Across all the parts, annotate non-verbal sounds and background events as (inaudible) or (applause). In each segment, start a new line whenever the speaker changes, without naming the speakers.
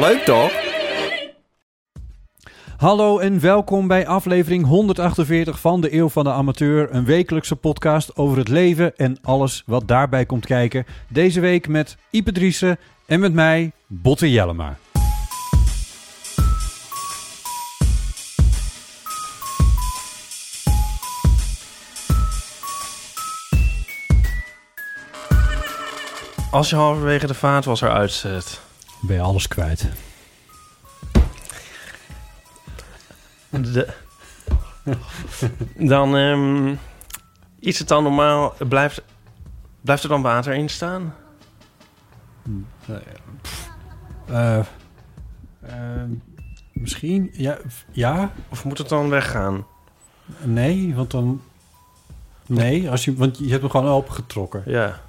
Leuk toch?
Hallo en welkom bij aflevering 148 van De Eeuw van de Amateur. Een wekelijkse podcast over het leven en alles wat daarbij komt kijken. Deze week met Ipe Driessen en met mij, Botte Jellema.
Als je halverwege de vaatwasser uitzet.
Ben je alles kwijt?
De... dan ehm, is het dan normaal. Blijft, blijft er dan water in staan?
Eh, eh, misschien? Ja, ja?
Of moet het dan weggaan?
Nee? Want dan... Nee, als je, want je hebt hem gewoon opengetrokken.
Ja.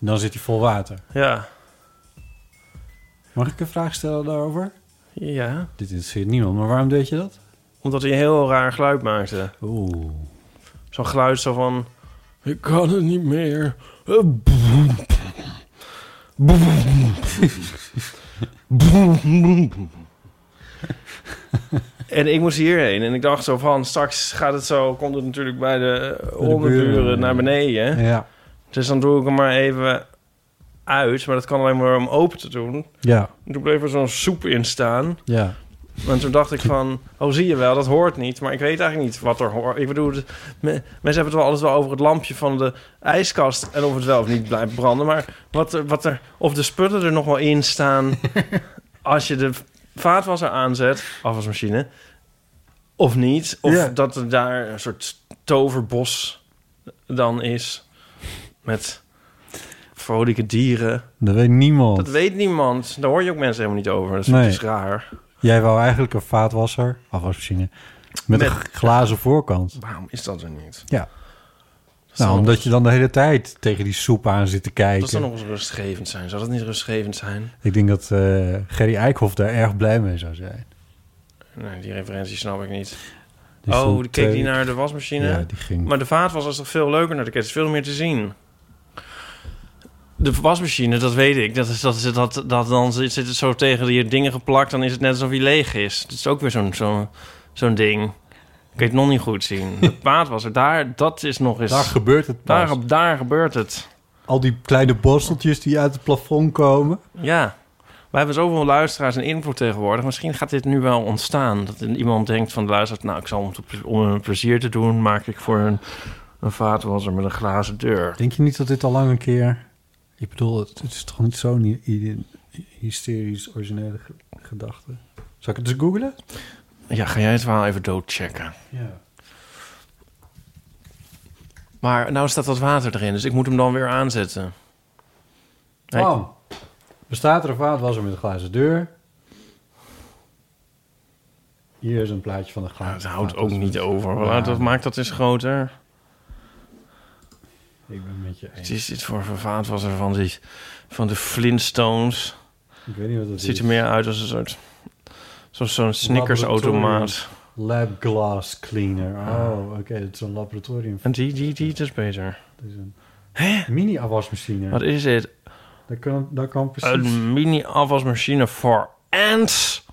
En dan zit hij vol water.
Ja.
Mag ik een vraag stellen daarover?
Ja.
Dit interesseert niemand, maar waarom deed je dat?
Omdat hij een heel raar geluid maakte.
Oeh.
Zo'n geluid zo van. Ik kan het niet meer. En ik moest hierheen en ik dacht zo van straks gaat het zo, komt het natuurlijk bij de onderburen naar beneden.
Ja.
Dus dan doe ik hem maar even uit, maar dat kan alleen maar om open te doen.
Ja.
En toen bleef er zo'n soep in staan.
Ja.
En toen dacht ik van, oh zie je wel, dat hoort niet. Maar ik weet eigenlijk niet wat er hoort. Ik bedoel, de- me- mensen hebben het wel alles wel over het lampje van de ijskast... en of het wel of niet blijft branden. Maar wat, er- wat er, of de spullen er nog wel in
(laughs)
staan... als je de vaatwasser aanzet, afwasmachine, of niet. Of
Ja.
dat er daar een soort toverbos dan is met vrolijke dieren.
Dat weet niemand.
Dat weet niemand. Daar hoor je ook mensen helemaal niet over. Dat is,
Nee.
dat is raar.
Jij wou eigenlijk een vaatwasser, afwasmachine, met, een
Met-
g- glazen voorkant.
Waarom is dat er niet?
Ja.
zal
Nou,
nog-
omdat je dan de hele tijd tegen die soep aan zit te
Dat zou
kijken.
nog eens rustgevend zijn. Zou dat niet rustgevend zijn?
Ik denk dat eh Gerry Eikhoff daar erg blij mee zou zijn.
Nee, die referentie snap ik niet.
Die
oh,
stond,
die keek
eh,
die naar de wasmachine.
Ja, die ging...
Maar de vaatwasser is toch veel leuker naar de kist. Veel meer te zien. De wasmachine, dat weet ik. Dat is, dat, is, dat, dat, dan zit zit het zo tegen die dingen geplakt. Dan is het net alsof hij leeg is. Dat is ook weer zo'n zo'n zo'n ding. Ik kan het nog niet goed
(laughs)
zien. De vaatwasser, daar, dat is nog eens...
Daar gebeurt het pas.
daar, daar gebeurt het.
Al die kleine borsteltjes die uit het plafond komen.
Ja. We hebben zoveel luisteraars en invloed tegenwoordig. Misschien gaat dit nu wel ontstaan. Dat iemand denkt van de luisteraars... nou, ik zal om, te- om een plezier te doen... maak ik voor een, een vaatwasser met een glazen deur.
Denk je niet dat dit al lang een keer... Ik bedoel, het, het is toch niet zo'n hy- hy- hysterisch originele ge- gedachte? Zal ik het eens googlen?
Ja, ga jij het verhaal even doodchecken.
Ja.
Maar nou staat dat water erin, dus ik moet hem dan weer aanzetten. Nee.
Oh. Bestaat er een vaatwasser met een glazen deur? Hier is een plaatje van de
Nou,
glazen.
het houdt ook
vaatwasser.
niet over. Laat- Dat maakt dat eens groter.
Ik ben met je eens.
Het is dit voor een vaatwasser van, die, van de Flintstones.
Ik weet niet wat het
Het ziet
is.
er meer uit als een soort... Zoals zo'n Snickers-automaat.
Lab glass cleaner. Oh, oké, dat is een laboratorium.
Ah. En die, die, die, dat is beter.
Dat is een mini-afwasmachine.
Wat is dit?
Daar kan, daar kan precies
Een mini-afwasmachine voor ants.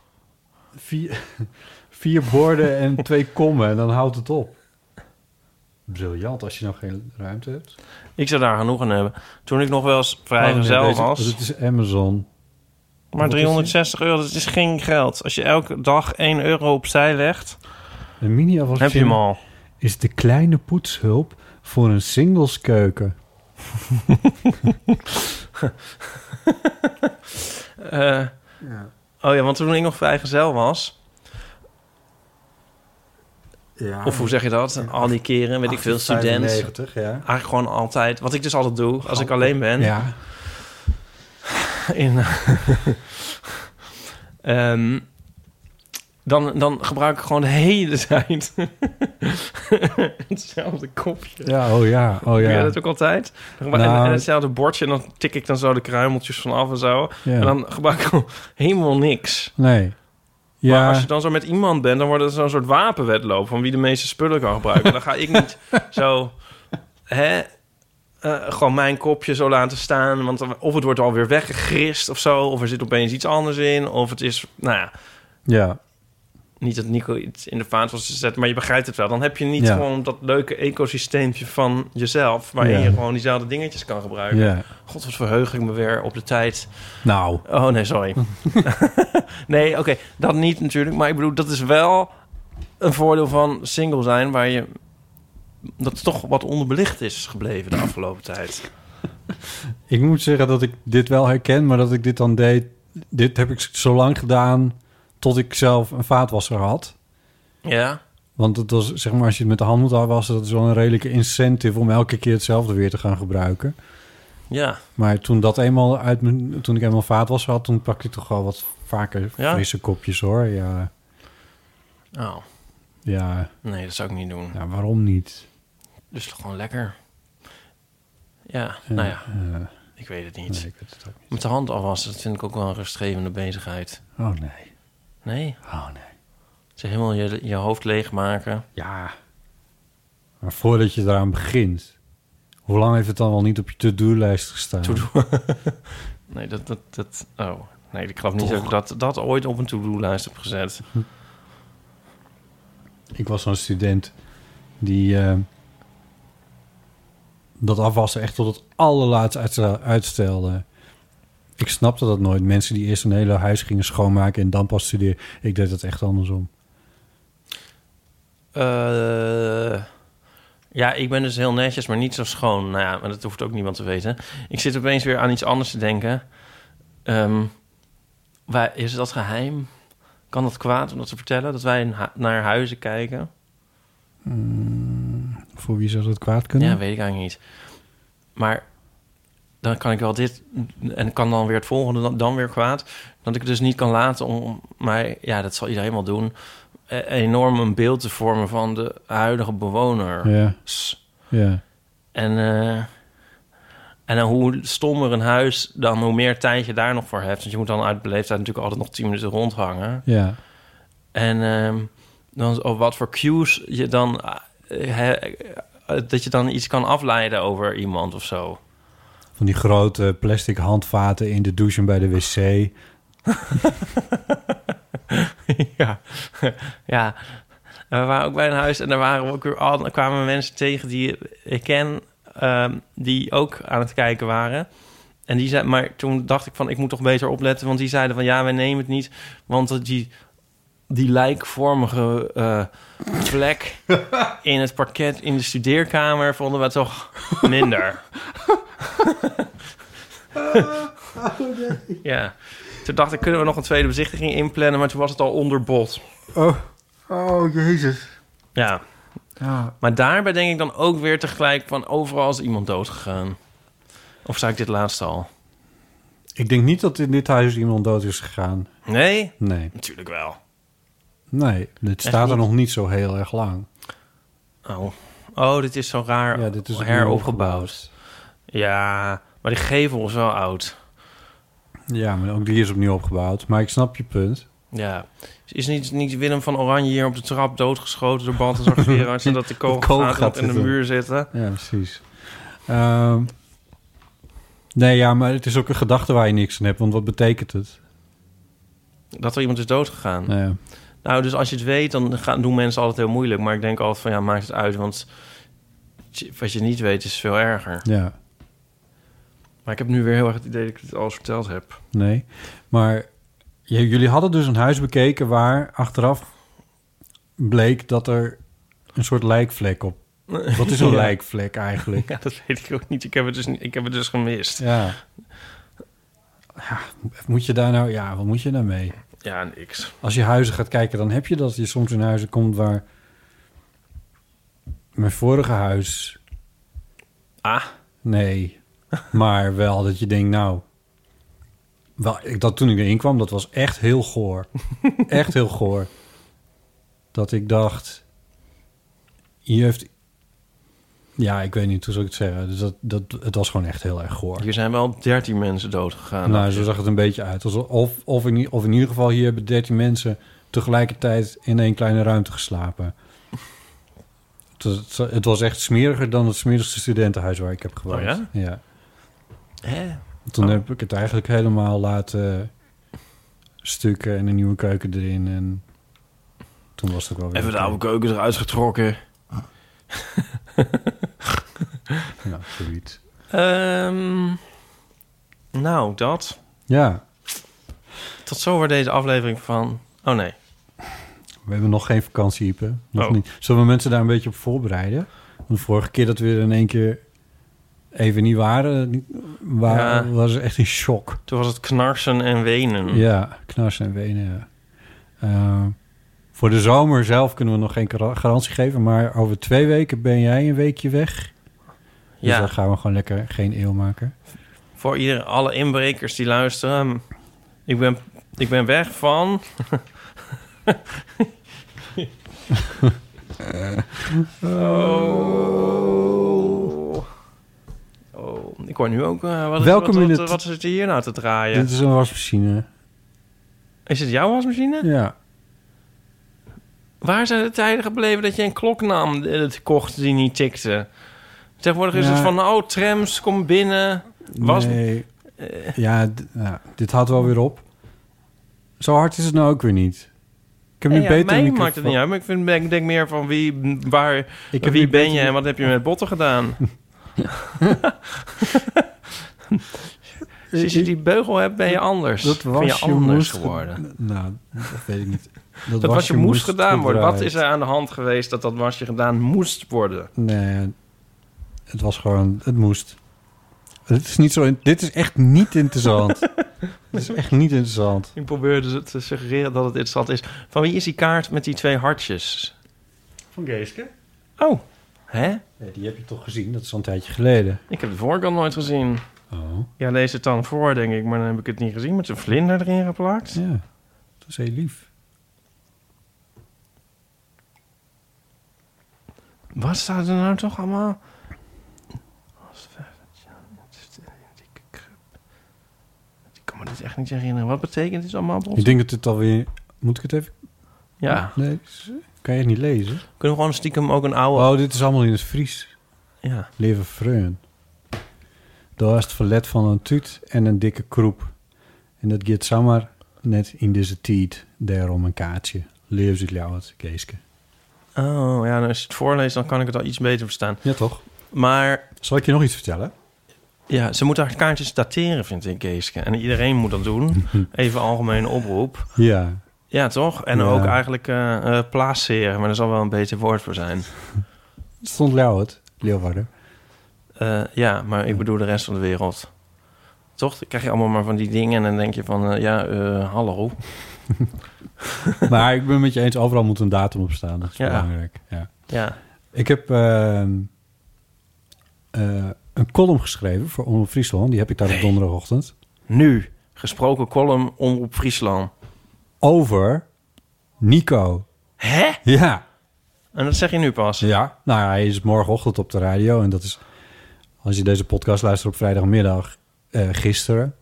vier, (laughs) vier borden en twee kommen en dan houdt het op. Briljant als je nog geen ruimte hebt.
Ik zou daar genoeg aan hebben. Toen ik nog wel eens vrijgezel
Oh, nee, deze-
was...
Dit is Amazon.
Maar
Wat is die?
360 euro, dat is geen geld. Als je elke dag 1 euro opzij legt,
Een mini-afwasmachine.
heb je hem al.
is de kleine poetshulp voor een singleskeuken.
Eh, Oh ja, want toen ik nog vrijgezel was...
Ja,
Of hoe zeg je dat? Al die keren, weet ik veel, student.
95, ja.
Eigenlijk gewoon altijd. Wat ik dus altijd doe, als ik alleen ben...
ja.
In, eh, (laughs) Ehm, dan, dan gebruik ik gewoon de hele (laughs) tijd hetzelfde kopje.
Ja, oh ja, oh
Doe jij
ja.
dat ook altijd? Dan gebruik-
Nou.
en, en hetzelfde bordje. En dan tik ik dan zo de kruimeltjes vanaf en zo.
Ja.
En dan gebruik ik gewoon helemaal niks.
Nee.
Maar
Ja,
als je dan zo met iemand bent, dan wordt het zo'n soort wapenwedloop... van wie de meeste spullen kan gebruiken. dan ga ik
(laughs)
niet zo... Hè, eh, gewoon mijn kopje zo laten staan. Want dan- of het wordt alweer weggegrist of zo... of er zit opeens iets anders in. Of het is, nou ja...
ja.
Niet dat Nico iets in de vaat was te zetten, maar je begrijpt het wel. Dan heb je niet
Ja.
gewoon dat leuke ecosysteempje van jezelf... waarin
Ja.
je gewoon diezelfde dingetjes kan gebruiken.
ja.
God, wat verheug ik me weer op de tijd.
Nou,
Oh nee,
(laughs)
sorry. (laughs) nee, oké, dat niet natuurlijk. Maar ik bedoel, dat is wel een voordeel van single zijn... waar je... dat toch wat onderbelicht is gebleven de afgelopen tijd.
ik moet zeggen dat ik dit wel herken, maar dat ik dit dan deed... Dit heb ik zo lang gedaan tot ik zelf een vaatwasser had.
Ja?
Want het was, zeg maar, als je het met de hand moet afwassen... dat is wel een redelijke incentive om elke keer hetzelfde weer te gaan gebruiken.
Ja.
Maar toen, dat eenmaal uit mijn, toen ik eenmaal vaatwasser had... toen pakte ik toch wel wat vaker
Ja?
frisse kopjes, hoor. Ja,
Oh,
ja,
nee, dat zou ik niet doen.
ja waarom niet?
Dus toch gewoon lekker. Ja, nou ja, ik weet het niet.
Nee, ik weet het ook niet.
Met de hand afwassen, dat vind ik ook wel een rustgevende bezigheid.
Oh, nee.
Nee?
Oh, nee.
Ze helemaal je, je hoofd leegmaken.
Ja. Maar voordat je eraan begint... hoe lang heeft het dan wel niet op je to-do-lijst gestaan?
(laughs) Nee, dat... dat, dat oh, nee, ik geloof niet dat ik dat, dat ooit op een to-do-lijst heb gezet.
Ik was zo'n student die eh, dat afwassen echt tot het allerlaatst uitstel- uitstelde. Ik snapte dat nooit. Mensen die eerst een hele huis gingen schoonmaken en dan pas studeren. Ik deed dat echt andersom.
Eh, ja, ik ben dus heel netjes, maar niet zo schoon. Nou ja, maar dat hoeft ook niemand te weten. Ik zit opeens weer aan iets anders te denken. Ehm, waar, is dat geheim? Kan dat kwaad om dat te vertellen? Dat wij na- naar huizen kijken?
Voor wie zou dat kwaad kunnen?
Ja, weet ik eigenlijk niet. Maar dan kan ik wel dit... En kan dan weer het volgende dan, dan weer kwaad. Dat ik het dus niet kan laten om... Maar ja, dat zal iedereen wel doen. eh, Enorm een beeld te vormen van de huidige bewoner.
ja, ja.
En, eh, en dan hoe stommer een huis, dan hoe meer tijd je daar nog voor hebt. Want je moet dan uit beleefdheid natuurlijk altijd nog 10 minuten rondhangen.
ja.
En ehm, dan op wat voor cues je dan... eh, hè, eh, dat je dan iets kan afleiden over iemand of zo.
Van die grote plastic handvaten in de douche en bij de wc.
(laughs) ja. ja. En we waren ook bij een huis en daar waren we ook weer al, daar kwamen we mensen tegen die ik ken, ehm, die ook aan het kijken waren. En die zei, maar toen dacht ik van, ik moet toch beter opletten, want die zeiden van, ja, wij nemen het niet, want die, die lijkvormige eh, vlek in het parket in de studeerkamer vonden we toch minder. (laughs) Ja. Toen dacht ik, kunnen we nog een tweede bezichtiging inplannen? Maar toen was het al onder bod.
Oh, oh jezus.
Ja.
Ja.
Maar daarbij denk ik dan ook weer tegelijk van... overal is iemand doodgegaan. Of zei ik dit laatst al?
Ik denk niet dat in dit huis iemand dood is gegaan.
Nee?
Nee.
Natuurlijk wel.
Nee, dit staat er
niet?
nog niet zo heel erg lang.
Oh, oh dit is zo raar
Ja, dit is opnieuw
heropgebouwd. Ja, maar die gevel is wel oud.
Ja, maar ook die is opnieuw opgebouwd. Maar ik snap je punt.
Ja. Is niet, niet Willem van Oranje hier op de trap doodgeschoten door Balthazar
(laughs)
Gerards... zodat de
De kogel
kogelgaten
gaat
in de
zitten.
muur zitten?
Ja, precies. Ehm, nee, ja, maar het is ook een gedachte waar je niks aan hebt. Want wat betekent het?
Dat er iemand is doodgegaan.
Nou ja.
Nou, dus als je het weet, dan gaan, doen mensen altijd heel moeilijk. Maar ik denk altijd van, ja, maakt het uit. Want tje, wat je niet weet, is veel erger.
ja,
Maar ik heb nu weer heel erg het idee dat ik het alles verteld heb.
nee. Maar j- jullie hadden dus een huis bekeken waar achteraf bleek dat er een soort lijkvlek op... Wat is een
Ja.
lijkvlek eigenlijk?
(laughs) Ja, dat weet ik ook niet. Ik heb het dus, niet- ik heb het dus gemist. (laughs) Ja,
Ja. ja. Moet je daar nou... Ja, wat moet je daarmee?
niks.
Als je huizen gaat kijken, dan heb je dat. Je soms in huizen komt waar... Mijn vorige huis...
Ah.
Nee. Maar wel dat je denkt, nou... Wel, ik, dat, toen ik erin kwam, dat was echt heel goor. echt heel goor. Dat ik dacht... Je heeft... Ja, ik weet niet, hoe zou ik het zeggen? Dus dat, dat, het was gewoon echt heel erg goor.
Hier zijn wel 13 mensen dood gegaan.
Nou, zo zag het een beetje uit. Alsof- Of, of, in, i- of in ieder geval hier hebben 13 mensen tegelijkertijd in één kleine ruimte geslapen. Het, was- het was echt smeriger dan het smerigste studentenhuis waar ik heb gewoond.
Oh ja? Hè?
Toen
Oh.
heb ik het eigenlijk helemaal laten stukken en een nieuwe keuken erin. En toen was het ook wel weer...
Even de
oké.
oude keuken eruit getrokken.
Ja, zoiets.
Ehm, nou, dat.
Ja,
Tot zover deze aflevering van... Oh nee.
we hebben nog geen vakantie, Ipe. Nog
Oh.
niet. Zullen we mensen daar een beetje op voorbereiden? Want de vorige keer dat we er in één keer even niet waren, niet- wa-
Ja. Mm.
was er echt een shock.
Toen was het knarsen en wenen.
Ja, knarsen en wenen. ja. Eh, voor de zomer zelf kunnen we nog geen gar- garantie geven, maar over twee weken ben jij een weekje weg. Dus
Ja.
dan gaan we gewoon lekker geen eeuw maken.
Voor ieder, alle inbrekers die luisteren. Ik ben, ik ben weg van... (laughs) oh. Oh, ik hoor nu ook... eh, wat, is,
Welke
wat, wat-
minuut?
wat zit hier nou te draaien?
Dit is een
(laughs)
wasmachine.
Is het jouw wasmachine?
Ja.
Waar zijn de tijden gebleven dat je een klok nam eh, dat kocht die niet tikte? Tegenwoordig is
Ja.
het van, oh, trams, kom binnen. Was-
Nee. Ja, d- nou, dit houdt wel weer op. Zo hard is het nou ook weer niet. Ik heb nu
Eh, Ja,
beter
mij
microfoon.
maakt het niet uit, maar ik, vind, ik denk meer van wie, m, waar,
Ik heb nu
wie ben
beter
je en wat heb je met botten (laughs) gedaan? Sinds je die beugel hebt, ben je anders.
Eh, Dat was
ben je
je
anders
moest
geworden.
Nou, dat weet ik niet.
Dat was je moest gedaan worden. Wat
gedraaid.
is er aan de hand geweest dat dat was je gedaan moest worden?
Nee, het was gewoon, het moest. Dit is, niet zo, in- dit is echt niet interessant.
(laughs)
dit is echt niet interessant.
Ik probeerde ze te suggereren dat het interessant is. Van wie is die kaart met die twee hartjes?
Van Geeske?
Oh, hè?
Nee, die heb je toch gezien? Dat is al een tijdje geleden.
Ik heb de voorkant nooit gezien.
Oh,
Ja, lees het dan voor, denk ik. Maar dan heb ik het niet gezien met zijn vlinder erin geplakt.
ja. Dat is heel lief.
Wat staat er nou toch allemaal? Ik kan me dit echt niet herinneren. Wat betekent dit allemaal, Bob?
Ik denk dat dit alweer... Moet ik het even
Ja,
lezen? Kan je het niet lezen?
kunnen we gewoon stiekem ook een oude...
Oh, dit is allemaal in het Fries.
Ja.
Leven vreun. Daar is het verlet van een tuut en een dikke kroep. En dat gaat zomaar net in deze tijd. Daarom een kaartje. Leef zich jou het, Geeske.
Oh, ja, nou, als je het voorleest, dan kan ik het al iets beter verstaan.
Ja, toch?
Maar
Zal ik je nog iets vertellen?
ja, ze moeten haar kaartjes dateren, vind ik, Geeske. En iedereen moet dat (laughs) doen. Even algemene oproep.
Ja.
Ja, toch? En
Ja.
ook eigenlijk eh eh, placeren, maar er zal wel een beter woord voor zijn.
Het stond jou het, Leeuwarden.
Eh, ja, maar ik bedoel de rest van de wereld. Toch? Dan krijg je allemaal maar van die dingen en dan denk je van, eh, ja, eh, hallo.
(laughs) Maar ik ben met je eens, overal moet een datum op staan. Dat is
Ja.
belangrijk. Ja.
Ja.
Ik heb ehm, eh, een column geschreven voor Omroep Friesland. Die heb ik daar op donderdagochtend.
Nu, gesproken column omroep Friesland.
Over Nico.
Hè?
Ja.
En dat zeg je nu pas.
Ja, nou ja, hij is morgenochtend op de radio. En dat is, als je deze podcast luistert op vrijdagmiddag, eh, gisteren.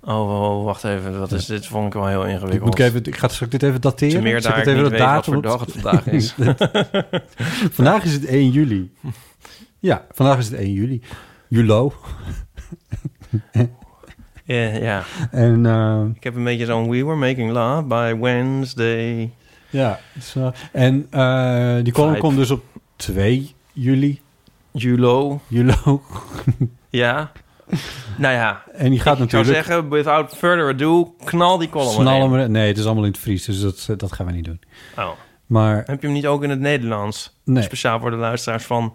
Oh, oh, wacht even. Wat is dit? Vond ik wel heel
Ik,
ingewikkeld.
moet ik even, ik ga straks dit even dateren.
Te meer
Zal
daar ik
het
niet
de
weet wat voor
op-
dag het vandaag
(laughs)
is.
vandaag is het 1
(laughs)
juli. Ja, vandaag is het 1 juli. Julo.
Eh, ja.
En eh,
Ik heb een beetje zo'n We Were Making Love by Wednesday.
ja, zo. en eh, die column
Vijf.
komt dus op 2 juli.
Julo.
Julo. (laughs)
Ja. Nou ja,
En die gaat
ik zou
natuurlijk...
zeggen, without further ado, knal die column
Snal hem
erin.
er- Nee, het is allemaal in het Fries, dus dat, dat gaan we niet doen.
Oh.
Maar eh,
Heb je hem niet ook in het Nederlands?
nee,
Speciaal voor de luisteraars van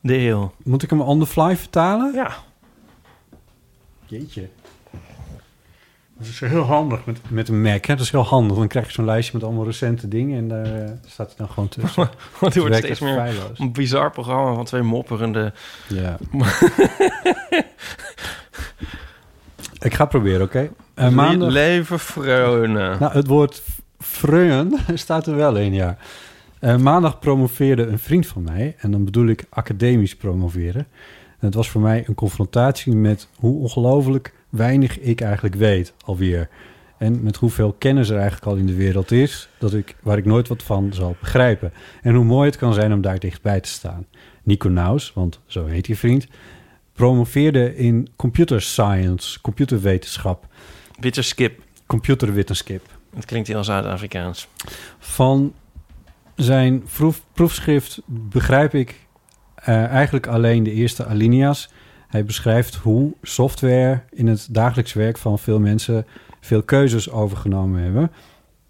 De Heel.
moet ik hem on the fly vertalen?
Ja.
Jeetje. Dat is heel handig met, met een Mac. Hè? Dat is heel handig. Dan krijg je zo'n lijstje met allemaal recente dingen en daar eh, staat het dan
(laughs)
gewoon tussen.
Want die
werkt
wordt steeds
echt
meer
feilloos.
een bizar programma van twee mopperende... (laughs)
Ja. ik ga het proberen, oké? Eh, maandag.
Leven vreugde.
Nou, het woord freuen (laughs) staat er wel in, ja. Eh, maandag promoveerde een vriend van mij, en dan bedoel ik academisch promoveren. En het was voor mij een confrontatie met hoe ongelooflijk weinig ik eigenlijk weet alweer. En met hoeveel kennis er eigenlijk al in de wereld is, dat ik, waar ik nooit wat van zal begrijpen. En hoe mooi het kan zijn om daar dichtbij te staan. Nico Naus, want zo heet die vriend, promoveerde in computer science, computerwetenschap,
Bitter skip.
computerwetenschap.
Het klinkt heel Zuid-Afrikaans.
Van zijn proef- proefschrift begrijp ik eh, eigenlijk alleen de eerste alinea's. Hij beschrijft hoe software in het dagelijks werk van veel mensen veel keuzes overgenomen hebben.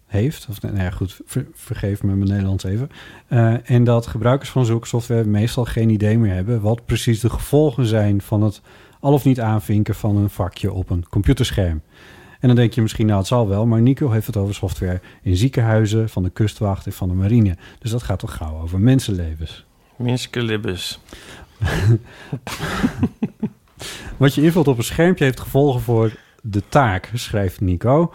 Heeft, of nee, nou ja, goed, ver- vergeef me mijn Nederlands even. Eh, en dat gebruikers van zulke software meestal geen idee meer hebben wat precies de gevolgen zijn van het al of niet aanvinken van een vakje op een computerscherm. En dan denk je misschien, nou het zal wel, maar Nico heeft het over software in ziekenhuizen, van de kustwacht en van de marine. Dus dat gaat toch gauw over mensenlevens.
Minske Libbes.
Wat je invult op een schermpje heeft gevolgen voor de taak, schrijft Nico.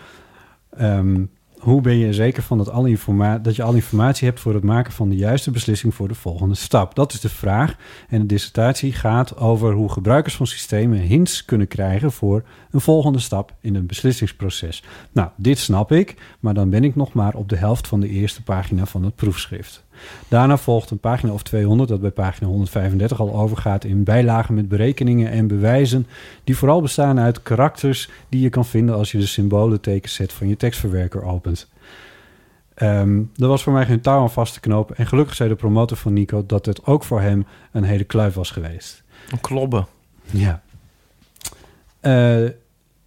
Ehm, hoe ben je er zeker van dat, alle informa- dat je alle informatie hebt voor het maken van de juiste beslissing voor de volgende stap? Dat is de vraag. En de dissertatie gaat over hoe gebruikers van systemen hints kunnen krijgen voor een volgende stap in een beslissingsproces. Nou, dit snap ik, maar dan ben ik nog maar op de helft van de eerste pagina van het proefschrift. Daarna volgt een pagina of 200 dat bij pagina 135 al overgaat in bijlagen met berekeningen en bewijzen die vooral bestaan uit karakters die je kan vinden als je de symbolentekenset van je tekstverwerker opent. Ehm er was voor mij geen touw aan vast te knopen en gelukkig zei de promotor van Nico dat het ook voor hem een hele kluif was geweest.
Een klobben.
Ja. Eh,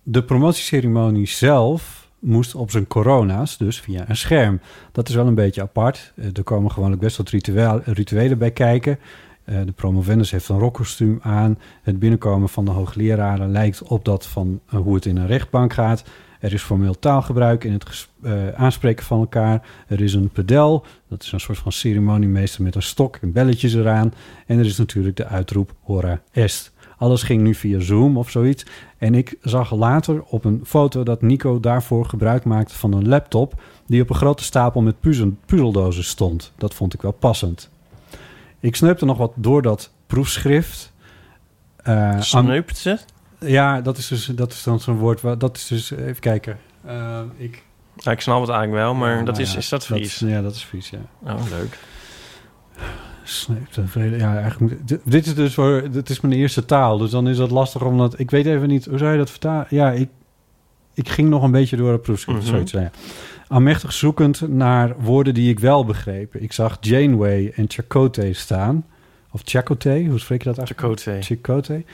de promotieceremonie zelf moest op zijn corona's, dus via een scherm. Dat is wel een beetje apart. Eh, er komen gewoonlijk best wat ritueel- rituelen bij kijken. Eh, de promovendus heeft een rokkostuum aan. Het binnenkomen van de hoogleraren lijkt op dat van eh, hoe het in een rechtbank gaat. Er is formeel taalgebruik in het ges- eh, aanspreken van elkaar. Er is een pedel, dat is een soort van ceremoniemeester met een stok en belletjes eraan. En er is natuurlijk de uitroep hora est. Alles ging nu via Zoom of zoiets. En ik zag later op een foto dat Nico daarvoor gebruik maakte van een laptop... die op een grote stapel met puzzel, puzzeldozen stond. Dat vond ik wel passend. Ik sneupte nog wat door dat proefschrift. Eh, aan-
Sneupt ze?
ja, dat is, dus, dat is dan zo'n woord. waar- Dat is dus, even kijken. Eh, ik,
Ja, ik snap het eigenlijk wel, maar
Ja,
dat
nou
is,
ja,
is dat Fries?
ja, dat is Fries, ja.
Oh, leuk.
Sneept en vrede. Ja, eigenlijk moet, dit- dit is dus voor, dit is mijn eerste taal, dus dan is dat lastig omdat ik weet even niet hoe zou je dat vertalen. Ja, ik, ik ging nog een beetje door het proefschrift.
Mhm.
zoiets, ja. Aanmächtig zoekend naar woorden die ik wel begreep. Ik zag Janeway en Chakotay staan, of Chakotay, hoe spreek je dat eigenlijk?
Chakotay.
Chakotay.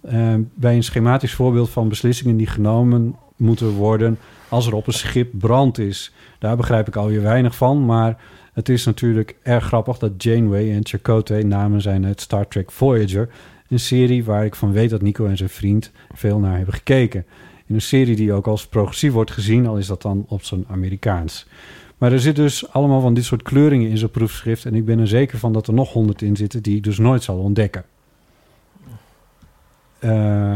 Eh, bij een schematisch voorbeeld van beslissingen die genomen moeten worden als er op een schip brand is. Daar begrijp ik alweer weinig van, maar het is natuurlijk erg grappig dat Janeway en Chakotay namen zijn uit Star Trek Voyager, een serie waar ik van weet dat Nico en zijn vriend veel naar hebben gekeken. In een serie die ook als progressief wordt gezien, al is dat dan op zijn Amerikaans. Maar er zit dus allemaal van dit soort kleuringen in zijn proefschrift en ik ben er zeker van dat er nog honderd in zitten die ik dus nooit zal ontdekken. Eh,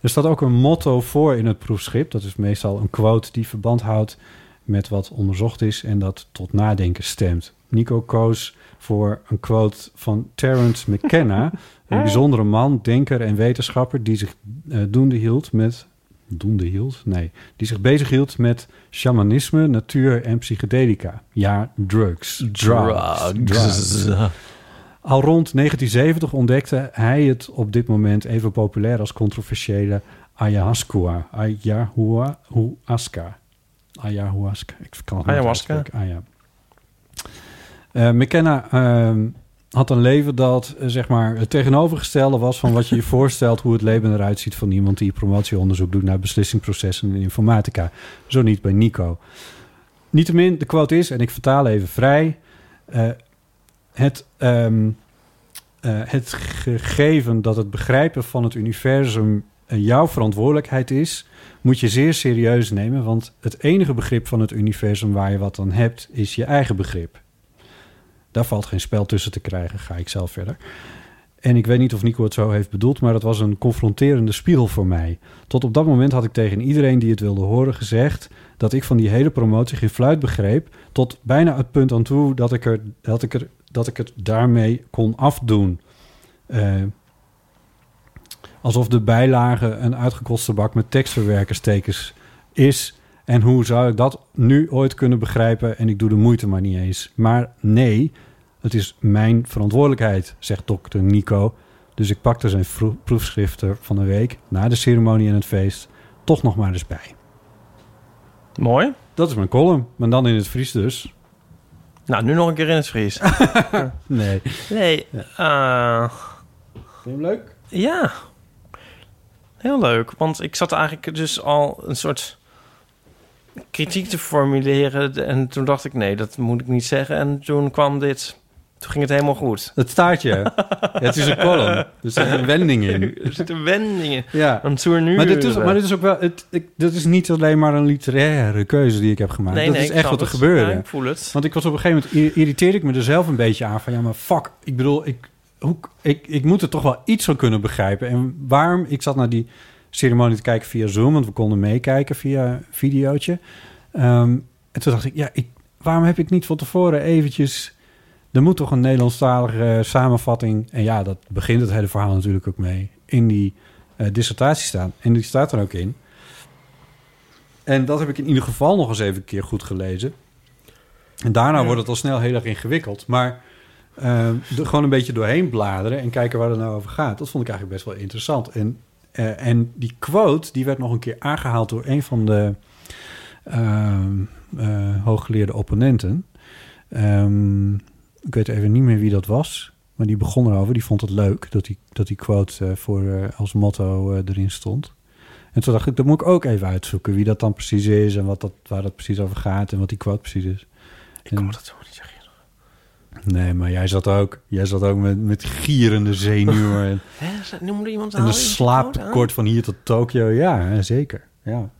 er staat ook een motto voor in het proefschrift. Dat is meestal een quote die verband houdt met wat onderzocht is en dat tot nadenken stemt. Nico koos voor een quote van Terence McKenna, een bijzondere man, denker en wetenschapper die zich eh, doende hield met doende hield, nee, die zich bezig hield met shamanisme, natuur en psychedelica. Ja, drugs. drugs. Al rond 1970 ontdekte hij het op dit moment even populair als controversiële ayahuasca. Ayahuasca. Ayahuasca. Ik kan het niet
Ayahuasca.
uitspreken. Ah, ja. Eh, McKenna ehm, had een leven dat eh, zeg maar het tegenovergestelde was van wat je (laughs) je voorstelt hoe het leven eruit ziet van iemand die promotieonderzoek doet naar beslissingsprocessen in informatica. Zo niet bij Nico. Niettemin, de quote is, en ik vertaal even vrij. eh, het, ehm, eh, het gegeven dat het begrijpen van het universum eh, jouw verantwoordelijkheid is, moet je zeer serieus nemen. Want het enige begrip van het universum waar je wat aan hebt, is je eigen begrip. Daar valt geen spel tussen te krijgen, ga ik zelf verder. En ik weet niet of Nico het zo heeft bedoeld, maar dat was een confronterende spiegel voor mij. Tot op dat moment had ik tegen iedereen die het wilde horen gezegd dat ik van die hele promotie geen fluit begreep. Tot bijna het punt aan toe dat ik, er, dat ik, er, dat ik het daarmee kon afdoen. Eh, alsof de bijlage een uitgekoste bak met tekstverwerkerstekens is. En hoe zou ik dat nu ooit kunnen begrijpen? En ik doe de moeite maar niet eens. Maar nee, het is mijn verantwoordelijkheid, zegt dokter Nico. Dus ik pakte zijn vro- proefschrift er van de week na de ceremonie en het feest toch nog maar eens bij.
Mooi.
Dat is mijn column, maar dan in het Fries dus.
Nou, nu nog een keer in het Fries.
Nee.
Nee, eh,
Vind je hem leuk?
ja. Heel leuk, want ik zat eigenlijk dus al een soort kritiek te formuleren. En toen dacht ik, nee, dat moet ik niet zeggen. En toen kwam dit. Toen ging het helemaal
(laughs)
goed.
Het staartje. ja, het is een column. Er zit een wending in.
Er zitten wendingen.
Ja.
Een tournure.
Maar dit, is, maar dit is ook wel... Het, ik, dit is niet alleen maar een literaire keuze die ik heb gemaakt. dat is echt
ik snap
wat er
het.
gebeurde.
Ja, ik voel het.
Want ik was op een gegeven moment... ir- irriteerde ik me er zelf een beetje aan van... Ja, maar fuck. Ik bedoel, ik, hoe, ik, ik moet er toch wel iets van kunnen begrijpen. En waarom... Ik zat naar die ceremonie te kijken via Zoom... want we konden meekijken via een videootje. Ehm, en toen dacht ik... Ja, ik, waarom heb ik niet van tevoren eventjes... Er moet toch een Nederlandstalige samenvatting... en ja, dat begint het hele verhaal natuurlijk ook mee... in die eh, dissertatie staan. En die staat er ook in. En dat heb ik in ieder geval nog eens even een keer goed gelezen. En daarna wordt het al snel heel erg ingewikkeld. Maar eh, er gewoon een beetje doorheen bladeren en kijken waar het nou over gaat. Dat vond ik eigenlijk best wel interessant. En, eh, en die quote, die werd nog een keer aangehaald door een van de ehm, eh, hooggeleerde opponenten. Ehm, ik weet even niet meer wie dat was. Maar die begon erover. Die vond het leuk dat die, dat die quote eh, voor, eh, als motto eh, erin stond. En toen dacht ik, dat moet ik ook even uitzoeken. Wie dat dan precies is en wat dat, waar dat precies over gaat en wat die quote precies is.
Ik kon Oh, dat zo niet zeggen.
Nee, maar jij zat ook, jij zat ook met, met gierende zenuwen en,
Hè? Noemde iemand Oh,
en een slaaptekort van hier tot Tokio. Ja, hè, zeker. Ja.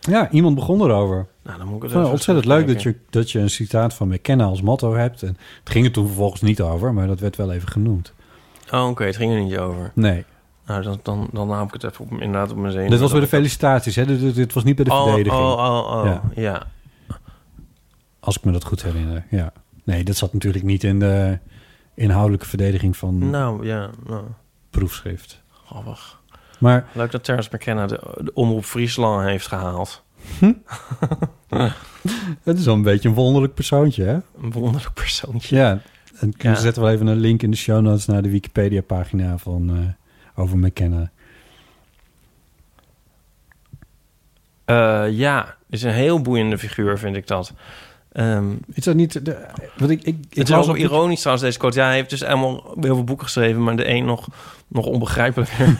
ja, iemand begon erover.
Nou, dan moet ik het
Van,
even
ontzettend leuk
terugkijken.
dat je, dat je een citaat van McKenna als motto hebt. En het ging er toen vervolgens niet over, maar dat werd wel even genoemd.
Oh, oké, het ging er niet over.
Nee,
Nou, dan, dan, dan haal ik het even op, inderdaad op mijn zenuwen.
dit was bij de felicitaties. Hè? Dit, dit- dit was niet bij de
oh,
verdediging,
Oh, oh, oh,
Ja.
ja.
als ik me dat goed herinner. Ja. Nee, dat zat natuurlijk niet in de inhoudelijke verdediging van
Nou, ja, nou,
proefschrift.
grappig.
Maar
Leuk dat Terrence McKenna de, de omroep Friesland heeft gehaald.
Het is wel een beetje een wonderlijk persoontje, hè?
Een wonderlijk persoontje.
Ja. En we
Ja.
zetten wel even een link in de show notes naar de Wikipedia-pagina van eh, over McKenna.
Eh, ja, is een heel boeiende figuur, vind ik dat. Ehm,
Is dat niet... De, wat ik, ik, ik
het is
las
ook
op-
ironisch trouwens, deze quote. Ja, hij heeft dus helemaal heel veel boeken geschreven... maar de een nog, nog
(laughs)
onbegrijpelijker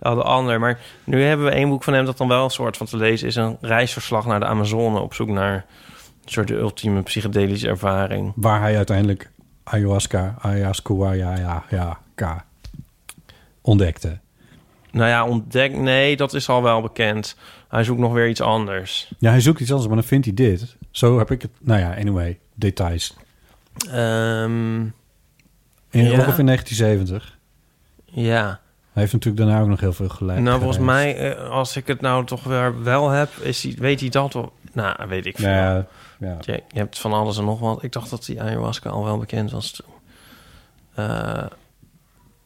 dan de ander. Maar nu hebben we één boek van hem dat dan wel een soort van te lezen is. Een reisverslag naar de Amazone op zoek naar... een soort de ultieme psychedelische ervaring.
Waar hij uiteindelijk ayahuasca, ayahuasca, ja, ja, ja, k ontdekte.
Nou ja, ontdek... Nee, dat is al wel bekend. Hij zoekt nog weer iets anders.
Ja, hij zoekt iets anders, maar dan vindt hij dit. Zo heb ik het... Nou ja, anyway, details.
Ehm,
In
Ja.
Rogoff in 1970.
ja.
Hij heeft natuurlijk daarna ook nog heel veel gelijk.
nou, volgens
gereisd.
mij, eh, als ik het nou toch weer wel heb... Is hij, weet hij dat wel? Nou, weet ik veel.
Ja, ja.
Je, je hebt van alles en nog wat. Ik dacht dat die ayahuasca al wel bekend was toen. Eh,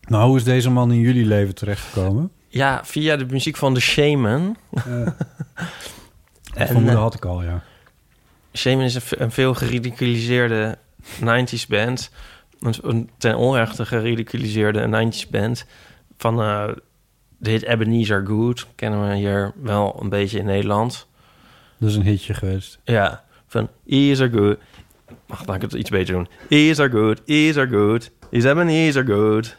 Nou, hoe is deze man in jullie leven terechtgekomen?
ja, via de muziek van The Shaman.
Ja. Dat
En,
vermoeden
eh,
had ik al, ja.
Shaman is een, ve- een veel geridiculiseerde 90s band. Een, een ten onrechte geridiculiseerde 90s band. Van eh, de hit Ebenezer Good. Kennen we hier wel een beetje in Nederland.
Dat is een hitje geweest.
Ja, van is are good. Wacht, laat ik het iets beter doen. Is are good, is are good. Is Ebenezer good.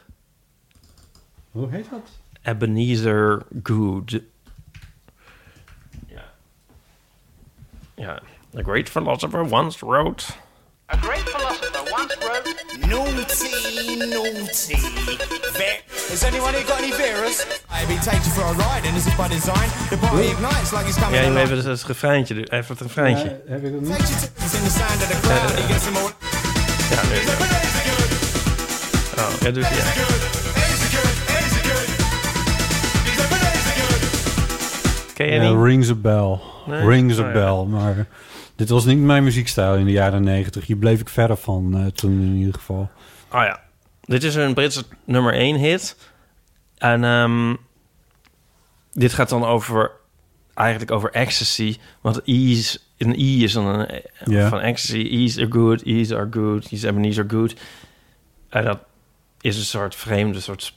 Hoe heet dat?
Ebenezer Good. Ja. Ja. The great philosopher once wrote...
A great philosopher once wrote,
Naughty, naughty. Vic. Has anyone here got any Veras? I be take you for a ride, and as if by design, the party ignites like he's coming
Ja, je moet
along.
even het refreintje doen. Even het refreintje.
heb ik dat
Takes you to- he's in the sand of the crowd, he gets him all.
Ja, nee, nee.
But there's a good.
Oh, ja, dus ja. Ken je
Ja,
niet?
rings a bell.
Nee.
Rings
Oh,
a
ja.
bell. Maar dit was niet mijn muziekstijl in de jaren negentig. Hier bleef ik verder van eh, toen in ieder geval.
Oh ja. Dit is een Britse nummer 1 hit. En ehm, dit gaat dan over eigenlijk over ecstasy. Want ease, een E is dan een
Ja.
van ecstasy. Ease are good, ease are good, ease ebonies are good. En dat is een soort vreemde soort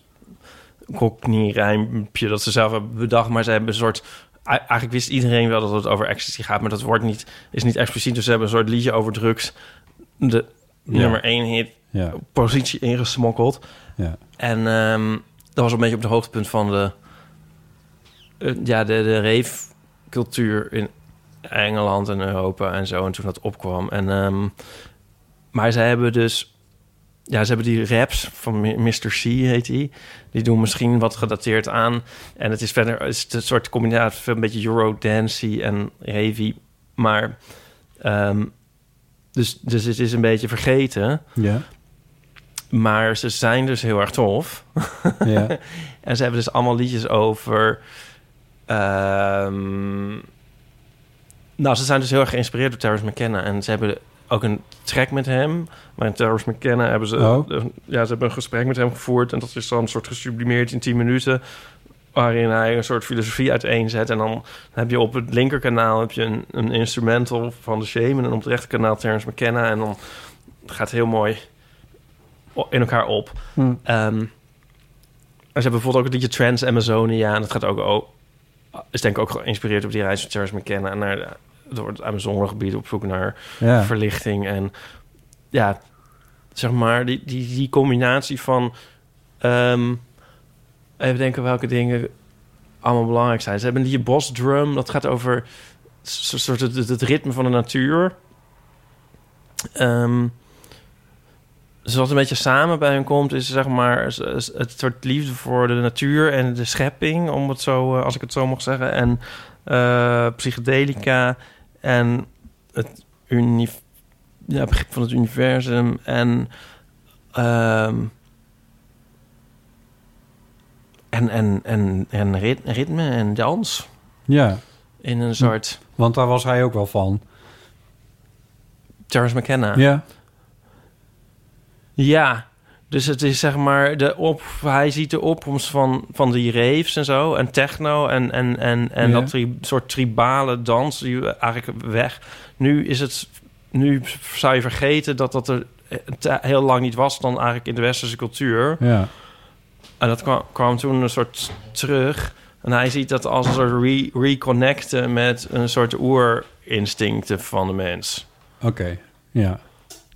cockney-rijmpje dat ze zelf hebben bedacht. Maar ze hebben een soort... Eigenlijk wist iedereen wel dat het over ecstasy gaat, maar dat wordt niet, is niet expliciet. Dus ze hebben een soort liedje over drugs. De
Ja.
nummer 1 hit
Ja,
positie ingesmokkeld.
ja.
En ehm, dat was een beetje op de hoogtepunt van de, eh, ja, de, de reefcultuur in Engeland en Europa en zo. En toen dat opkwam. En, ehm, maar ze hebben dus... Ja, ze hebben die raps van Mi- Mr. C, heet die. Die doen misschien wat gedateerd aan. En het is verder het is een soort combinatie van een beetje Eurodancy en heavy. Maar... ehm, dus, dus het is een beetje vergeten.
ja.
Maar ze zijn dus heel erg tof.
ja.
(laughs) En ze hebben dus allemaal liedjes over. ehm, nou, ze zijn dus heel erg geïnspireerd door Terrence McKenna. En ze hebben ook een track met hem. Maar in Terrence McKenna hebben ze,
Oh.
eh, ja, ze hebben een gesprek met hem gevoerd. En dat is dan een soort gesublimeerd in 10 minuten. Waarin hij een soort filosofie uiteenzet. En dan heb je op het linkerkanaal heb je een, een instrumental van de Shaman. En op het rechterkanaal Terrence McKenna. En dan gaat het heel mooi o- in elkaar op.
Hmm.
Ehm, en ze hebben bijvoorbeeld ook het liedje Trans Amazonia. En dat gaat ook, o- is denk ik ook geïnspireerd op die reis van Charles McKenna naar de, door het Amazonegebied op zoek naar
ja.
verlichting. En ja, zeg maar, die, die, die combinatie van. ehm, even denken welke dingen allemaal belangrijk zijn. Ze hebben die bosdrum, dat gaat over so- soort het, het, het ritme van de natuur. Ehm, dus wat een beetje samen bij hen komt, is zeg maar s- s- het soort liefde voor de natuur en de schepping, om het zo, eh, als ik het zo mag zeggen. En eh, psychedelica en het uni ja, begrip van het universum en, ehm, en, en, en, en rit- ritme en dans
ja,
in een soort
want daar was hij ook wel van.
Charles McKenna.
Ja,
Ja, dus het is zeg maar de op, hij ziet de opkomst van, van die raves en zo en techno en, en, en, en
Ja.
dat tri- soort tribale dans die eigenlijk weg. Nu is het, nu zou je vergeten dat dat er eh, te- heel lang niet was dan eigenlijk in de westerse cultuur.
ja,
En dat kwam, kwam toen een soort terug. En hij ziet dat als een soort re- reconnecten met een soort oerinstincten van de mens.
oké. Ja,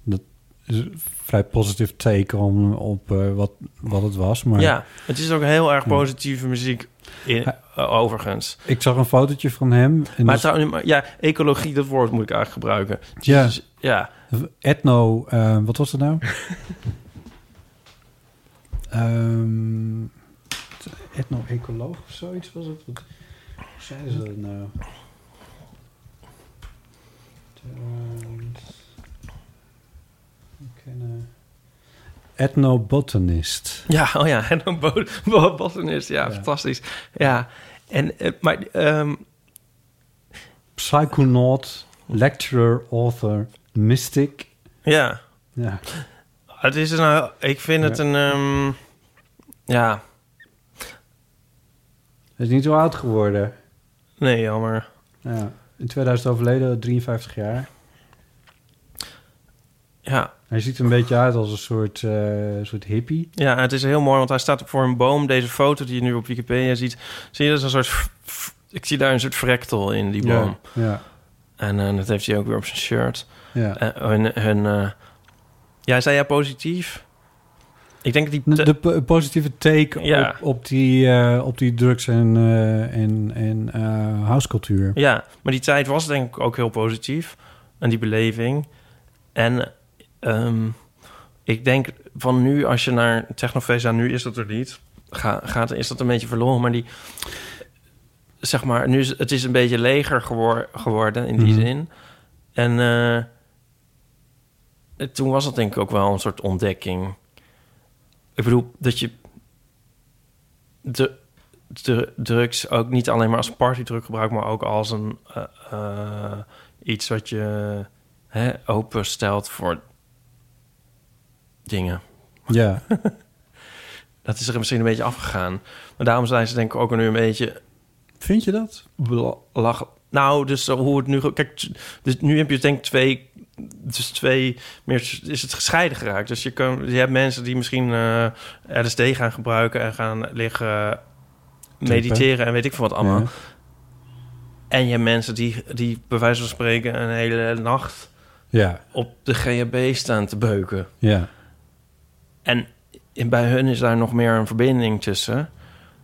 dat is een vrij positief teken om, op eh, wat, wat het was. Maar
Ja, het is ook heel erg positieve muziek in, eh, overigens.
ik zag een fotootje van hem. En dus-
Maar
dat is
trouwens, maar ja, ecologie, dat woord moet ik eigenlijk gebruiken.
Ja.
Dus, ja.
etno, eh, wat was dat nou? Ehm etno-ecoloog of zoiets was het? Wat, hoe zeiden ze dat nou? Terms- Kennen- eh, Etnobotanist.
ja, oh ja, (laughs) en dan bo- bo- botanist, ja,
Ja.
fantastisch. Ja, en, eh, maar, ehm,
Psychonaut, lecturer, author, mystic.
ja,
Ja,
het is een, ik vind het
Ja.
een, ehm, ja,
hij is niet zo oud geworden.
nee, jammer.
Ja, in 2000 overleden, 53 jaar.
Ja,
Hij ziet er een beetje uit als een soort, eh, soort hippie.
ja, het is heel mooi, want hij staat voor een boom. Deze foto die je nu op Wikipedia ziet, zie je dat is een soort, f- f- ik zie daar een soort frectel in die boom.
Ja,
En eh, dat heeft hij ook weer op zijn shirt.
ja.
Eh, hun, hun, eh, ja, zei jij positief? Ik denk dat die...
De, de po- positieve take
Ja.
op, op, die, eh, op die drugs en, eh, en, en eh,
(laughs)
housecultuur.
Ja, maar die tijd was denk ik ook heel positief. En die beleving. En ehm, ik denk van nu, als je naar Technofeest... Ja, nu is dat er niet. Ga, gaat, is dat een beetje verloren. Maar die... Zeg maar, nu is, het is een beetje leger gewor- geworden in die
Mhm.
zin. En eh, toen was dat denk ik ook wel een soort ontdekking. Ik bedoel, dat je de, de drugs ook niet alleen maar als partydruk gebruikt, maar ook als een eh, eh, iets wat je hè, openstelt voor dingen.
Ja.
Dat is er misschien een beetje afgegaan. Maar daarom zijn ze denk ik ook nu een beetje
Vind je dat?
belach. Nou, dus hoe het nu... ge- Kijk, t- dus nu heb je denk ik twee... Dus twee meer is het gescheiden geraakt. Dus je, kan, je hebt mensen die misschien eh, LSD gaan gebruiken en gaan liggen mediteren en weet ik veel wat allemaal.
Ja.
En je hebt mensen die, die bij wijze van spreken een hele nacht
Ja.
op de GHB staan te beuken.
Ja.
En in- bij hun is daar nog meer een verbinding tussen.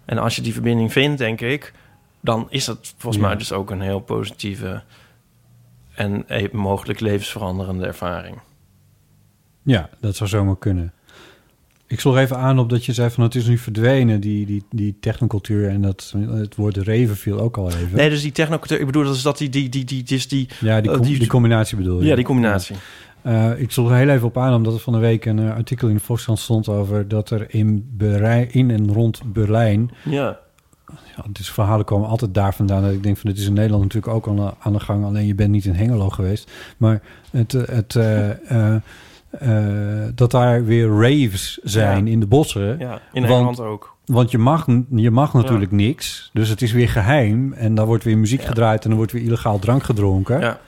En als je die verbinding vindt, denk ik, dan is dat volgens
Ja.
mij dus ook een heel positieve en e- mogelijk levensveranderende ervaring.
Ja, dat zou zomaar kunnen. Ik sloeg even aan op dat je zei van het is nu verdwenen, die, die, die technocultuur. En dat, het woord reven viel ook al even.
Nee, dus die technocultuur, ik bedoel, dat is dat die, die, die, die, dus die,
ja, die,
eh,
com- die,
die-
combinatie bedoel je?
ja, die combinatie.
Eh, ik sloeg er heel even op aan, omdat er van de week een eh, artikel in de Volkskrant stond over dat er in, Berei- in en rond Berlijn
Ja.
Ja, dus verhalen komen altijd daar vandaan. Dat ik denk van dit is in Nederland natuurlijk ook aan de, aan de gang. Alleen je bent niet in Hengelo geweest. Maar het, eh, het, eh, eh, eh, dat daar weer raves zijn
Ja.
in de bossen.
ja, in
Want-
Nederland ook.
Want je mag, je mag natuurlijk niks. Dus het is weer geheim. En daar wordt weer muziek
Ja.
gedraaid en er wordt weer illegaal drank gedronken.
Ja.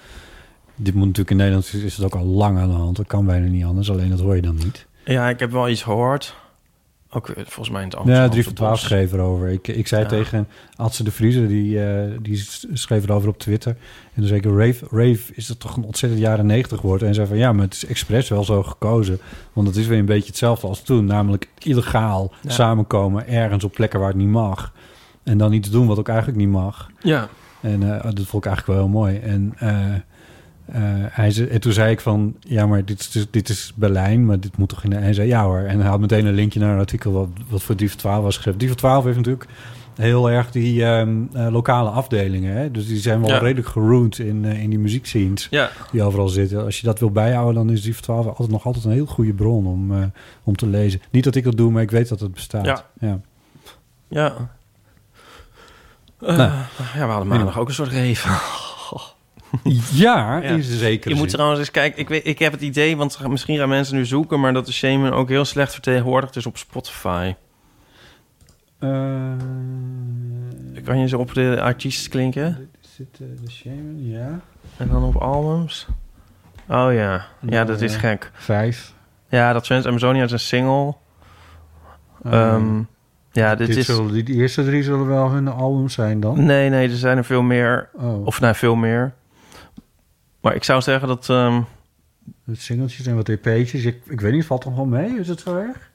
Dit moet natuurlijk in Nederland is, is het ook al lang aan de hand. Dat kan bijna niet anders. Alleen dat hoor je dan niet.
ja, ik heb wel iets gehoord. Ook eh, volgens mij in het Amsterdam.
Ja, 3 voor 12 schreef erover. Ik, ik zei
Ja.
tegen Adse de Vriezer, die, eh, die s- schreef erover op Twitter. En toen zei ik, rave, rave is dat toch een ontzettend jaren 90 woord? En zei van, ja, maar het is expres wel zo gekozen. Want het is weer een beetje hetzelfde als toen. Namelijk illegaal
Ja.
samenkomen ergens op plekken waar het niet mag. En dan iets doen wat ook eigenlijk niet mag.
Ja,
En eh, dat vond ik eigenlijk wel heel mooi. En, eh, eh, hij ze- en toen zei ik van, ja, maar dit, is- dus, dit is Berlijn, maar dit moet toch in de... En hij zei, ja hoor. En hij had meteen een linkje naar een artikel wat, wat voor Dief 12 was geschreven. Dief 12 heeft natuurlijk heel erg die ehm, eh, lokale afdelingen. Hè? Dus die zijn wel
Ja.
redelijk geroond in, eh, in die muziekscenes
ja.
die overal zitten. Als je dat wil bijhouden, dan is Dief 12 altijd, nog altijd een heel goede bron om, eh, om te lezen. Niet dat ik dat doe, maar ik weet dat het bestaat.
Ja.
ja.
Ja. Eh,
Nou.
ja, we hadden maandag ook een soort reven.
Ja,
(laughs) Ja.
in zekere
Je moet
zin.
trouwens eens kijken. Ik, weet, ik heb het idee, want misschien gaan mensen nu zoeken... maar dat de shaman ook heel slecht vertegenwoordigd is op Spotify.
Eh,
Kan je ze op de artiest klinken?
Zit eh, de Shaman? Ja.
En dan op albums? Oh ja. Ja, dat is
Ja.
gek.
Vijf.
Ja, dat Trans Amazonia is een single. Ehm, ja, dit, is...
die, die eerste drie zullen wel hun album zijn dan.
Nee, nee, er zijn er veel meer.
Oh,
Of nou, veel meer. Maar ik zou zeggen dat... ehm,
het singeltjes en wat EP'tjes. Ik, ik weet niet, valt toch wel mee? Is het zo erg?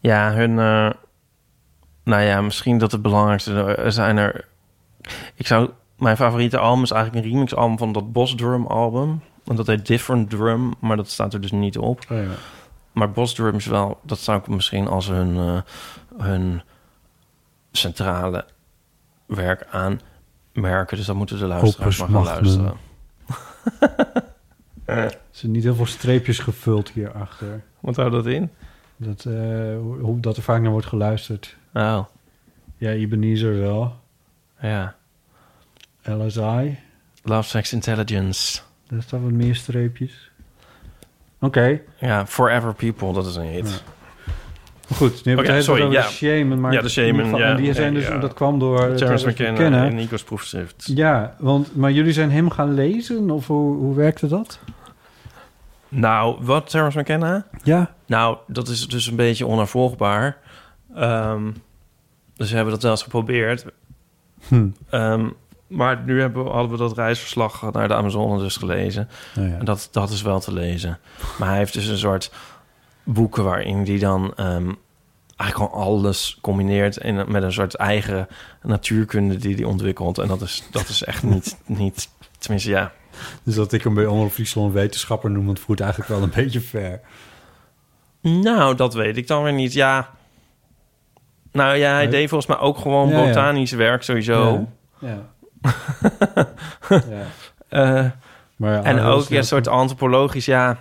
Ja, hun. eh, nou ja, misschien dat het belangrijkste eh, zijn er. Ik zou. Mijn favoriete album is eigenlijk een remix album van dat Boss Drum album. Want dat heet Different Drum, maar dat staat er dus niet op.
Oh, ja.
Maar Boss Drum is wel. Dat zou ik misschien als hun. eh, hun centrale werk aanmerken. Dus dat moeten de luisteraars
Opus
maar
Magnum.
gaan luisteren.
Er zijn niet heel veel streepjes gevuld hierachter.
Wat houdt dat in?
Dat, eh, hoe, hoe- dat er vaak naar wordt geluisterd.
Oh,
Ja, Ebenezer wel.
ja.
LSI.
Love, Sex, Intelligence.
Daar staan wat meer streepjes. Oké.
Ja, Forever People, dat is een hit.
Ja. Goed, nu hebben we
Oké,
het
sorry,
over
ja.
de Shaman. Maar
Ja, de Shaman,
in ieder geval-
ja.
en die zijn
Ja,
dus,
ja.
Dat kwam door
Terence
McKenna.
McKenna en Nico's proefschrift.
Ja, want, maar jullie zijn hem gaan lezen? Of hoe, hoe werkte dat?
Nou, wat Terence McKenna?
Ja.
Nou, dat is dus een beetje onafvolgbaar. Ehm, dus we hebben dat wel eens geprobeerd.
Hm.
Ehm, maar nu hebben, we- hadden we dat reisverslag naar de Amazone dus gelezen.
Nou ja.
En dat, dat is wel te lezen. Maar hij heeft dus een soort boeken waarin hij dan ehm, eigenlijk gewoon alles combineert in, met een soort eigen natuurkunde die hij ontwikkelt. En dat is, dat is echt niet, niet, tenminste ja,
Dus dat ik hem bij Omroep Friesland een wetenschapper noem, dat voert eigenlijk wel een (laughs) beetje ver.
Nou, dat weet ik dan weer niet. Ja. Nou ja, hij
Nee.
deed volgens mij ook gewoon
Ja, ja.
botanisch werk sowieso.
Ja.
(laughs)
ja.
Eh,
Maar ja,
en
heel
ook ja,
snel-
een soort antropologisch, ja.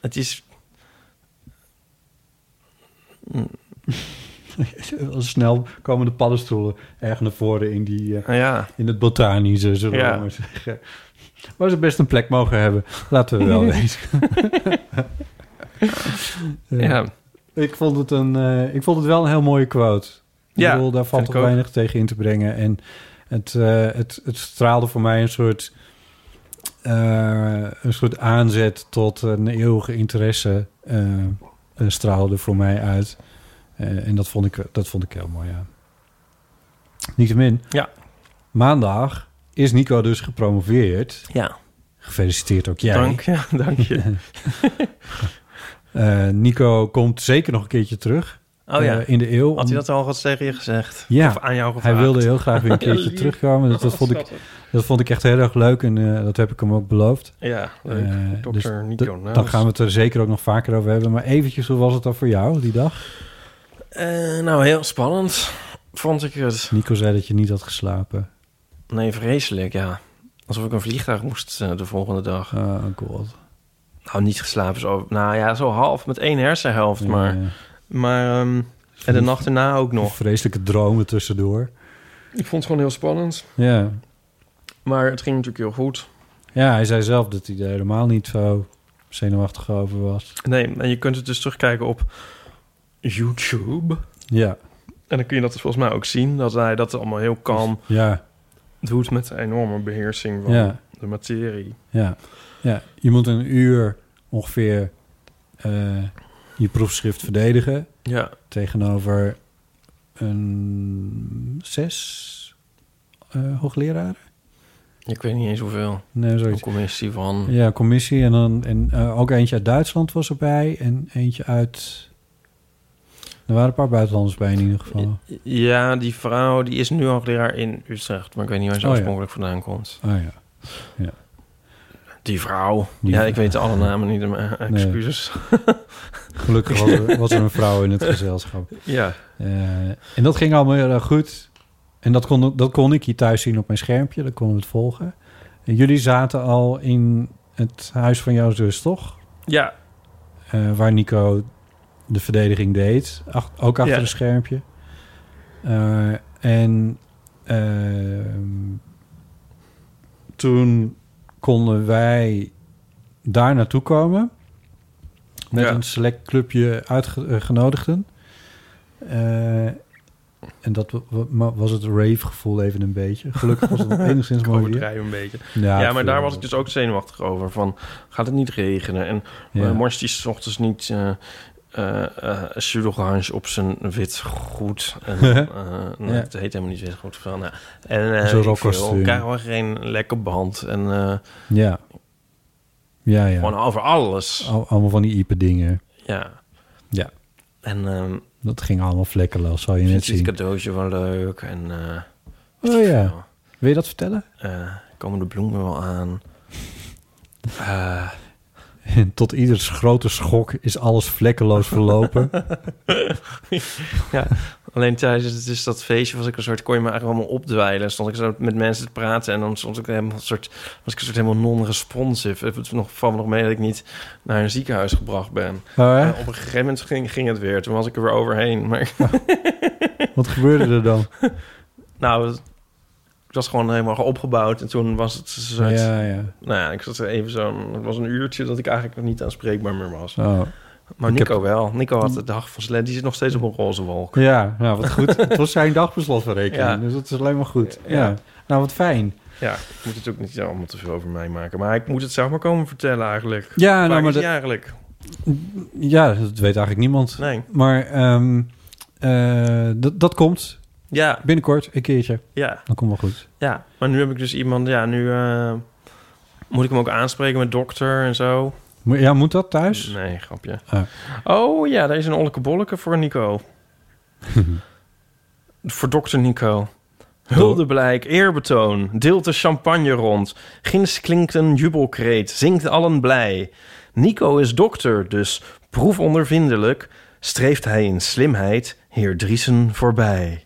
Het is.
(laughs) Snel komen de paddenstoelen erg naar voren in, die, eh,
nou Ja.
in het botanische, zullen
Ja.
we maar zeggen. (laughs) Waar ze best een plek mogen hebben. Laten we
(laughs)
wel (laughs) wezen. Eh,
Ja.
Ik vond, het een, eh, ik vond het wel een heel mooie quote. Ik
Ja,
bedoel, daar valt
vind
toch
ik ook.
weinig tegen in te brengen. En het, eh, het, het straalde voor mij een soort, eh, een soort aanzet tot een eeuwige interesse. eh, eh, straalde voor mij uit. Eh, en dat vond, ik, dat vond ik heel mooi, ja. Niettemin.
Ja.
Maandag is Nico dus gepromoveerd.
Ja.
Gefeliciteerd ook jij.
Dank, ja, dank
(laughs)
je. (laughs)
Eh, Nico komt zeker nog een keertje terug.
Oh ja.
eh, in de eeuw.
Had
om-
hij dat al wat tegen je gezegd?
Ja.
Of aan jou
Hij
gevraagd?
wilde heel graag
(laughs)
weer een keertje
lief.
terugkomen. Dus dat, vond ik, dat vond ik echt heel erg leuk en eh, dat heb ik hem ook beloofd.
Ja, leuk.
Eh,
Dr.
dus
Nico
da-
Naus.
Dan gaan we het er zeker ook nog vaker over hebben. Maar eventjes, hoe was het dan voor jou die dag?
Eh, nou, heel spannend vond ik het.
Nico zei dat je niet had geslapen.
Nee, vreselijk, ja. Alsof ik een vliegtuig moest eh, de volgende dag.
Oh god.
Nou, niet geslapen. Zo, nou ja, zo half met één hersenhelft, maar...
Ja,
Maar, ehm, en de nacht erna ook nog.
Vreselijke dromen tussendoor.
Ik vond het gewoon heel spannend.
Ja.
Maar het ging natuurlijk heel goed.
ja, hij zei zelf dat hij er helemaal niet zo zenuwachtig over was.
Nee, en je kunt het dus terugkijken op YouTube.
Ja,
En dan kun je dat dus volgens mij ook zien. Dat hij dat allemaal heel kalm
ja,
doet met een enorme beheersing van
ja,
de materie.
ja. ja. Je moet een uur ongeveer eh, je proefschrift verdedigen.
Ja,
tegenover een zes eh hoogleraren.
ik weet niet eens hoeveel.
Nee,
Een
zoiets.
commissie van...
Ja, commissie. En, dan, en eh, ook eentje uit Duitsland was erbij. En eentje uit... Er waren een paar buitenlanders bij in ieder geval. Oh
Ja, die vrouw die is nu hoogleraar in Utrecht. Maar ik weet niet waar ze
Oh, ja.
oorspronkelijk vandaan komt.
Ah, ja.
Die vrouw.
Die
ja,
vrouw.
ik weet alle namen niet, maar excuses.
Gelukkig was er, was er een vrouw in het gezelschap.
Ja.
(laughs) Eh, en dat ging allemaal heel erg goed. En dat kon, dat kon ik hier thuis zien op mijn schermpje. Dan konden we het volgen. En jullie zaten al in het huis van jouw zus, toch?
Ja,
eh, waar Nico de verdediging deed. Ach- ook achter
Ja.
een schermpje. Eh, en ehm, toen konden wij daar naartoe komen. Met
Ja.
een select clubje eh, uitgenodigden. Eh, en dat wa- wa- ma- was het rave gevoel even een beetje. Gelukkig was het
(laughs)
nog enigszins
ik
mooi weer.
overdrijf een beetje.
Ja,
Ja,
het eh,
maar
viel
daar
wel.
was ik dus ook zenuwachtig over. Van, gaat het niet regenen? En
Ja.
ja. morst die 's ochtends niet... eh eh, eh, pseudo-orange op zijn wit
(laughs)
goed. En, eh, nou,
Ja.
Het heet helemaal niet wit goed. Van, nou, en eh,
Zo'n
ik
rockkostuum.
veel, Karel geen lekker band. En eh,
Ja. Ja, ja.
gewoon over alles.
Al- allemaal van die iepe dingen.
Ja.
Ja.
En ehm
Dat ging allemaal vlekkeloos, zou je net
vindt ze het
zien.
cadeautje wel leuk. En eh
Oh ja. Wil je dat vertellen?
eh, komen de bloemen wel aan. Eh,
En (laughs) tot ieders grote schok is alles vlekkeloos (laughs) verlopen. Oh,
(laughs) alleen tijdens het, dus dat feestje was ik een soort... kon je me eigenlijk allemaal opdwijlen. Stond ik zo met mensen te praten... en dan stond ik helemaal een soort, was ik een soort helemaal non-responsive. Het nog, valt me nog mee dat ik niet naar een ziekenhuis gebracht ben.
Oh,
En
hè?
op een gegeven moment ging, ging het weer. Toen was ik er weer overheen. Maar (laughs)
Wat gebeurde er dan?
nou, het, ik was gewoon helemaal opgebouwd. En toen was het een soort...
Ja, ja.
Nou ja, ik zat er even zo. Het was een uurtje dat ik eigenlijk nog niet aanspreekbaar meer was.
Oh.
Maar
Ik Mm.
Nico wel. Nico had de dag van Slet. Die zit nog steeds op een roze wolk.
Ja, nou wat goed. Het was zijn dagbeslotsverrekening,
Ja.
dus dat is alleen maar goed. Ja.
Ja.
Nou, wat fijn.
Ja, ik moet het ook niet allemaal te veel over mij maken. Maar ik moet het zelf maar komen vertellen eigenlijk.
Ja,
Waar
nou, maar
is
dat,
hij eigenlijk?
ja, dat weet eigenlijk niemand.
Nee.
Maar ehm, eh, dat, dat komt
Ja,
binnenkort een keertje.
ja,
Dat komt wel goed.
ja. Maar nu heb ik dus iemand... Ja, nu eh, moet ik hem ook aanspreken met dokter en zo.
Mo- Ja, moet dat thuis?
Nee, grapje.
Ah.
Oh ja, daar is een olleke bolleke voor Nico. voor dokter Nico. Huldeblijk, eerbetoon, deelt de champagne rond. Gins klinkt een jubelkreet, zingt allen blij. Nico is dokter, dus proefondervindelijk... streeft hij in slimheid heer Driesen voorbij.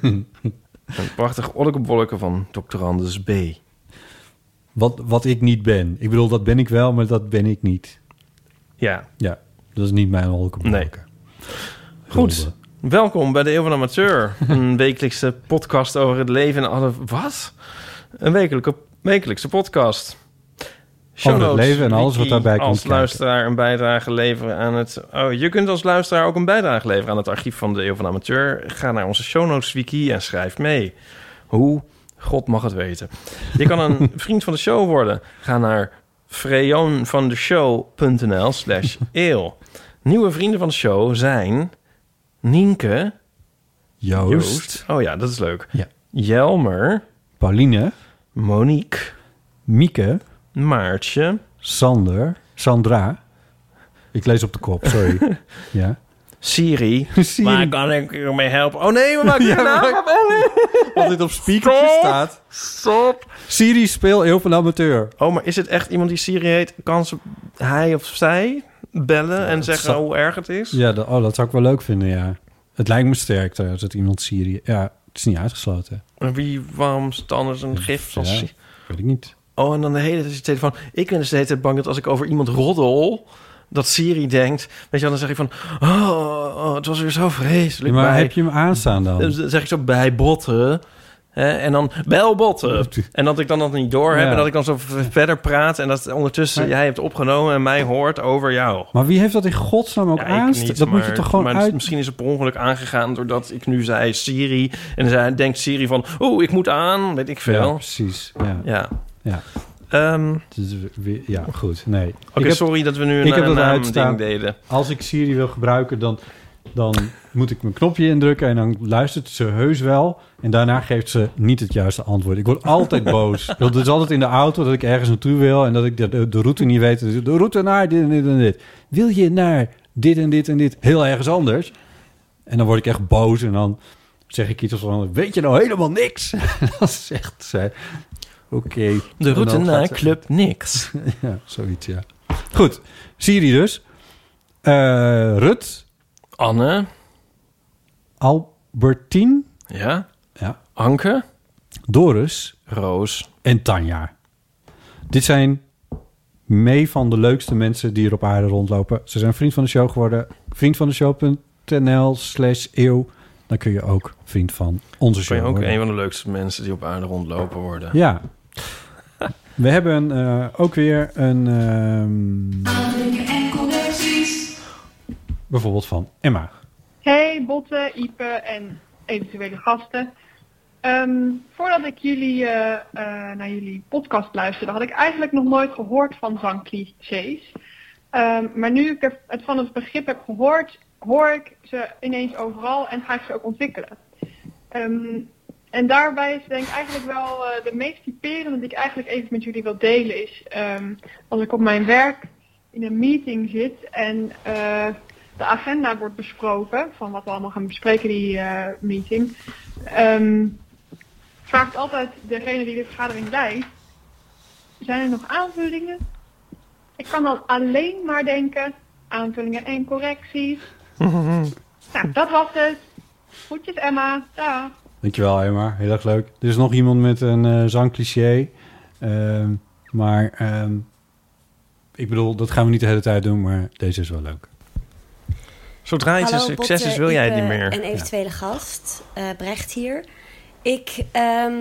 een prachtig ollekebolleke van dokter Anders B.
Wat, wat ik niet ben. Ik bedoel, dat ben ik wel, maar dat ben ik niet.
Ja,
Ja, dat is niet mijn holke
Nee. Goed. Welkom bij de Eeuw van de Amateur. Een wekelijkse podcast over het leven en alle... Wat? Een wekelijke, wekelijkse podcast. Show
Over het
notes,
leven en alles wat daarbij komt
Als
kijken.
luisteraar een bijdrage leveren aan het... Oh, je kunt als luisteraar ook een bijdrage leveren aan het archief van de Eeuw van de Amateur. Ga naar onze show notes wiki en schrijf mee. Hoe? God mag het weten. Je kan een
(laughs)
vriend van de show worden. Ga naar freonvandeshow.nl slash eeuw. Nieuwe vrienden van de show zijn... Nienke.
Joost,
Joost. Oh ja, dat is leuk.
Ja.
Jelmer.
Pauline,
Monique.
Mieke,
Maartje.
Sander, Sandra. Ik lees op de kop, sorry. ja. (laughs)
Siri.
Siri.
Waar kan ik u mee helpen? Oh nee, we maken een naam.
Wat dit op speakertje staat.
Stop.
Siri speel heel van amateur.
Oh, maar is het echt iemand die Siri heet? Kan ze hij of zij bellen en zeggen
zal-
hoe erg het is?
Ja, dat, oh, dat zou ik wel leuk vinden, ja. Het lijkt me sterk trouwens, dat iemand Siri... Ja, het is niet uitgesloten.
En wie, waarom is het anders een gif van
Ja,
Siri?
weet ik niet.
Oh, en dan de hele tijd telefoon. Ik ben dus de hele tijd bang dat als ik over iemand roddel... dat Siri denkt... Weet je wel, dan zeg ik van... Oh, oh, het was weer zo vreselijk.
maar
bij-
heb je hem aanstaan dan?
Dan zeg ik zo bij botten. Hè, en dan bel botten. En dat ik dan dat niet door heb.
Ja.
En dat ik dan zo v- verder praat. En dat ondertussen
Maar-
jij hebt opgenomen en mij hoort over jou.
Maar wie heeft dat in godsnaam ook
Ja, ik
aanstaan?
niet,
dat moet
maar-
je toch gewoon
maar
uit...
Misschien is het per ongeluk aangegaan doordat ik nu zei Siri. En zij denkt Siri van, oeh, ik moet aan. Weet ik
Ja,
veel.
precies. Ja, ja.
Ja.
Ja.
Ehm,
Het is weer- ja goed. Nee.
Oké,
ik heb,
sorry dat we nu een,
ik heb
een
dat eruit
naamding
staan.
deden.
als ik Siri wil gebruiken, dan, dan moet ik mijn knopje indrukken... en dan luistert ze heus wel. En daarna geeft ze niet het juiste antwoord. Ik word altijd boos. Dat is altijd in de auto dat ik ergens naartoe wil... en dat ik de, de, de route niet weet. Dus De route naar dit en dit en dit. Wil je naar dit en dit en dit heel ergens anders? En dan word ik echt boos en dan zeg ik iets als van... weet je nou helemaal niks? (laughs) dan zegt zij... eh, Oké.
De route
En dan gaat
naar
ze-
Club Niks.
Ja, zoiets, ja. Goed, Siri dus. Eh, Rut,
Anne.
Albertine,
Ja.
Ja.
Anke.
Doris
Roos.
en Tanja. Dit zijn mee van de leukste mensen die er op aarde rondlopen. Ze zijn vriend van de show geworden. Vriendvandeshow.nl slash eeuw. Dan kun je ook vriend van onze
Ben
show
je ook
worden.
een van de leukste mensen die op aarde rondlopen worden?
Ja. (laughs) We hebben eh, ook weer een... ehm, bijvoorbeeld van Emma.
Hey Botte, Ipe en eventuele gasten. Ehm, voordat ik jullie, eh, eh, naar jullie podcast luisterde, had ik eigenlijk nog nooit gehoord van zangclichés. Ehm, maar nu ik er- het van het begrip heb gehoord, hoor ik ze ineens overal en ga ik ze ook ontwikkelen. Ehm, en daarbij is denk ik eigenlijk wel eh, de meest typerende die ik eigenlijk even met jullie wil delen is ehm, als ik op mijn werk in een meeting zit en eh, de agenda wordt besproken, van wat we allemaal gaan bespreken die eh, meeting, ehm, vraagt altijd degene die de vergadering leidt, zijn er nog aanvullingen? Ik kan dan alleen maar denken, aanvullingen en correcties. nou, dat was het. Groetjes Emma, dag.
Dankjewel, Emma. Heel erg leuk. Er is nog iemand met een eh, zangcliché. Ehm, maar ehm, ik bedoel, dat gaan we niet de hele tijd doen, maar deze is wel leuk.
Zodra iets een
Hallo,
succes is,
Botte,
wil jij het
Ipe
niet meer.
En eventuele gast, eh, Brecht hier. Ik ehm,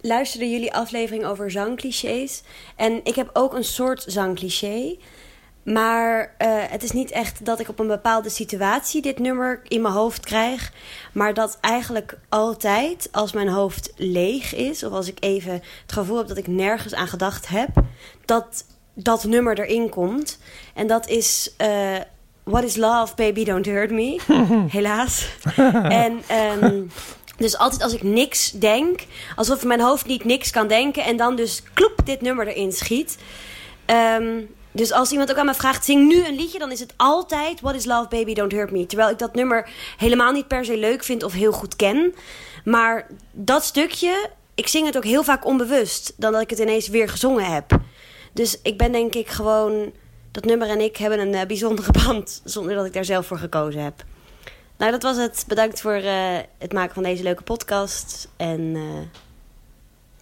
luisterde jullie aflevering over zangclichés. En ik heb ook een soort zangcliché. Maar eh, het is niet echt dat ik op een bepaalde situatie dit nummer in mijn hoofd krijg. Maar dat eigenlijk altijd als mijn hoofd leeg is. Of als ik even het gevoel heb dat ik nergens aan gedacht heb. Dat dat nummer erin komt. En dat is eh, What is Love, Baby Don't Hurt Me. Helaas. en ehm, dus altijd als ik niks denk. Alsof mijn hoofd niet niks kan denken. En dan dus kloep dit nummer erin schiet. Ehm, dus als iemand ook aan me vraagt, zing nu een liedje, dan is het altijd What is Love, Baby, Don't Hurt Me. Terwijl ik dat nummer helemaal niet per se leuk vind of heel goed ken. Maar dat stukje, ik zing het ook heel vaak onbewust, dan dat ik het ineens weer gezongen heb. Dus ik ben denk ik gewoon, dat nummer en ik hebben een eh, bijzondere (laughs) band, zonder dat ik daar zelf voor gekozen heb. Nou, dat was het. Bedankt voor eh, het maken van deze leuke podcast. En eh,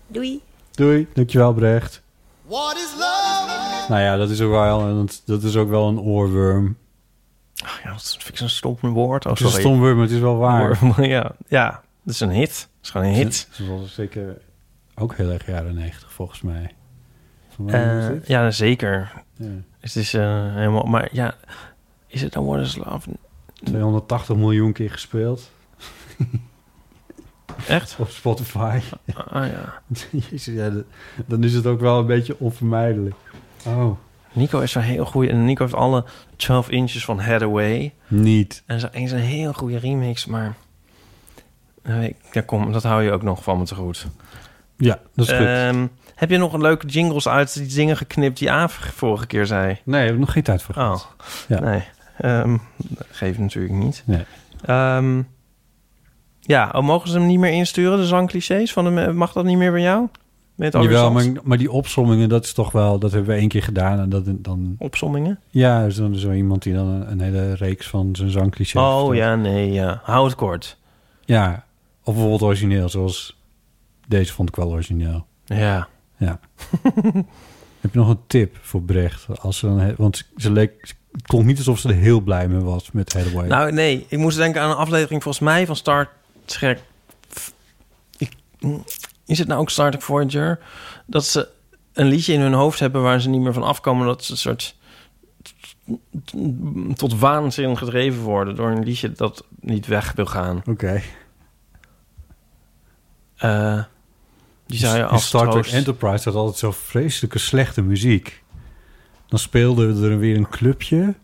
doei.
Doei. Dankjewel, Brecht.
What is love?
Nou ja, dat is ook wel, dat is ook wel een oorworm.
Ach Ah, ja, dat vind ik zo'n stom woord. Oh,
Het is een
sorry.
stom woord, maar het is wel waar.
(laughs) Ja, ja, dat is een hit. Dat is gewoon een hit.
Ze was zeker ook heel erg jaren 90 volgens mij. Van wanneer is
Eh
dit?
ja, zeker.
Ja.
Dus het is eh, helemaal... Maar ja, is het dan What is Love?
280 miljoen keer gespeeld
Echt?
op Spotify.
Ah ja.
Jezus, ja, dat- dan is het ook wel een beetje onvermijdelijk. Oh,
Nico is een heel goede... En Nico heeft alle 12 inches van Hathaway.
niet.
En ze is een heel goede remix, maar... eh, ik- Ja, kom, dat hou je ook nog van me te goed.
Ja, dat is goed.
Ehm, heb je nog een leuke jingles uit die dingen geknipt die Aaf vorige keer zei?
Nee, heb ik nog geen tijd voor
Oh,
gehad. Ja.
nee. Ehm, dat geeft natuurlijk niet.
Nee.
Ehm, ja, oh, mogen ze hem niet meer insturen, de zangclichés? Van hem, eh, mag dat niet meer bij jou? Met
Jawel, maar, maar die opsommingen, dat is toch wel... Dat hebben we één keer gedaan en dat, dan...
Opsommingen?
Ja, er is dan zo iemand die dan een, een hele reeks van zijn zangclichés...
oh
vertelt.
ja, nee, ja. Hou het kort.
Ja, of bijvoorbeeld origineel, zoals... Deze vond ik wel origineel.
Ja. (laughs)
Ja. Heb je nog een tip voor Brecht? Als ze dan, he- want ze- ze leek, het klonk niet alsof ze er heel blij mee was met Hathaway.
Nou, nee. Ik moest denken aan een aflevering volgens mij van Star Trek... Ik, is het nou ook Star Trek Voyager? Dat ze een liedje in hun hoofd hebben waar ze niet meer van afkomen. Dat ze een soort tot waanzin gedreven worden door een liedje dat niet weg wil gaan.
Oké.
Eh, die zou je
In
als
Star Trek
troost-
Enterprise had altijd zo vreselijke slechte muziek. Dan speelde er weer een clubje.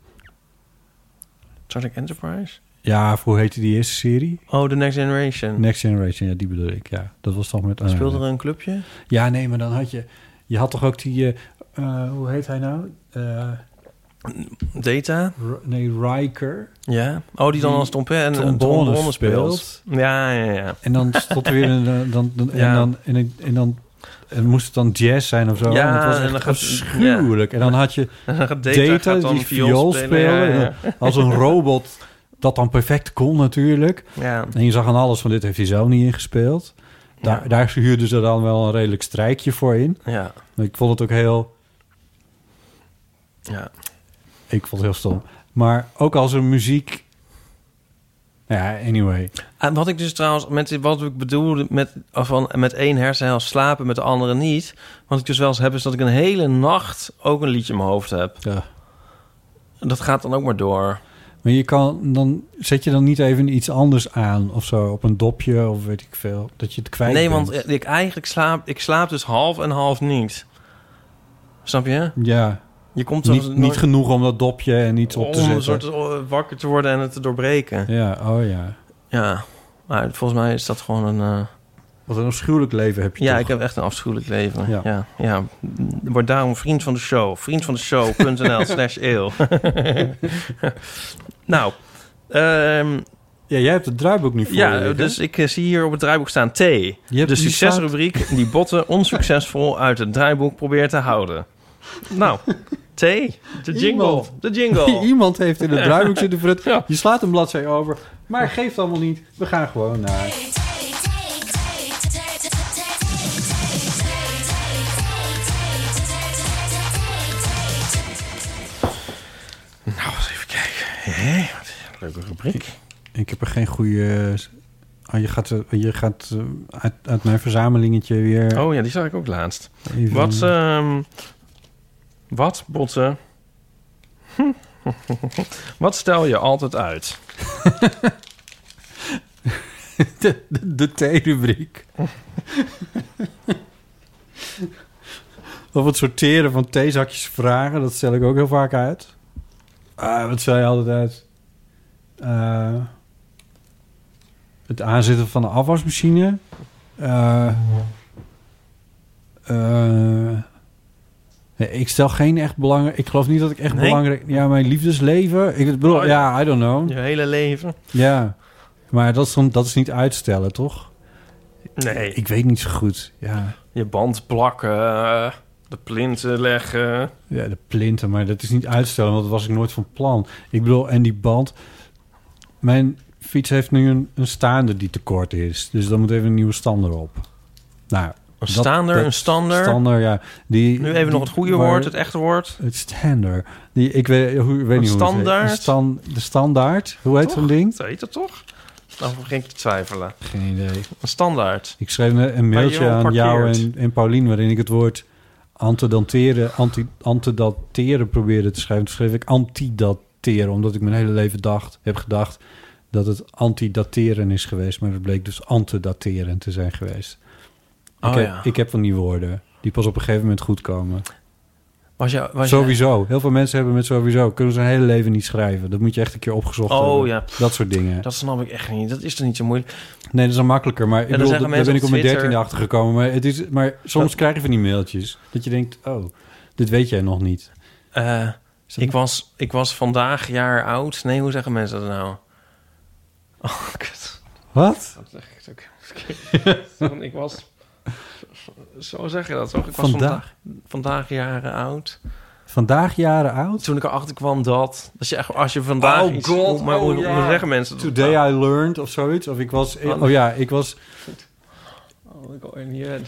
Star Trek Enterprise?
Ja, hoe heette die eerste serie?
Oh, The Next Generation.
Next Generation, ja, die bedoel ik. Ja, dat was toch met...
Speelde er een clubje?
Ja, nee, maar dan had je... Je had toch ook die... eh, eh, hoe heet hij nou? Eh,
Data?
R- nee, Riker.
Ja. Oh, die dan
Die
als trompet en en
trombone
trombone speelt.
speelt.
Ja, ja, ja.
En dan stond er weer een... eh, Dan, dan,
Ja.
En dan... En, en, dan en moest het dan jazz zijn of zo?
Ja,
en het was
en
echt
dan gaat-
afschuwelijk. En dan had je
En dan gaat
Data,
Data, gaat dan
die viool spelen.
Ja, ja.
en dan Als een robot dat dan perfect kon natuurlijk.
ja.
En je zag aan alles van dit heeft hij zelf niet ingespeeld. Daar,
Ja.
daar huurden ze dan wel een redelijk strijkje voor in.
ja.
Maar ik vond het ook heel...
ja.
Ik vond het heel stom. Maar ook als een muziek... Nou Ja, anyway.
En wat ik dus trouwens, met, dit- wat ik bedoelde met, of van, met één hersenhelft slapen, met de andere niet. Wat ik dus wel eens heb, is dat ik een hele nacht ook een liedje in mijn hoofd heb.
Ja.
En dat gaat dan ook maar door.
Maar je kan dan... Zet je dan niet even iets anders aan of zo? Op een dopje of weet ik veel. Dat je het kwijt
nee,
bent.
want eh, ik eigenlijk slaap, ik slaap dus half en half niet. Snap je?
Ja,
Je komt eh, er
niet, niet genoeg om dat dopje en iets op te
om een
zetten.
soort eh, wakker te worden en het te doorbreken.
Ja, oh ja.
Ja, maar volgens mij is dat gewoon een. eh,
Wat een afschuwelijk leven heb je
Ja,
toch?
ik heb echt een afschuwelijk leven.
Ja.
Ja. Ja, Word daarom vriend van de show. Vriend van de
(laughs)
show.nl slash eeuw. (laughs) nou, ehm,
Ja, jij hebt het draaiboek nu voor
ja,
je, hè?
dus ik eh, zie hier op het draaiboek staan T.
hebt
de
die
succesrubriek die
(laughs)
botten onsuccesvol uit het draaiboek probeert te houden. Nou, T, de jingle.
Iemand.
De jingle.
(laughs) Iemand heeft in
(laughs)
het draaiboek zitten verrukt. Je slaat een bladzij over, maar geeft allemaal niet. We gaan gewoon naar...
Nou, eens even kijken. Hé, wat een leuke rubriek.
Ik heb er geen goede... Oh, je gaat, eh, je gaat eh, uit, uit mijn verzamelingetje weer...
Oh ja, die zag ik ook laatst.
even-
Oh, Wat, ehm, wat botten? (laughs) wat stel je altijd uit?
De, de, de theerubriek. of het sorteren van theezakjes vragen. Dat stel ik ook heel vaak uit. Ah, wat zei je altijd uit? Eh, het aanzetten van de afwasmachine. Eh, eh, nee, ik stel geen echt belangrijk... Ik geloof niet dat ik echt
Nee?
belangrijk... Ja, mijn liefdesleven. Ik bedoel,
Oh,
ja, I don't know.
Je hele leven?
Ja, maar dat is, dan- dat is niet uitstellen, toch?
Nee.
Ik weet niet zo goed. Ja,
Je band plakken, de plinten leggen.
ja de plinten, maar dat is niet uitstellen, want dat was ik nooit van plan. Ik bedoel, en die band... Mijn fiets heeft nu een, een staande die tekort is. Dus dan moet even een nieuwe stand erop. Nou,
Een staander,
dat-
een stander.
Stander, ja. Die,
nu even
die-
nog het goede
waar-
woord, het echte woord.
Het stander. Die, ik weet, hoe, ik weet
Een
niet hoe het heet.
standaard?
Een stan- de standaard. Hoe heet
Toch?
zo'n ding?
Dat heet dat toch? Dan begin ik te twijfelen.
Geen idee.
Een standaard.
Ik schreef een, een mailtje
je wel
aan jou en,
parkeert.
en Paulien... waarin ik het woord antedanteren, anti, antedateren probeerde te schrijven. Toen schreef ik antidateren, omdat ik mijn hele leven dacht, heb gedacht... dat het antidateren is geweest. Maar het bleek dus antedateren te zijn geweest.
Oh
ik, heb,
ja.
ik heb van die woorden, die pas op een gegeven moment goed komen.
Was je, was je-
Sowieso. Heel veel mensen hebben met sowieso. Kunnen ze hun hele leven niet schrijven. Dat moet je echt een keer opgezocht
Oh,
hebben.
ja.
Dat soort dingen.
Dat snap ik echt niet. Dat is toch niet zo moeilijk?
Nee, dat is dan makkelijker. Maar ik
dan
bedoel,
zeggen
dat- daar ben ik
mensen
op
op
mijn
Twitter-
dertiende achter gekomen. Maar, het is, maar soms
Dat-
krijg je van die mailtjes. Dat je denkt, oh, dit weet jij nog niet.
Eh, ik, was, ik was vandaag jaar oud. Nee, hoe zeggen mensen dat nou? (laughs) Oh, kut.
Wat?
Dat zeg ik (laughs) ook. ik was... Zo zeg je dat toch? Ik was
Vandaag?
vandaag, vandaag jaren oud.
Vandaag jaren oud?
Toen ik erachter kwam dat... dat je echt, als je vandaag
Oh
iets...
God,
maar hoe,
oh ja.
hoe zeggen mensen dat?
Today I learned of zoiets. Of ik was... Oh ja, ik was,
Oh, ik hoor hier-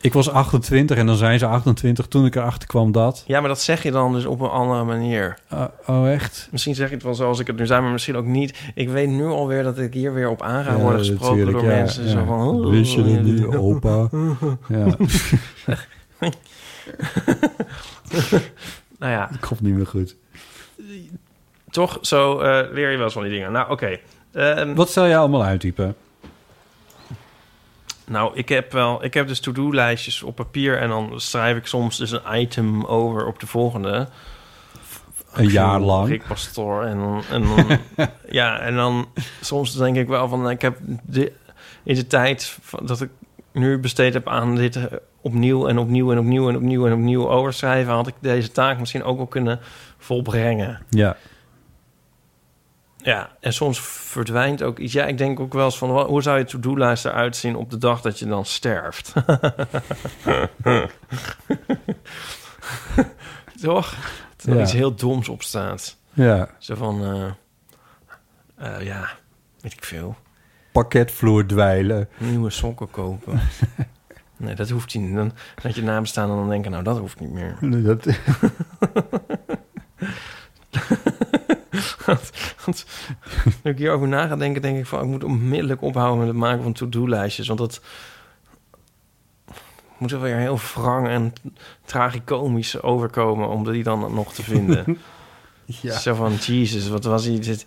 ik was 28 en dan zijn ze 28 toen ik erachter kwam dat.
Ja, maar dat zeg je dan dus op een andere manier.
Uh, oh, echt?
Misschien zeg je het wel zoals ik het nu zei, maar misschien ook niet. Ik weet nu alweer dat ik hier weer op aan ga
Ja,
worden gesproken
natuurlijk,
door
ja,
mensen.
ja.
Zo van, oh,
Wist je dat niet, opa? Ja,
Nou ja,
dat komt niet meer goed.
toch zo eh, leer je wel eens van die dingen. Nou, oké. Ehm,
Wat stel jij allemaal uit, Ipe?
nou, ik heb wel, ik heb dus to-do-lijstjes op papier en dan schrijf ik soms dus een item over op de volgende.
Een jaar lang.
Rick Pastoor. En dan, en dan,
(laughs)
ja, en dan soms denk ik wel van... Ik heb de, in de tijd van- dat ik nu besteed heb aan dit eh, opnieuw en opnieuw en opnieuw en opnieuw en opnieuw overschrijven... had ik deze taak misschien ook wel kunnen volbrengen.
Ja.
Ja, en soms verdwijnt ook iets. Ja, ik denk ook wel eens van... wa- hoe zou je to-do-lijst eruit zien op de dag dat je dan
(laughs)
sterft? (laughs) Toch? Dat er
Ja.
iets heel doms op staat.
Ja.
Zo van, eh, eh, ja, weet ik veel.
Pakketvloer dweilen.
Nieuwe sokken
(laughs)
kopen. nee, dat hoeft niet. Dan, dat je nabestaan en dan denken, nou, dat hoeft niet
(laughs)
meer.
Dat,
Want nu ik hierover na ga denken, denk ik van... ik moet onmiddellijk ophouden met het maken van to-do-lijstjes. Want dat moet er weer heel wrang en tragicomisch overkomen... om die dan nog te vinden.
(laughs) ja.
Zo van, jezus, wat was hier dit?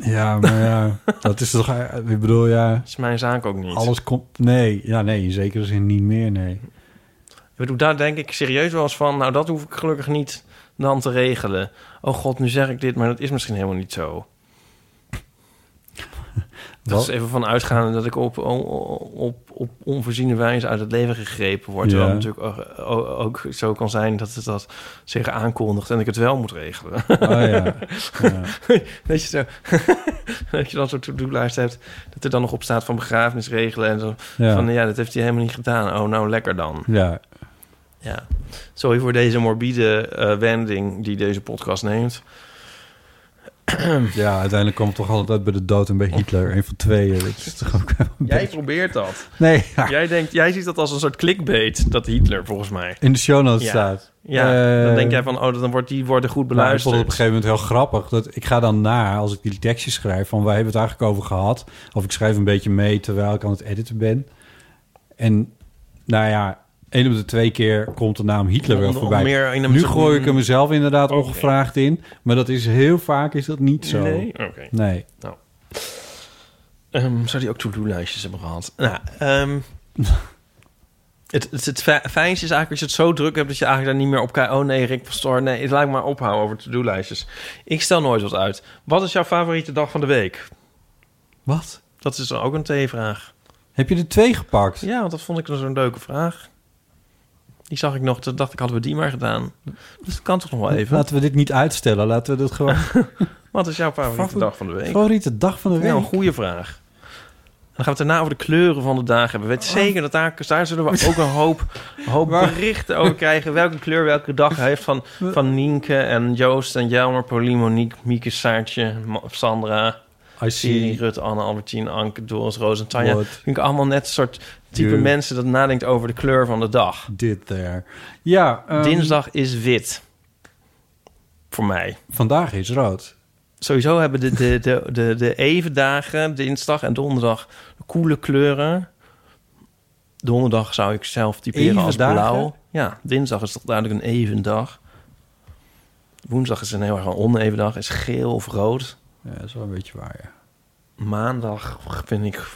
ja, maar
(laughs)
ja. Dat is toch... eh, Ik bedoel, ja...
is mijn zaak ook niet.
Alles komt... Nee. Ja, nee. In zekere zin niet meer, nee.
Ik bedoel, daar denk ik serieus wel eens van. Nou, dat hoef ik gelukkig niet dan te regelen. Oh god, nu zeg ik dit, maar dat is misschien helemaal niet zo. Dat
Wat?
is even van uitgaande dat ik op, op, op onvoorziene wijze uit het leven gegrepen word. Terwijl
Ja.
het natuurlijk ook, ook- ook zo kan zijn dat het dat zich aankondigt en ik het wel moet regelen.
Oh ja. ja.
(laughs) dat, je zo, (laughs) dat je dan zo'n to-do-lijst hebt, dat er dan nog op staat van begrafenis regelen. En zo
Ja.
van, ja, dat heeft hij helemaal niet gedaan. Oh, nou lekker dan.
ja.
Ja. Sorry voor deze morbide eh, wending die deze podcast neemt.
Ja, uiteindelijk kwam het toch altijd bij de dood en bij Hitler. Een van tweeën. Dat is toch ook...
Jij probeert dat.
Nee, (laughs) ja.
Jij, denkt, jij ziet dat als een soort clickbait, dat Hitler volgens mij.
In de show notes
Ja.
staat.
Ja,
Eh,
dan denk jij van, oh, dan wordt die worden goed
Maar ik Nou, vond
beluisterd.
het op een gegeven moment heel grappig. Dat ik ga dan na, als ik die tekstjes schrijf, van waar hebben we het eigenlijk over gehad? Of ik schrijf een beetje mee terwijl ik aan het editen ben. En nou ja, één op de twee keer komt de naam Hitler wel
Om- om
voorbij.
meer in een
nu
soort- mm. Oh,
gooi ik er mezelf inderdaad ongevraagd in. Maar dat is heel vaak is dat niet zo.
Nee, oké.
Nee.
Ehm, zou die ook to-do-lijstjes hebben gehad? Nou,
(laughs)
ehm, het, het, het fi- fijnste is eigenlijk als je het zo druk hebt... dat je eigenlijk daar niet meer op kijkt. Oh nee, Rick Pastoor, nee, laat ik maar ophouden over to-do-lijstjes. Ik stel nooit wat uit. Wat is jouw favoriete dag van de week?
Wat?
Dat is dan ook een T-vraag.
Heb je er twee gepakt?
Ja, want dat vond ik zo'n leuke vraag. Die zag ik nog, toen dacht ik, hadden we die maar gedaan. Dus dat kan toch nog wel even.
Laten we dit niet uitstellen. Laten we dit
(laughs)
gewoon...
Wat is jouw favoriete
Favor-
dag van de week?
Favoriete dag van de week?
Nou, een goede vraag. Dan gaan we het daarna over de kleuren van de dagen hebben. Weet zeker dat daar, daar zullen we ook een hoop, een hoop berichten over krijgen. Welke kleur welke dag heeft van, van Nienke en Joost en Jelmer, Pauline, Monique, Mieke, Saartje, Ma- Sandra.
I
Siri,
see.
Rut, Anne, Albertine, Anke, Doris, Roos en Tanja.
What
Vind ik allemaal net soort type
you
mensen dat nadenkt over de kleur van de dag.
Dit there. Ja, ehm,
Dinsdag is wit. Voor mij.
Vandaag is rood.
Sowieso hebben de, de, de, de, de evendagen, dinsdag en donderdag, koele kleuren. Donderdag zou ik zelf typeren als
Evendagen?
blauw. Ja, dinsdag is toch duidelijk een evendag. Woensdag is een heel erg een oneven dag, is geel of rood.
Ja, dat is wel een beetje waar, ja.
Maandag vind ik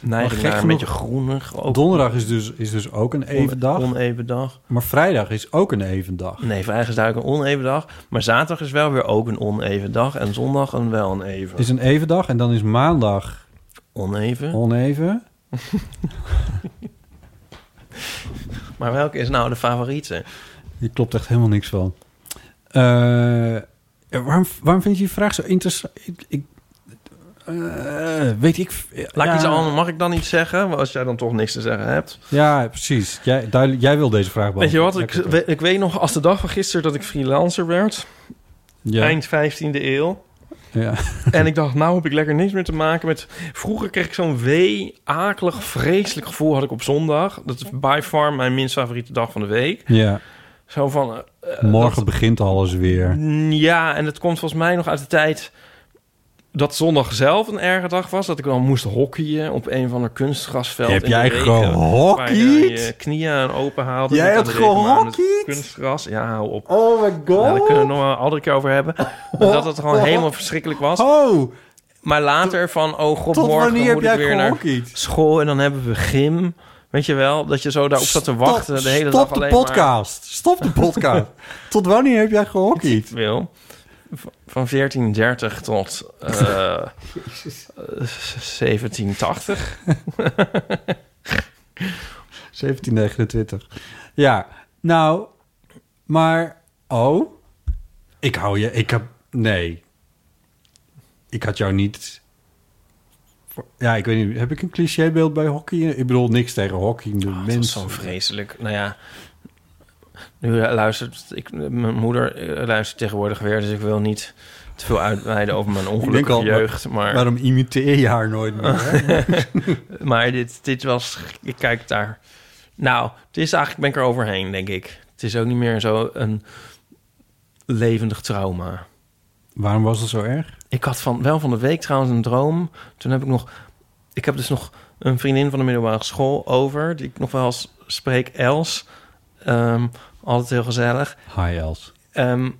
neiging
gek
naar een
genoeg-
beetje groenig. Ook
Donderdag is dus, is dus ook een even dag.
On, oneven dag.
Maar vrijdag is ook een even dag.
Nee, vrijdag is duidelijk een oneven dag. Maar zaterdag is wel weer ook een oneven dag. En zondag een wel een even.
Is een even dag en dan is maandag
Oneven.
Oh. oneven.
Maar welke is nou de favoriete?
Hier klopt echt helemaal niks van. Eh, ja, waarom, waarom vind je die vraag zo interessant? Ik, ik- eh, weet ik...
Laat ik
ja,
iets anders, mag ik dan iets zeggen? Als jij dan toch niks te zeggen hebt.
Ja, precies. Jij, duidelijk- jij wil deze vraag
Weet je
beantwoorden.
wat, ik, we- ik weet nog als de dag van gisteren dat ik freelancer werd.
Ja,
Eind 15e
(laughs)
eeuw.
ja.
En ik dacht, nou heb ik lekker niks meer te maken met... Vroeger kreeg ik zo'n wee, akelig, vreselijk gevoel had ik op zondag. Dat is by far mijn minst favoriete dag van de week.
ja.
Zo van... eh, eh,
Morgen begint alles weer.
Mm, Ja, en het komt volgens mij nog uit de tijd dat zondag zelf een erge dag was. Dat ik dan moest hockeyen op een van de kunstgrasveld.
Heb
in de
jij
regen,
gehockeyd?
Waar je dan je knieën aan open haalde.
Jij
Niet
hebt
aan de regen, maar aan het
gehockeyd?
Kunstgras, ja, hou op.
Oh my god.
Ja, daar kunnen we het nog wel een andere keer over hebben. Maar dat het gewoon helemaal verschrikkelijk was.
Oh,
Maar later van, oh god,
tot
morgen
wanneer heb
moet ik
jij
weer naar
gehockeyd?
school. En dan hebben we gym. Weet je wel, dat je zo daarop zat te wachten de hele
Stop
dag alleen
de podcast. Stop de
(laughs)
podcast. tot wanneer heb jij gehockeyd?
maar... Wil. Van 1430
(laughs)
tot eh, Ah, eh, 1780.
1729. Ja, nou, maar... Oh? Ik hou je... Ik heb... Nee. Ik had jou niet... voor- Ja, ik weet niet. Heb ik een clichébeeld bij hockey? Ik bedoel, niks tegen hockey. De
Oh, dat was
mensen.
zo'n vreselijk. Nou ja, nu luistert ik, mijn moeder eh, luistert tegenwoordig weer, dus ik wil niet te veel uitweiden over mijn ongelukkige
al, maar-
jeugd. Maar, maar,
Waarom imiteer je haar nooit meer? hè?
(laughs) dit, dit was, ik kijk daar. Nou, het is eigenlijk, ben ik er overheen, denk ik. Het is ook niet meer zo een levendig trauma.
Waarom was dat zo erg?
Ik had van, wel van de week trouwens een droom. Toen heb ik nog... Ik heb dus nog een vriendin van de middelbare school over... die ik nog wel eens spreek, Els. Ehm, altijd heel gezellig.
Hi, Els.
Ehm,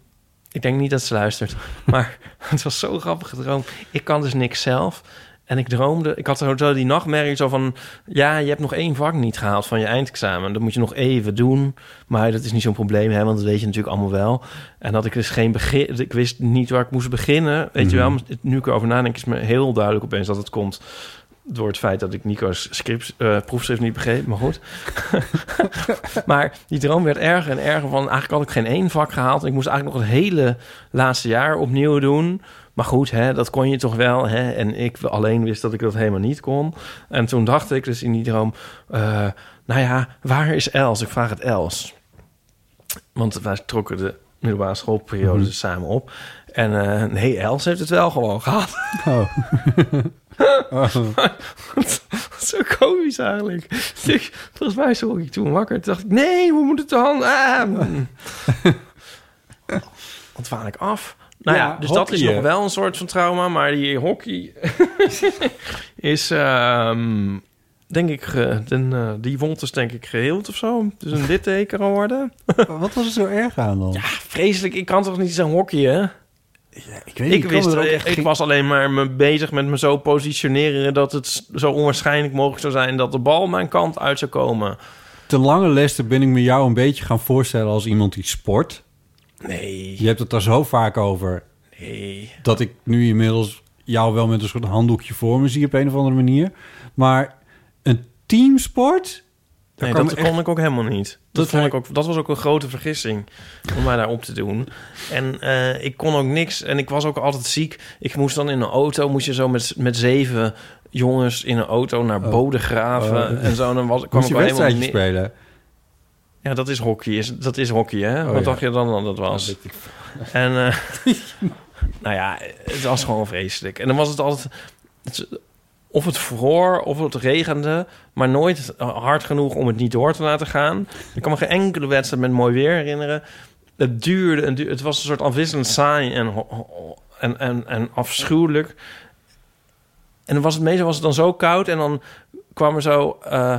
ik denk niet dat ze luistert. Maar het was zo'n grappige droom. Ik kan dus niks zelf. En ik droomde... Ik had zo zo die nachtmerrie zo van... Ja, je hebt nog één vak niet gehaald van je eindexamen. Dat moet je nog even doen. Maar dat is niet zo'n probleem, hè, want dat weet je natuurlijk allemaal wel. En dat ik dus geen begin... Ik wist niet waar ik moest beginnen. Weet je wel? Maar Nu ik erover nadenk, is me heel duidelijk opeens dat het komt... door het feit dat ik Nico's script, eh, proefschrift niet begreep. Maar goed. Maar die droom werd erger en erger van... eigenlijk had ik geen één vak gehaald. Ik moest eigenlijk nog het hele laatste jaar opnieuw doen. Maar goed, hè, dat kon je toch wel. Hè? En ik alleen wist dat ik dat helemaal niet kon. En toen dacht ik dus in die droom... eh, nou ja, waar is Els? Ik vraag het Els. Want wij trokken de middelbare schoolperiode
Mhm.
samen op. En eh, nee, Els heeft het wel gewoon gehad.
Oh.
(laughs) Zo komisch eigenlijk. Ik, volgens mij zorg ik toen wakker. Toen dacht ik, nee, hoe moet het dan? Ah, mm.
(laughs)
Ontwaan ik af. Nou ja,
Ja, eh.
dus dat is
hockeyen.
nog wel een soort van trauma. Maar die hockey (laughs) is, ehm, denk ik, ge- den, eh, die wond is denk ik geheeld of zo. Dus een litteken geworden.
Wat was er zo erg aan dan?
Ja, vreselijk. Ik kan toch niet zijn hockeyen?
ik weet
Ik, wist, ik was alleen maar me bezig met me zo positioneren... dat het zo onwaarschijnlijk mogelijk zou zijn... dat de bal mijn kant uit zou komen.
Te lange lessen ben ik me jou een beetje gaan voorstellen als iemand die sport.
Nee,
Je hebt het daar zo vaak over
nee.
dat ik nu inmiddels jou wel met een soort handdoekje voor me zie op een of andere manier. Maar een teamsport,
Nee,
kan
dat
me echt-
kon ik ook helemaal niet. Dat,
Dat
vond
hij-
ik ook, dat was ook een grote vergissing om mij daarop te doen. En eh, ik kon ook niks. En ik was ook altijd ziek. Ik moest dan in een auto, moest je zo met, met zeven jongens in een auto naar boden graven.
Oh.
en zo, En dan was, kwam
moest
ik
je
wel helemaal
wedstrijdjes
niet.
spelen.
Ja, dat is hockey. Is, dat is hockey, hè?
Oh,
Wat
ja.
(laughs) dacht je dan dat dat was? En eh, nou ja, het was gewoon vreselijk. En dan was het altijd... het- of het vroor, of het regende, maar nooit hard genoeg om het niet door te laten gaan. Ik kan me geen enkele wedstrijd met mooi weer herinneren. Het duurde, en duurde het was een soort afwisselend saai en, ho- ho- en, en, en afschuwelijk. En dan was het, meestal was het dan zo koud en dan kwam er zo... eh,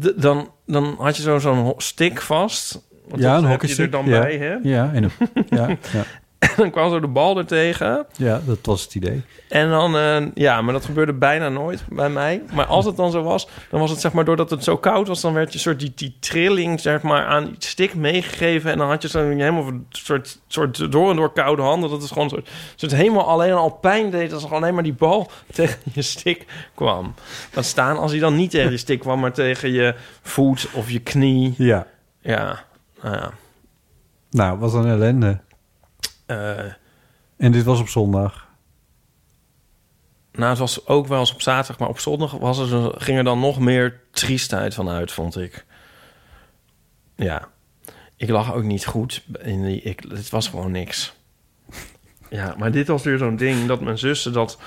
d- dan, dan had je zo- zo'n ho- stick vast. Want
ja,
dat
een
heb je
hockeystick.
er dan
ja.
bij, hè?
Ja, en een, ja,
(laughs)
ja.
En dan kwam zo de bal er tegen.
ja, dat was het idee.
En dan, eh, ja, maar dat gebeurde bijna nooit bij mij. Maar als het dan zo was, dan was het zeg maar doordat het zo koud was, dan werd je soort die, die trilling zeg maar aan die stick meegegeven. En dan had je zo'n helemaal een soort, soort door en door koude handen. Dat is gewoon een soort, soort helemaal alleen al pijn deed als er alleen maar die bal (laughs) tegen je stick kwam. Dat staan als hij dan niet tegen je stick kwam, maar tegen je voet of je knie.
Ja.
Ja, nou ja.
Nou, wat een ellende.
Eh,
En dit was op zondag.
Nou, het was ook wel eens op zaterdag, maar op zondag was er, zo- ging er dan nog meer triestheid van uit, vond ik. Ja, ik lag ook niet goed. In die, ik, het was gewoon niks. Ja, maar dit was weer zo'n ding dat mijn zussen dat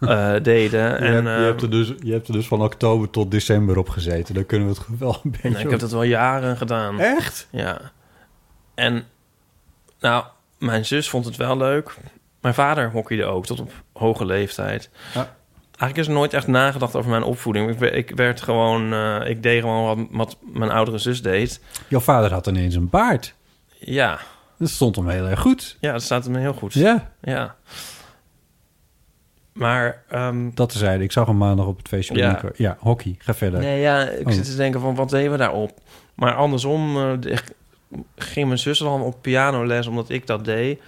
eh, deden.
je,
En,
hebt, je,
eh,
hebt er dus, je hebt er dus van oktober tot december op gezeten. Daar kunnen we het wel een beetje
nou, ik heb dat wel jaren gedaan.
Echt?
Ja. En, nou, mijn zus vond het wel leuk. Mijn vader hockeyde ook tot op hoge leeftijd.
Ja.
Eigenlijk is er nooit echt nagedacht over mijn opvoeding. Ik, we- ik werd gewoon, eh, ik deed gewoon wat, wat mijn oudere zus deed.
Jouw vader had ineens een baard.
Ja,
Dat stond hem heel erg goed.
ja dat staat hem heel goed.
Ja,
Ja. Maar, ehm,
dat zei hij. Ik zag hem maandag op het feestje. op
Ja.
Linker. ja hockey. Ga verder.
nee, ja, ik
Oh.
zit te denken van, wat deden we daarop? Maar andersom eh, de- ik- ging mijn zus dan op pianoles omdat ik dat deed.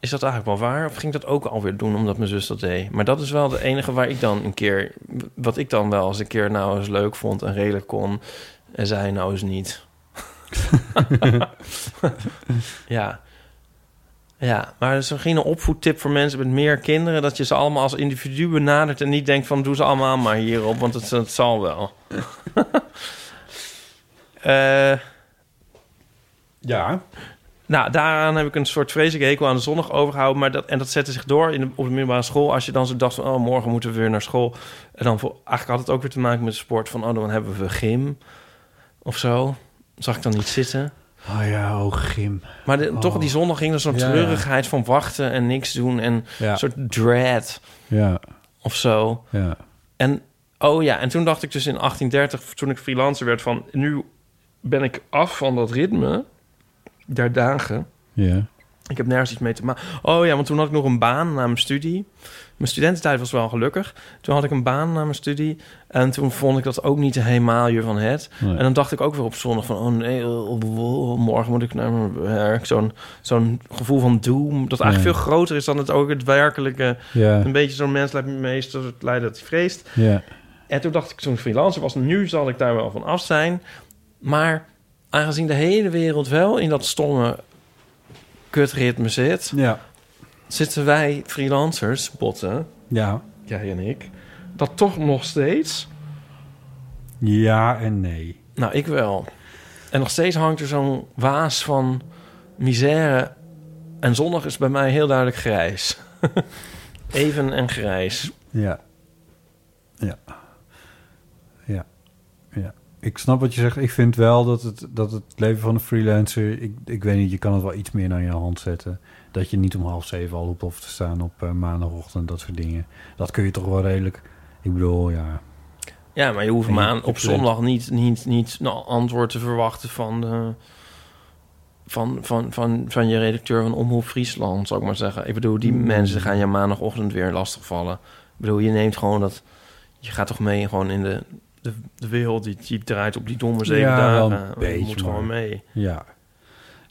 Is dat eigenlijk wel waar? Of ging ik dat ook alweer doen omdat mijn zus dat deed? Maar dat is wel de enige waar ik dan een keer... Wat ik dan wel eens een keer nou eens leuk vond en redelijk kon. En zij nou eens niet. (laughs) ja. Ja, maar het is misschien een opvoedtip voor mensen met meer kinderen... dat je ze allemaal als individu benadert en niet denkt van... doe ze allemaal maar hierop, want het, het zal wel. (laughs) Eh...
Ja.
Nou, daaraan heb ik een soort vreselijke hekel aan de zondag overgehouden. Maar dat, en dat zette zich door in de, op de middelbare school. Als je dan zo dacht van, oh, morgen moeten we weer naar school. En dan vo- eigenlijk had het ook weer te maken met sport. Van, oh, dan hebben we gym of zo. Zag ik dan niet zitten.
Oh ja, oh Gim.
Maar de- toch,
Oh.
die zondag ging er zo'n
Ja, ja.
treurigheid van wachten en niks doen. En
Ja.
een soort dread
Ja,
of zo.
ja.
En oh ja, en toen dacht ik dus in 1830, toen ik freelancer werd, van nu ben ik af van dat ritme der dagen.
Ja.
Ik heb nergens iets mee te maken. Oh ja, want toen had ik nog een baan na mijn studie. Mijn studententijd was wel gelukkig. Toen had ik een baan na mijn studie. En toen vond ik dat ook niet helemaal je van het.
Nee.
En dan dacht ik ook weer op zondag van... Oh nee, oh, oh, oh, morgen moet ik naar mijn werk. Zo'n zo'n gevoel van doom. Dat eigenlijk
Ja.
veel groter is dan het ook het werkelijke.
Ja,
Een beetje zo'n mens lijkt me meester. Het leidt dat hij vreest.
ja.
En toen dacht ik, toen ik freelancer was, nu zal ik daar wel van af zijn. Maar aangezien de hele wereld wel in dat stomme kutritme zit,
Ja.
zitten wij freelancers, botten,
Ja.
jij en ik, dat toch nog steeds.
Ja en nee.
Nou, ik wel. En nog steeds hangt er zo'n waas van misère. En zondag is bij mij heel duidelijk grijs. (laughs) Even en grijs.
Ja. Ja. Ja. Ja. Ik snap wat je zegt. Ik vind wel dat het, dat het leven van een freelancer... Ik, ik weet niet, je kan het wel iets meer naar je hand zetten. Dat je niet om half zeven al op hoeft te staan op eh, maandagochtend. Dat soort dingen. Dat kun je toch wel redelijk... Ik bedoel, ja.
Ja, maar je hoeft
En je-
maar aan- op
je bent-
zondag niet, niet, niet een antwoord te verwachten van, de, van, van, van, van je redacteur van Omroep Friesland, zou ik maar zeggen. Ik bedoel,
Hmm.
die mensen gaan je maandagochtend weer lastigvallen. Ik bedoel, je neemt gewoon dat... Je gaat toch mee gewoon in de, de, de wereld die, die draait op die domme zeven
Ja, wel
dagen.
een beetje,
je moet gewoon
maar-
mee.
Ja.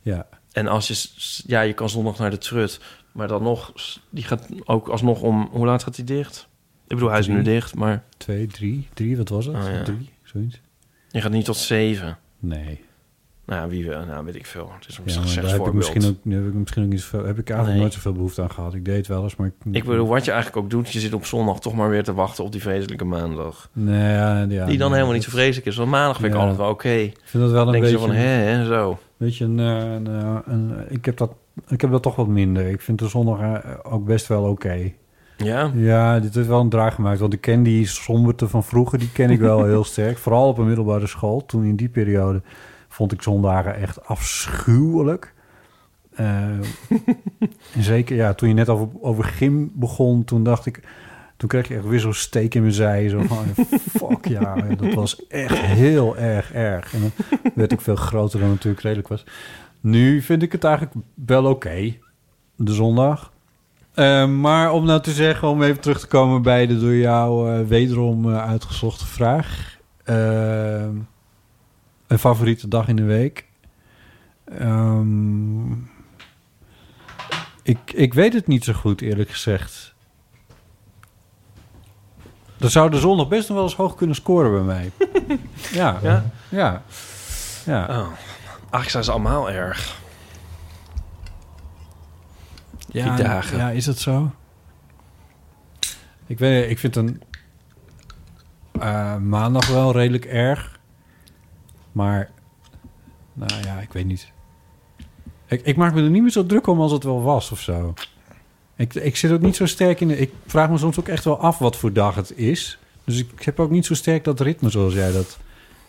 Ja.
En als je... s- s- Ja, je kan zondag naar de trut. Maar dan nog... s- Die gaat ook alsnog om... Hoe laat gaat die dicht? Ik bedoel, hij is nu
Drie.
dicht, maar...
Twee, drie. Drie, wat was het?
Oh, ja.
Drie, zoiets.
Je gaat niet tot zeven.
Nee.
Nou, wie wil, nou weet ik veel. Het is een
Ja, maar daar
slechts
heb ik,
voorbeeld.
misschien ook, daar heb ik misschien ook niet zoveel, heb ik eigenlijk
Nee.
nooit zoveel behoefte aan gehad. Ik deed het wel eens, maar ik...
Ik bedoel, wat je eigenlijk ook doet, je zit op zondag toch maar weer te wachten op die vreselijke maandag.
Nee, ja, ja,
die dan
nee,
helemaal niet zo
dat-
vreselijk is. Want maandag vind ik
Ja.
altijd wel oké.
Ik vind dat wel een
Dan denk je
beetje...
zo van, hè, hè, zo.
Weet je, een, eh, een, eh, een- ik heb dat Ik heb dat toch wat minder. Ik vind de zondag eh, ook best wel oké.
Ja.
Ja, dit is wel een draag gemaakt. Want ik ken die somberte van vroeger, die ken ik wel heel sterk. Vooral op een middelbare school. Toen in die periode vond ik zondagen echt afschuwelijk. Eh, en zeker, ja, toen je net over, over gym begon, toen dacht ik... Toen kreeg je echt weer zo'n steek in mijn zij. Zo van, fuck ja, dat was echt heel erg erg. En dan werd ik veel groter dan natuurlijk redelijk was. Nu vind ik het eigenlijk wel oké, de zondag. Eh, maar om nou te zeggen, om even terug te komen bij de door jou eh, wederom eh, uitgezochte vraag. Eh, een favoriete dag in de week? Ehm, ik, ik weet het niet zo goed, eerlijk gezegd. Dan zou de zon nog best nog wel eens hoog kunnen scoren bij mij. ja.
Ja?
Ja? Ja.
Oh. Ach, ik zei ze allemaal erg.
Ja,
Die dagen.
Ja, is dat zo? Ik, weet, ik vind een eh, maandag wel redelijk erg. Maar, nou ja, ik weet niet. Ik, ik maak me er niet meer zo druk om als het wel was of zo. Ik, ik zit ook niet zo sterk in... de- ik vraag me soms ook echt wel af wat voor dag het is. Dus ik heb ook niet zo sterk dat ritme zoals jij dat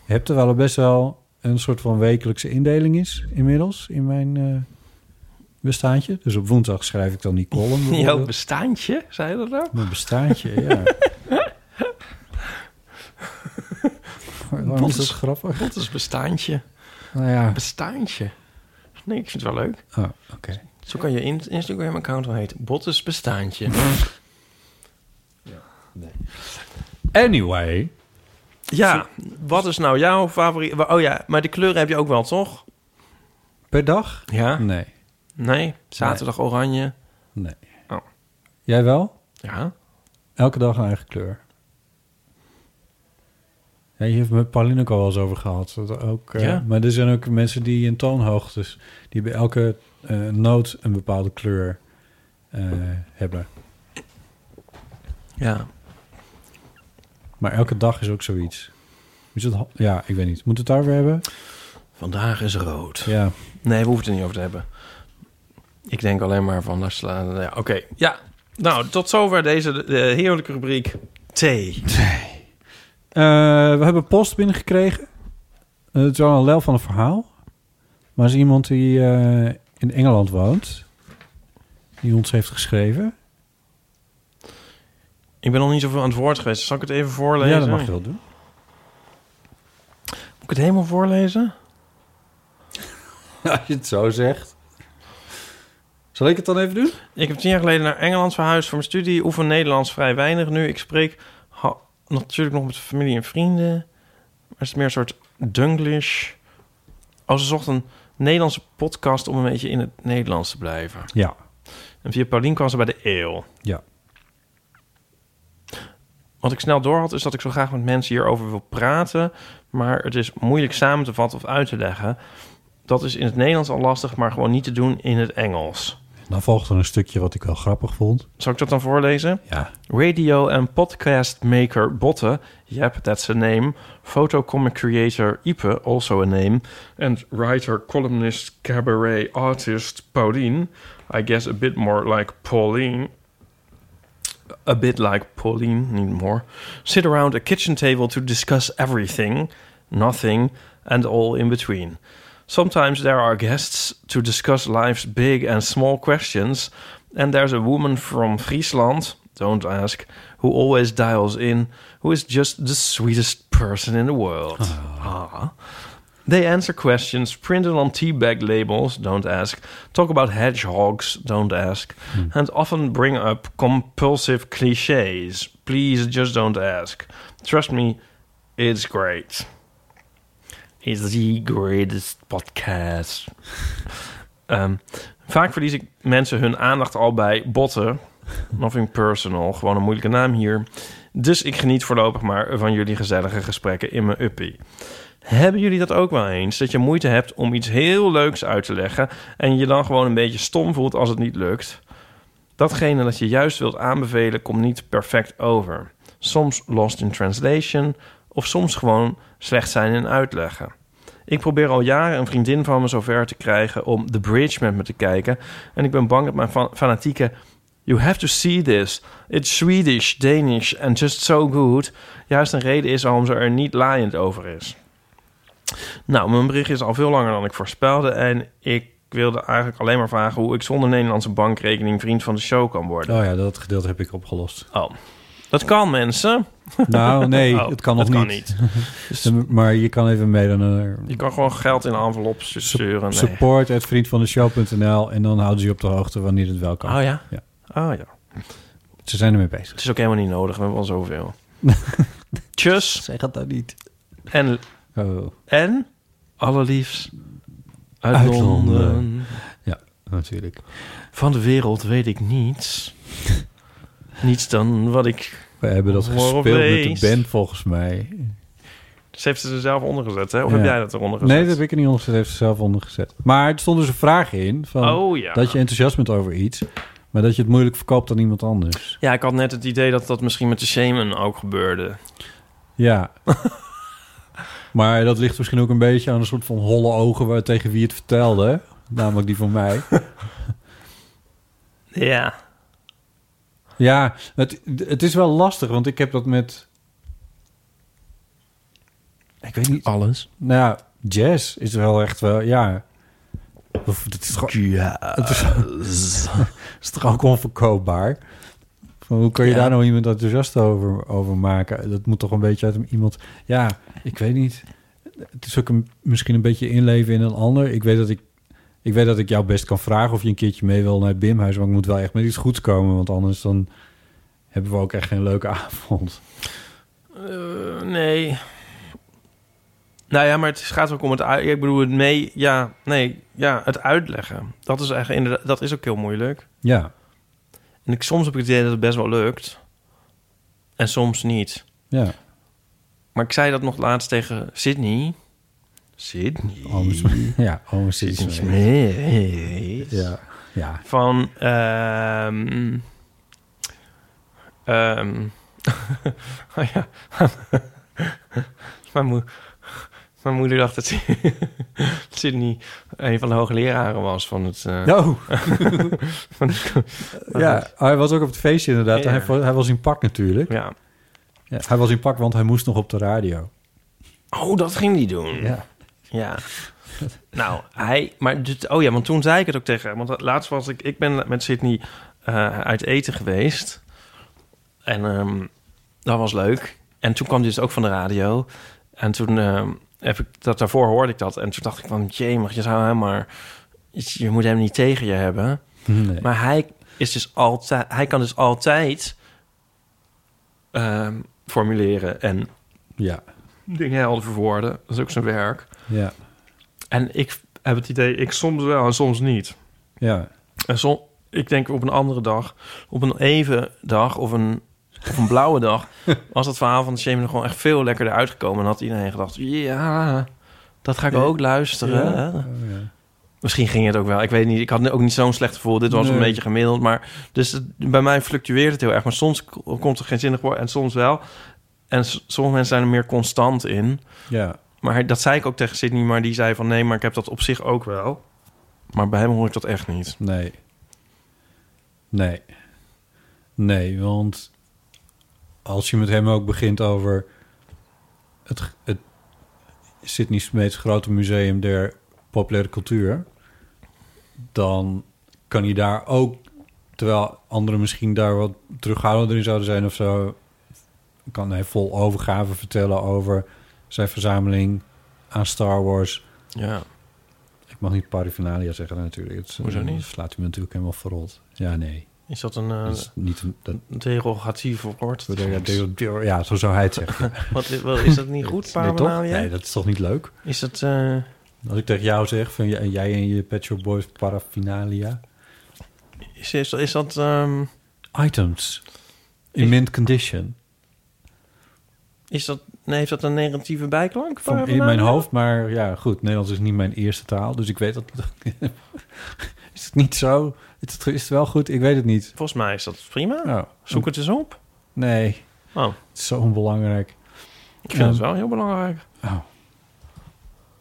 hebt. Terwijl er best wel een soort van wekelijkse indeling is inmiddels in mijn... eh, bestaantje. Dus op woensdag schrijf (laughs) ik dan die (laughs) column.
Jouw
bijvoorbeeld.
bestaantje, zei je dat nou?
Mijn bestaantje, (laughs) ja. Waarom is dat grappig?
Wat is bestaantje?
Nou ja,
Bestaantje. Nee, ik vind het wel leuk.
oh, oké.
Zo kan je in- Instagram-account wel heten. Bottes bestaantje.
Anyway.
ja, wat is nou jouw favoriet? Oh ja, maar de kleuren heb je ook wel, toch?
Per dag?
Ja.
Nee.
Nee, zaterdag oranje.
Nee.
Oh.
Jij wel?
Ja.
Elke dag een eigen kleur. Ja, je heeft met Pauline ook al wel eens over gehad. Dat ook, eh,
Ja.
Maar er zijn ook mensen die in toonhoogtes... die bij elke eh, noot een bepaalde kleur eh, hebben.
Ja.
Maar elke dag is ook zoiets. Is het, ha- ja, ik weet niet. Moet het daarover hebben?
Vandaag is rood.
Ja.
Nee, we hoeven het er niet over te hebben. Ik denk alleen maar van, nou slaan. Ja, Oké, ja. Nou, tot zover deze eh, heerlijke rubriek thee.
Eh, we hebben post binnengekregen. Eh, het is wel een lel van een verhaal. Maar het is iemand die eh, in Engeland woont. Die ons heeft geschreven.
Ik ben nog niet zoveel aan het woord geweest. Zal ik het even voorlezen?
Ja, dat mag je wel doen.
Moet ik het helemaal voorlezen?
(laughs) Als je het zo zegt. Zal ik het dan even doen?
Ik heb tien jaar geleden naar Engeland verhuisd voor mijn studie. Oefen Nederlands vrij weinig nu. Ik spreek ha- natuurlijk nog met familie en vrienden. Maar het is meer een soort Dunglish. Als ze zocht een Nederlandse podcast om een beetje in het Nederlands te blijven.
Ja.
En via Paulien kwam ze bij de eeuw.
Ja.
Wat ik snel door had, is dat ik zo graag met mensen hierover wil praten. Maar het is moeilijk samen te vatten of uit te leggen. Dat is in het Nederlands al lastig, maar gewoon niet te doen in het Engels.
Dan volgt er een stukje wat ik wel grappig vond.
Zal ik dat dan voorlezen?
Ja.
Radio en podcast maker Botte, yep, that's a name. Photocomic creator Ipe, also a name. And writer, columnist, cabaret artist Pauline. I guess a bit more like Pauline. A bit like Pauline, need more. Sit around a kitchen table to discuss everything, nothing, and all in between. Sometimes there are guests to discuss life's big and small questions, and there's a woman from Friesland, don't ask, who always dials in, who is just the sweetest person in the world. Ah. They answer questions printed on tea bag labels, don't ask, talk about hedgehogs, don't ask, and often bring up compulsive cliches. Please just don't ask. Trust me, it's great is the greatest podcast. Ehm, vaak verlies ik mensen hun aandacht al bij botten. Nothing personal, gewoon een moeilijke naam hier. Dus ik geniet voorlopig maar van jullie gezellige gesprekken in mijn uppie. Hebben jullie dat ook wel eens? Dat je moeite hebt om iets heel leuks uit te leggen... en je dan gewoon een beetje stom voelt als het niet lukt? Datgene dat je juist wilt aanbevelen komt niet perfect over. Soms lost in translation of soms gewoon slecht zijn in uitleggen. Ik probeer al jaren een vriendin van me zover te krijgen om The Bridge met me te kijken. En ik ben bang dat mijn fa- fanatieke... You have to see this. It's Swedish, Danish and just so good. Juist een reden is waarom ze er niet laaiend over is. Nou, mijn bericht is al veel langer dan ik voorspelde. En ik wilde eigenlijk alleen maar vragen hoe ik zonder Nederlandse bankrekening vriend van de show kan worden.
Oh ja, dat gedeelte heb ik opgelost.
Oh, dat kan mensen.
(laughs) Nou, nee,
Oh,
het kan nog
dat kan
niet.
Dus
Maar je kan even mee naar
je kan gewoon geld in envelopjes sturen. Nee.
support.vriendvandeshow.nl en dan houden ze je op de hoogte wanneer het wel kan.
Oh ja?
Ja.
Oh ja.
Ze zijn ermee bezig.
Het is ook helemaal niet nodig. We hebben al
(laughs)
zoveel. Tjus.
Zij gaat dat nou niet.
En,
Oh,
en allerliefst uit,
Uit
Londen.
Londen. natuurlijk.
Van de wereld weet ik
(laughs)
niets. niets dan wat ik...
We hebben dat
Morgen
gespeeld met
feest.
de band volgens mij.
Ze heeft ze er zelf onder gezet, hè? Of
Ja.
heb jij dat eronder gezet?
Nee, dat heb ik er niet onder. Dat heeft ze zelf ondergezet. Maar er stond dus een vraag in. Van
Oh ja.
Dat je enthousiast bent over iets, maar dat je het moeilijk verkoopt aan iemand anders.
Ja, ik had net het idee dat dat misschien met de shaman ook gebeurde. (laughs)
Ja. maar dat ligt misschien ook een beetje aan een soort van holle ogen waar, tegen wie het vertelde. Namelijk die van mij.
Ja.
Ja, het, het is wel lastig, want ik heb dat met... Ik weet niet...
Alles.
Nou ja, jazz is wel echt wel... Ja. Of, het is gewoon... Het is, is (laughs) toch ook onverkoopbaar? Van, hoe kun je
Ja.
daar nou iemand enthousiast over, over maken? Dat moet toch een beetje uit hem- iemand... Ja, ik weet niet. Het is ook een, misschien een beetje inleven in een ander. Ik weet dat ik... Ik weet dat ik jou best kan vragen of je een keertje mee wil naar het Bimhuis. Maar ik moet wel echt met iets goeds komen. Want anders dan hebben we ook echt geen leuke (laughs) avond.
Eh, nee. Nou ja, maar het gaat ook om het... uit- Ik bedoel, het mee... Ja, nee. Ja, het uitleggen. Dat is eigenlijk inderdaad... Dat is ook heel moeilijk.
Ja,
En ik, soms heb ik het idee dat het best wel lukt. En soms niet.
ja.
Maar ik zei dat nog laatst tegen Sydney. Sydney?
Oh, misschien- (laughs) ja, oh, misschien-
Sydney Smith.
Ja, ja.
Van... ehm ehm (laughs) oh ja. (laughs) mijn, moe- mijn moeder dacht dat (laughs) Sy- Sydney een van de hoogleraren was van het... eh, (laughs)
Oh,
van het-
ja. Hij was ook op het feestje inderdaad.
Ja.
Hij, was- hij was in pak natuurlijk.
ja.
Ja, hij was in pak, want hij moest nog op de radio.
Oh, dat ging die doen.
Ja.
Ja. nou, hij... Maar dit, oh ja, want toen zei ik het ook tegen hem. Want laatst was ik... Ik ben met Sydney eh, uit eten geweest. En ehm, dat was leuk. En toen kwam dit dus ook van de radio. En toen ehm, heb ik dat... Daarvoor hoorde ik dat. En toen dacht ik van... Jee, mag je zou hem maar... Je moet hem niet tegen je hebben.
Nee.
Maar hij is dus altijd, hij kan dus altijd ehm, formuleren en
Ja,
dingen helder verwoorden. Dat is ook zijn werk.
ja,
En ik heb het idee, ik soms wel en soms niet.
ja.
En som, ik denk op een andere dag, op een even dag of een, of een blauwe
(laughs)
dag, was dat verhaal van de Shaman er gewoon echt veel lekkerder uitgekomen. En had iedereen gedacht, ja, dat ga ik ook luisteren.
Ja? Oh, ja.
Misschien ging het ook wel. Ik weet niet. Ik had ook niet zo'n slecht gevoel. Dit was
Nee.
een beetje gemiddeld. Maar dus het- bij mij fluctueert het heel erg. Maar soms k- komt er geen zinnig woord en soms wel. En s- sommige mensen zijn er meer constant in.
ja.
Maar hij- dat zei ik ook tegen Sydney. Maar die zei van nee, maar ik heb dat op zich ook wel. Maar bij hem hoor ik dat echt niet.
Nee. Nee. Nee, want als je met hem ook begint over het, het Sydney Smeets grote museum der populaire cultuur, dan kan hij daar ook, terwijl anderen misschien daar wat terughoudender in zouden zijn of zo, kan hij vol overgave vertellen over zijn verzameling aan Star Wars
Ja.
ik mag niet paraphernalia zeggen natuurlijk. Het,
Hoezo
eh,
niet? Ah.
slaat u me natuurlijk helemaal verrot. Ja, nee.
Is dat een
Dat is niet een- dat,
uh, derogatief woord?
dat- dat- dat- dat- ja, zo zou hij het zeggen.
(laughs) Wat, wat- is dat
(laughs)
niet goed,
nee, toch?
Pavenalia?
nee, dat is toch niet leuk?
Is dat... eh,
Als ik tegen jou zeg van j- jij en je Pet Shop Boys paraphernalia.
is, is, is dat... ehm,
Items. In mint condition.
is dat nee, heeft dat een negatieve bijklank?
Van in mijn
Pavenalia?
hoofd, maar ja, goed. Nederlands is niet mijn eerste taal, dus ik weet dat... (laughs) is het niet zo? Is het, is het wel goed? Ik weet het niet.
Volgens mij is dat prima.
Oh,
Zoek het eens op.
nee.
Oh.
Het is zo onbelangrijk.
Ik vind
Ja.
het wel heel belangrijk.
Oh.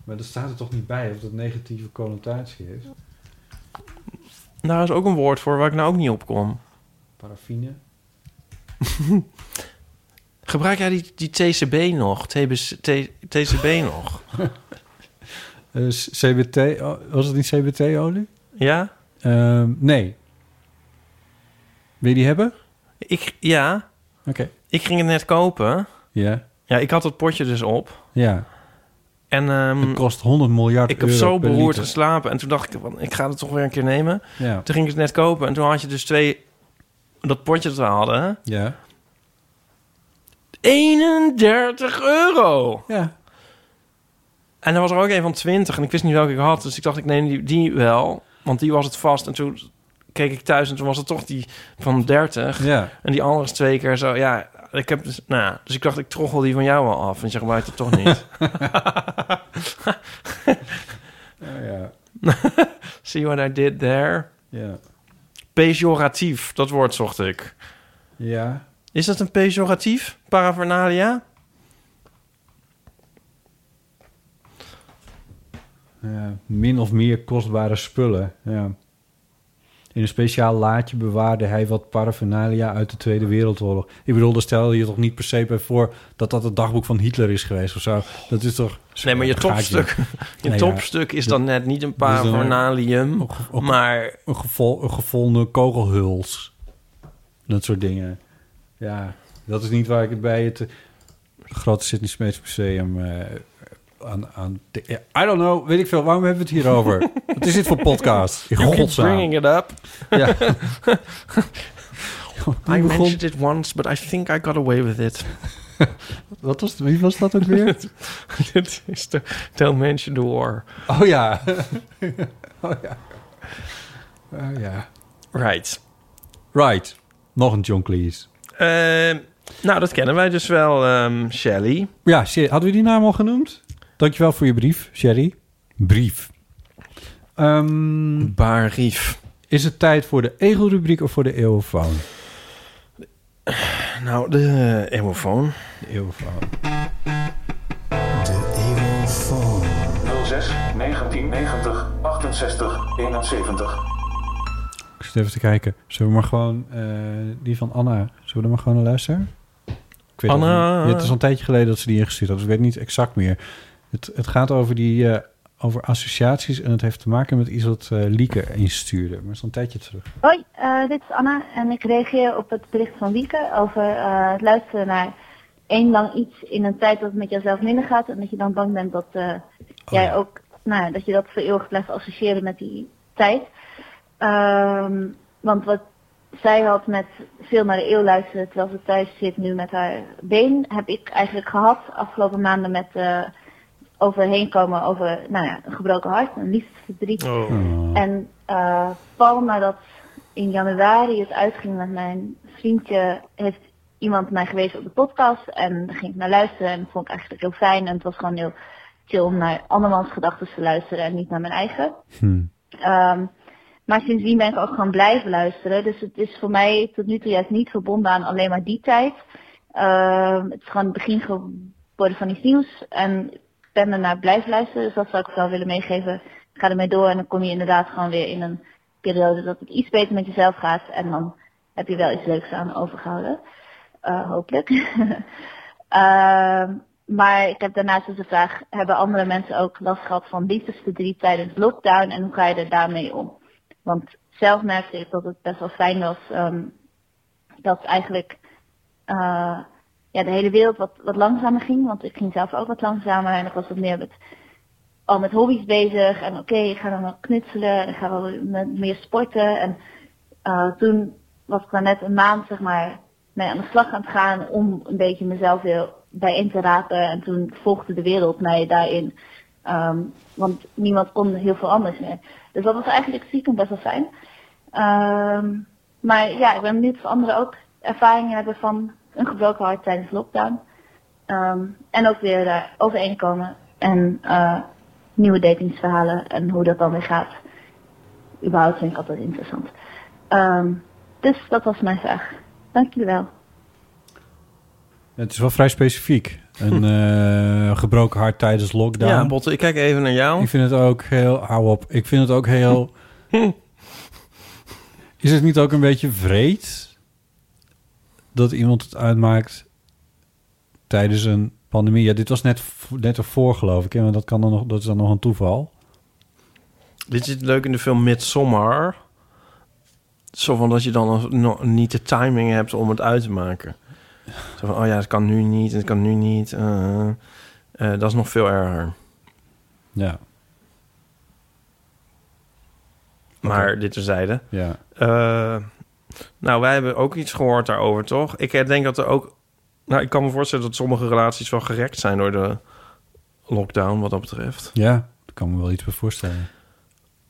Maar dat staat er toch niet bij of dat negatieve connotatie heeft?
Daar is ook een woord voor waar ik nou ook niet op kom.
Paraffine?
Gebruik jij die, die TCB nog? TBC, T- TCB nog?
Eh, s- CBT, oh, was het niet CBT-olie?
Ja?
Ehm, nee. Wil je die hebben?
Ik, ja,
Oké.
ik ging het net kopen.
Ja.
Ja, ik had dat potje dus op.
Ja.
En ehm,
Het kost 100 miljard
ik heb
euro
zo
per
beroerd
liter.
geslapen. En toen dacht ik, van, ik ga het toch weer een keer nemen.
Ja.
Toen ging ik het net kopen. En toen had je dus twee... Dat potje dat we hadden.
Ja.
31 euro.
Ja.
En er was er ook een van 20. En ik wist niet welke ik had. Dus ik dacht, ik neem die, die wel. Want die was het vast. En toen keek ik thuis en toen was het toch die van 30.
Ja.
En die andere is twee keer zo. Ja, ik heb dus... Nou, ja, dus ik dacht, ik troggel die van jou wel af. En zeg maar, het toch
(laughs)
niet.
Ja, ja.
See what I did there?
Ja.
Pejoratief, dat woord zocht ik.
Ja.
Is dat een pejoratief? Paraphernalia?
Ja, min of meer kostbare spullen. Ja. In een speciaal laadje bewaarde hij wat paraphernalia uit de Tweede Wereldoorlog. Ik bedoel, daar stel je toch niet per se bij voor dat dat het dagboek van Hitler is geweest of zo. Dat is toch.
Nee, maar je
Gaatje.
topstuk,
(laughs)
je
Nou ja,
topstuk is dan net niet een
dan een- eh,
paraphernaalium,
Ook- ook-
maar
Een, gevol, een gevonden kogelhuls. Dat soort dingen. Ja, dat is niet waar ik het bij het eh, grote Sydney Smeets Museum eh, aan... aan de- ja, I don't know, weet ik veel. Waarom hebben we het hier
(laughs)
over? Wat is dit voor podcast? In
You keep
godsnaam.
bringing it up. (laughs)
Ja.
I
Wie begon,
mentioned it once, but I think I got away with it.
(laughs) wat was, wie was dat ook
(laughs)
weer?
Dit is de Don't Mention the War.
Oh ja. (laughs) oh ja. Oh ja.
Right.
Right. Nog een John Cleese.
Ehm, nou, dat kennen wij dus wel, ehm, Shelley.
Ja, Sherry. Hadden we die naam al genoemd? Dankjewel voor je brief, Sherry. Brief. Ehm,
Barief.
is het tijd voor de egelrubriek of voor de eeuwfoon?
Nou, de uh, emofoon.
De eeuwfoon.
06 1990 68 71.
Ik zit even te kijken. Zullen we maar gewoon eh, die van Anna... Zullen we er maar gewoon naar luisteren? Ik weet
Anna.
het niet. Ja, het is al een tijdje geleden dat ze die ingestuurd had. Dus ik weet niet exact meer. Het, het gaat over, die, eh, over associaties. En het heeft te maken met iets wat eh, Lieke instuurde. Maar het is al een tijdje terug.
Hoi, eh, dit is Anna en ik reageer op het bericht van Wieke over eh, het luisteren naar één lang iets in een tijd dat het met jouzelf minder gaat en dat je dan bang bent dat eh, jij
ja.
ook, nou ja, dat je dat voor eeuwig blijft associëren met die tijd. Ehm, want wat zij had met veel naar de eeuw luisteren terwijl ze thuis zit nu met haar been, heb ik eigenlijk gehad afgelopen maanden met eh, overheen komen over, nou ja, een gebroken hart, een liefdesverdriet.
Oh.
Oh.
En eh pal nadat in januari het uitging met mijn vriendje, heeft iemand mij gewezen op de podcast. En daar ging ik naar luisteren en dat vond ik eigenlijk heel fijn. En het was gewoon heel chill om naar andermans gedachten te luisteren en niet naar mijn eigen. Ehm, maar sindsdien ben ik ook gaan blijven luisteren. Dus het is voor mij tot nu toe juist niet verbonden aan alleen maar die tijd. Ehm, het is gewoon het begin geworden van iets nieuws. En ik ben ernaar blijven luisteren. Dus dat zou ik wel willen meegeven. Ga ermee door en dan kom je inderdaad gewoon weer in een periode dat het iets beter met jezelf gaat. En dan heb je wel iets leuks aan overgehouden. Eh, hopelijk. (laughs) Ehm, maar ik heb daarnaast dus de vraag, hebben andere mensen ook last gehad van liefdesverdriet tijdens lockdown en hoe ga je er daarmee om? Want zelf merkte ik dat het best wel fijn was ehm, dat eigenlijk eh, ja, de hele wereld wat, wat langzamer ging. Want ik ging zelf ook wat langzamer en ik was wat meer met, al met hobby's bezig. En oké, ik ga dan wel knutselen en ik ga wel met meer sporten. En eh, toen was ik maar net een maand zeg maar mee aan de slag aan het gaan om een beetje mezelf weer bijeen te rapen. En toen volgde de wereld mij daarin. Ehm, want niemand kon heel veel anders meer. Dus dat was eigenlijk stiekem best wel fijn. Ehm, maar ja, ik ben benieuwd of anderen ook ervaringen hebben van een gebroken hart tijdens lockdown. Ehm, en ook weer daar overeenkomen en eh, nieuwe datingsverhalen en hoe dat dan weer gaat. Überhaupt vind ik altijd interessant. Ehm, dus dat was mijn vraag. Dank jullie wel.
Het is wel vrij specifiek. Een eh, gebroken hart tijdens lockdown.
Ja, Botte, ik kijk even naar jou.
Ik vind het ook heel... Hou op. Ik vind het ook heel... Is het niet ook een beetje vreed dat iemand het uitmaakt tijdens een pandemie? Ja, dit was net, v- net ervoor, geloof ik. hè, Maar dat, kan dan nog, dat is dan nog een toeval.
Dit zit leuk in de film Midsommar. Zo van dat je dan nog- nog niet de timing hebt om het uit te maken. Zo van, oh ja, het kan nu niet, het kan nu niet. eh, eh, dat is nog veel erger.
Ja.
Maar dit terzijde.
Ja.
Eh, nou, wij hebben ook iets gehoord daarover, toch? Ik eh, denk dat er ook... Nou, ik kan me voorstellen dat sommige relaties wel gerekt zijn door de lockdown, wat dat betreft.
Ja, daar kan me wel iets bij voorstellen.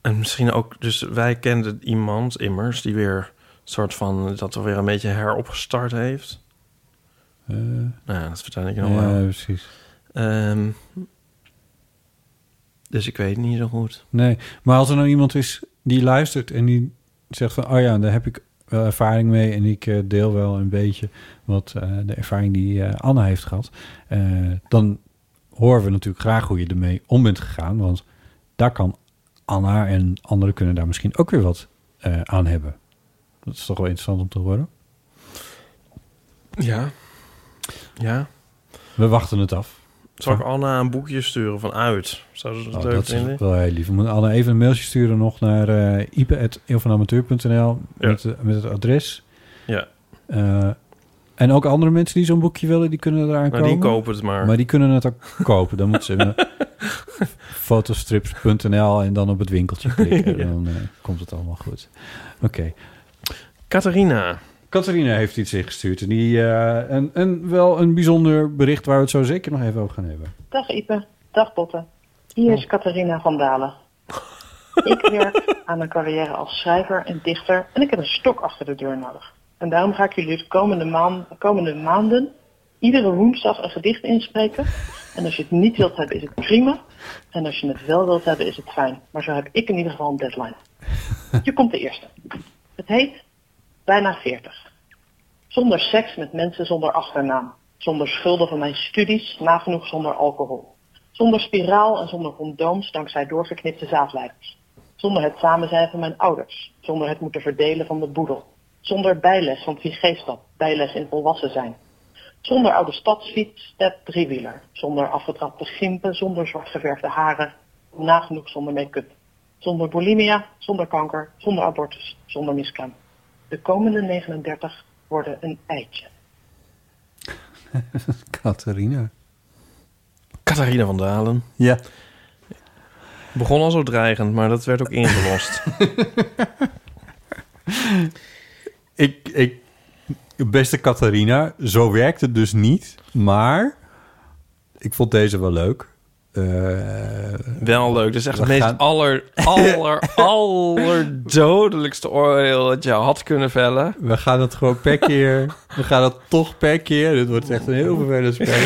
En misschien ook, dus wij kenden iemand immers die weer soort van dat er weer een beetje heropgestart heeft.
Eh,
Nou ja, dat vertel ik je nog
ja,
wel.
precies.
Ehm, dus ik weet het niet zo goed.
Nee, maar als er nou iemand is die luistert en die zegt van... oh ja, daar heb ik wel ervaring mee en ik eh, deel wel een beetje wat eh, de ervaring die eh, Anna heeft gehad... eh, dan horen we natuurlijk graag hoe je ermee om bent gegaan. Want daar kan Anna en anderen kunnen daar misschien ook weer wat eh, aan hebben. Dat is toch wel interessant om te horen.
Ja. Ja.
We wachten het af.
Zal ik Anna een boekje sturen van uit? Zou ze dat
Oh,
leuk
dat
vinden?
is wel heel lief. We moeten alle even een mailtje sturen nog naar eh ipe.eeuwvanamateur.nl met, eh, met het adres.
Ja.
Eh, en ook andere mensen die zo'n boekje willen, die kunnen eraan
Nou,
komen.
die kopen het maar.
Maar die kunnen het ook kopen. Dan moeten ze naar (laughs) fotostrips.nl en dan op het winkeltje klikken. (laughs)
Ja.
En dan eh, komt het allemaal goed. Oké.
Catharina.
Catharina heeft iets ingestuurd. En die, eh, een, een, wel een bijzonder bericht waar we het zo zeker nog even over gaan hebben.
Dag Ipe, dag Botte. Hier is Catharina van Dalen. Ik werk aan een carrière als schrijver en dichter en ik heb een stok achter de deur nodig. En daarom ga ik jullie de komende, maan- de komende maanden iedere woensdag een gedicht inspreken. En als je het niet wilt hebben is het prima. En als je het wel wilt hebben is het fijn. Maar zo heb ik in ieder geval een deadline. Hier komt de eerste. Het heet Bijna 40. Zonder seks met mensen zonder achternaam. Zonder schulden van mijn studies, nagenoeg zonder alcohol. Zonder spiraal en zonder condooms dankzij doorgeknipte zaadleiders. Zonder het samen zijn van mijn ouders. Zonder het moeten verdelen van de boedel. Zonder bijles van Vigeestad, bijles in volwassen zijn. Zonder oude stadsfiets, step, driewieler. Zonder afgetrapte gimpen, zonder zwartgeverfde haren. Nagenoeg zonder make-up. Zonder bulimia, zonder kanker, zonder abortus, zonder miskraam. De komende 39 worden een eitje.
Catharina.
Catharina van Dalen.
Ja.
Begon al zo dreigend, maar
(laughs)
dat werd ook ingelost.
Ik, ik, beste Catharina, zo werkt het dus niet. Maar ik vond deze wel leuk. Eh,
Wel leuk. Dat is echt
We
het meest
gaan-
(laughs) aller, aller, allerdodelijkste oordeel dat je had kunnen vellen.
We gaan dat gewoon
(laughs)
per keer. we gaan dat toch per keer. Dit wordt echt een heel vervelend
(laughs)
spel.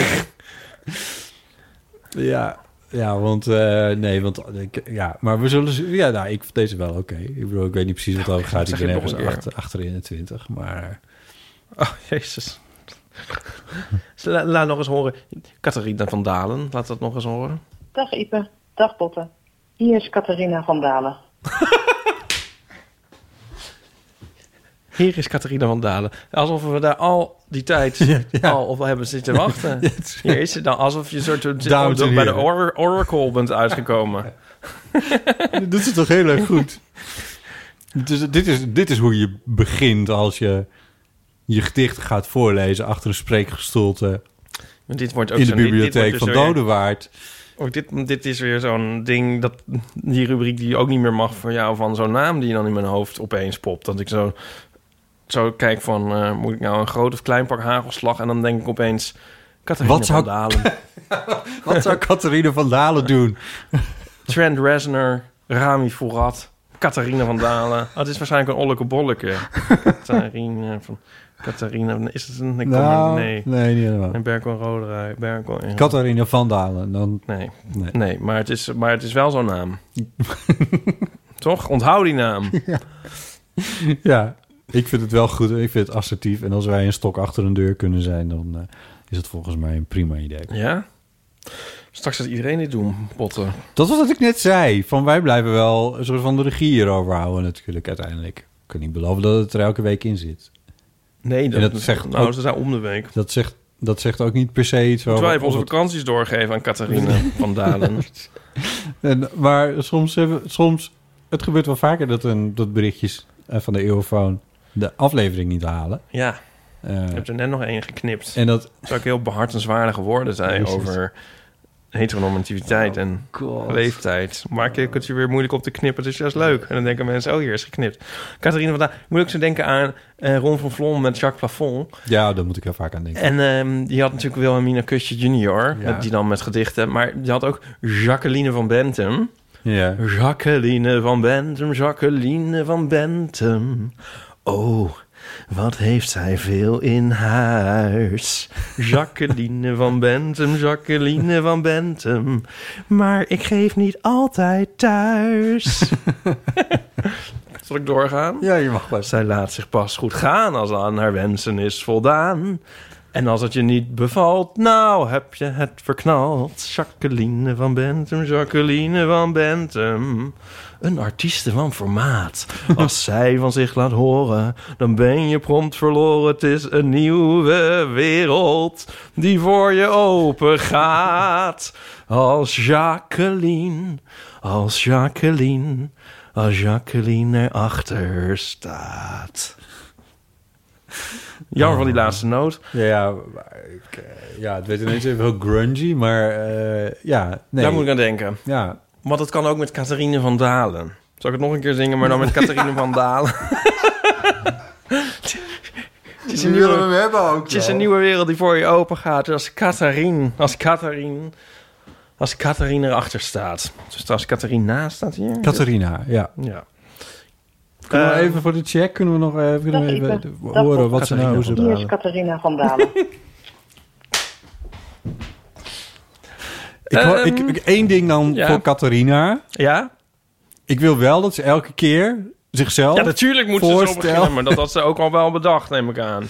ja, ja, want eh, nee, want ik, ja, maar we zullen. z- Ja, nou, ik vond deze wel oké. Ik bedoel, ik weet niet precies wat het over gaat. Ik
Zeg
ben
je nog
ergens
een keer.
achter, achter in de twintig,
(laughs)
maar
Oh, jezus. Dus La- laat nog eens horen. Catharina van Dalen, laat dat nog eens horen.
Dag Ipe, dag Botte. Hier is Catharina van Dalen.
Hier is Catharina van Dalen. Alsof we daar al die (laughs) tijd al op hebben zitten wachten. Hier is ze dan. Alsof je soort
Dames en
bij de
heren.
or- Oracle bent uitgekomen.
dat doet het toch heel erg goed. Dus dit is, dit is hoe je begint als je je gedicht gaat voorlezen achter een spreekgestoelte
Want Oh, dit wordt ook
in de
zo'n- dit- dit wordt
bibliotheek
dus
van
weer-
Dodewaard.
Ook dit, dit is weer zo'n ding, dat, die rubriek die ook niet meer mag voor jou... van zo'n naam die dan in mijn hoofd opeens popt. Dat ik zo, zo kijk van, eh, moet ik nou een groot of klein pak hagelslag... en dan denk ik opeens, Catharina
Wat zou-
van Dalen.
(laughs) Wat zou Catharine van Dalen doen?
Trent Reznor, Rami Fourat, Catharina van Dalen. Oh, het is waarschijnlijk een olleke bolleke. Catharina van... Catharina, is het een... Ik kom er-
Nou,
nee.
nee, niet helemaal.
En Berkel Roderij, Berkel... ja.
Catharine van Dalen.
(laughs)
Dan...
Nee. Nee, maar, het is, maar het is wel zo'n
(laughs)
naam. Toch? Onthoud die naam.
Ja, ik vind het wel goed. en Ik vind het assertief. En als wij een stok achter een deur kunnen zijn, dan eh, is het volgens mij een prima idee.
Ja? Straks gaat iedereen dit doen, botten.
Dat was wat ik net zei. Van wij blijven wel een soort van de regie hierover houden natuurlijk uiteindelijk. Ik kan niet beloven dat het er elke week in zit.
Nee,
En
dat, nou, ze zijn om de week.
Dat zegt, dat zegt ook niet per se iets
Moeten wij
over...
even onze
of
vakanties doorgeven aan Catharina
(laughs)
van Dalen.
het- en, maar soms, hebben- soms... Het gebeurt wel vaker dat, een, dat berichtjes eh, van de Eurofoon de aflevering niet halen.
Ja.
Eh,
Ik heb er net nog één geknipt.
En dat...
Zou ik heel behartenswaardige woorden zijn
Jezus. Oh,
over heteronormativiteit en leeftijd. Maar ik kunt je weer moeilijk op te knippen, dus dat is leuk. En dan denken mensen, oh, hier is geknipt. Catharina van Dalen, ik moet ook zo denken aan eh, Ron van Vlon met Jacques Plafond.
ja, daar moet ik heel vaak aan denken.
En ehm, die had natuurlijk Wilhelmina Kusje junior,
Ja.
met- die dan met gedichten. Maar die had ook Jacqueline van Bentum.
Ja.
Jacqueline van Bentum, Jacqueline van Bentum. Oh, wat heeft zij veel in huis. Jacqueline van Bentum, Jacqueline van Bentum. Maar ik geef niet altijd thuis. Zal ik doorgaan?
Ja, je mag wel.
Zij laat zich pas goed gaan als aan haar wensen is voldaan. En als het je niet bevalt, nou heb je het verknald. Jacqueline van Bentum, Jacqueline van Bentum. Een artieste van formaat. Als zij van zich laat horen, dan ben je prompt verloren. Het is een nieuwe wereld die voor je open gaat. Als Jacqueline, als Jacqueline, als Jacqueline erachter staat. Jammer van die laatste noot.
Ja, ja, maar ik, eh, ja, het werd ineens even heel grungy, maar eh, ja, nee.
Daar moet ik aan denken.
Ja.
Want het kan ook met Catharine van Dalen. Zal ik het nog een keer zingen, maar dan met Catharine van Dalen? Het is een
Die willen
nieuwe-
we hem hebben ook
Het is
wel.
een nieuwe wereld die voor je open gaat. Dus als Catharine, als Catharine, als Catharine erachter staat. Dus als Catharine naast staat hier.
Catharina, ja.
Ja.
Kunnen we
Eh,
even voor de check, kunnen we nog eh, even, kunnen we
Dag,
even
Ipe.
horen
Dag, Bob.
wat ze nou zo
Hier is Catharina van Dalen.
Ik, hoor-
Ehm,
ik, ik- één ding dan
ja.
voor Catharina.
Ja?
Ik wil wel dat ze elke keer zichzelf
Ja, natuurlijk moeten ze zo
voorstelt.
beginnen. Maar dat had ze ook al wel bedacht, neem ik aan.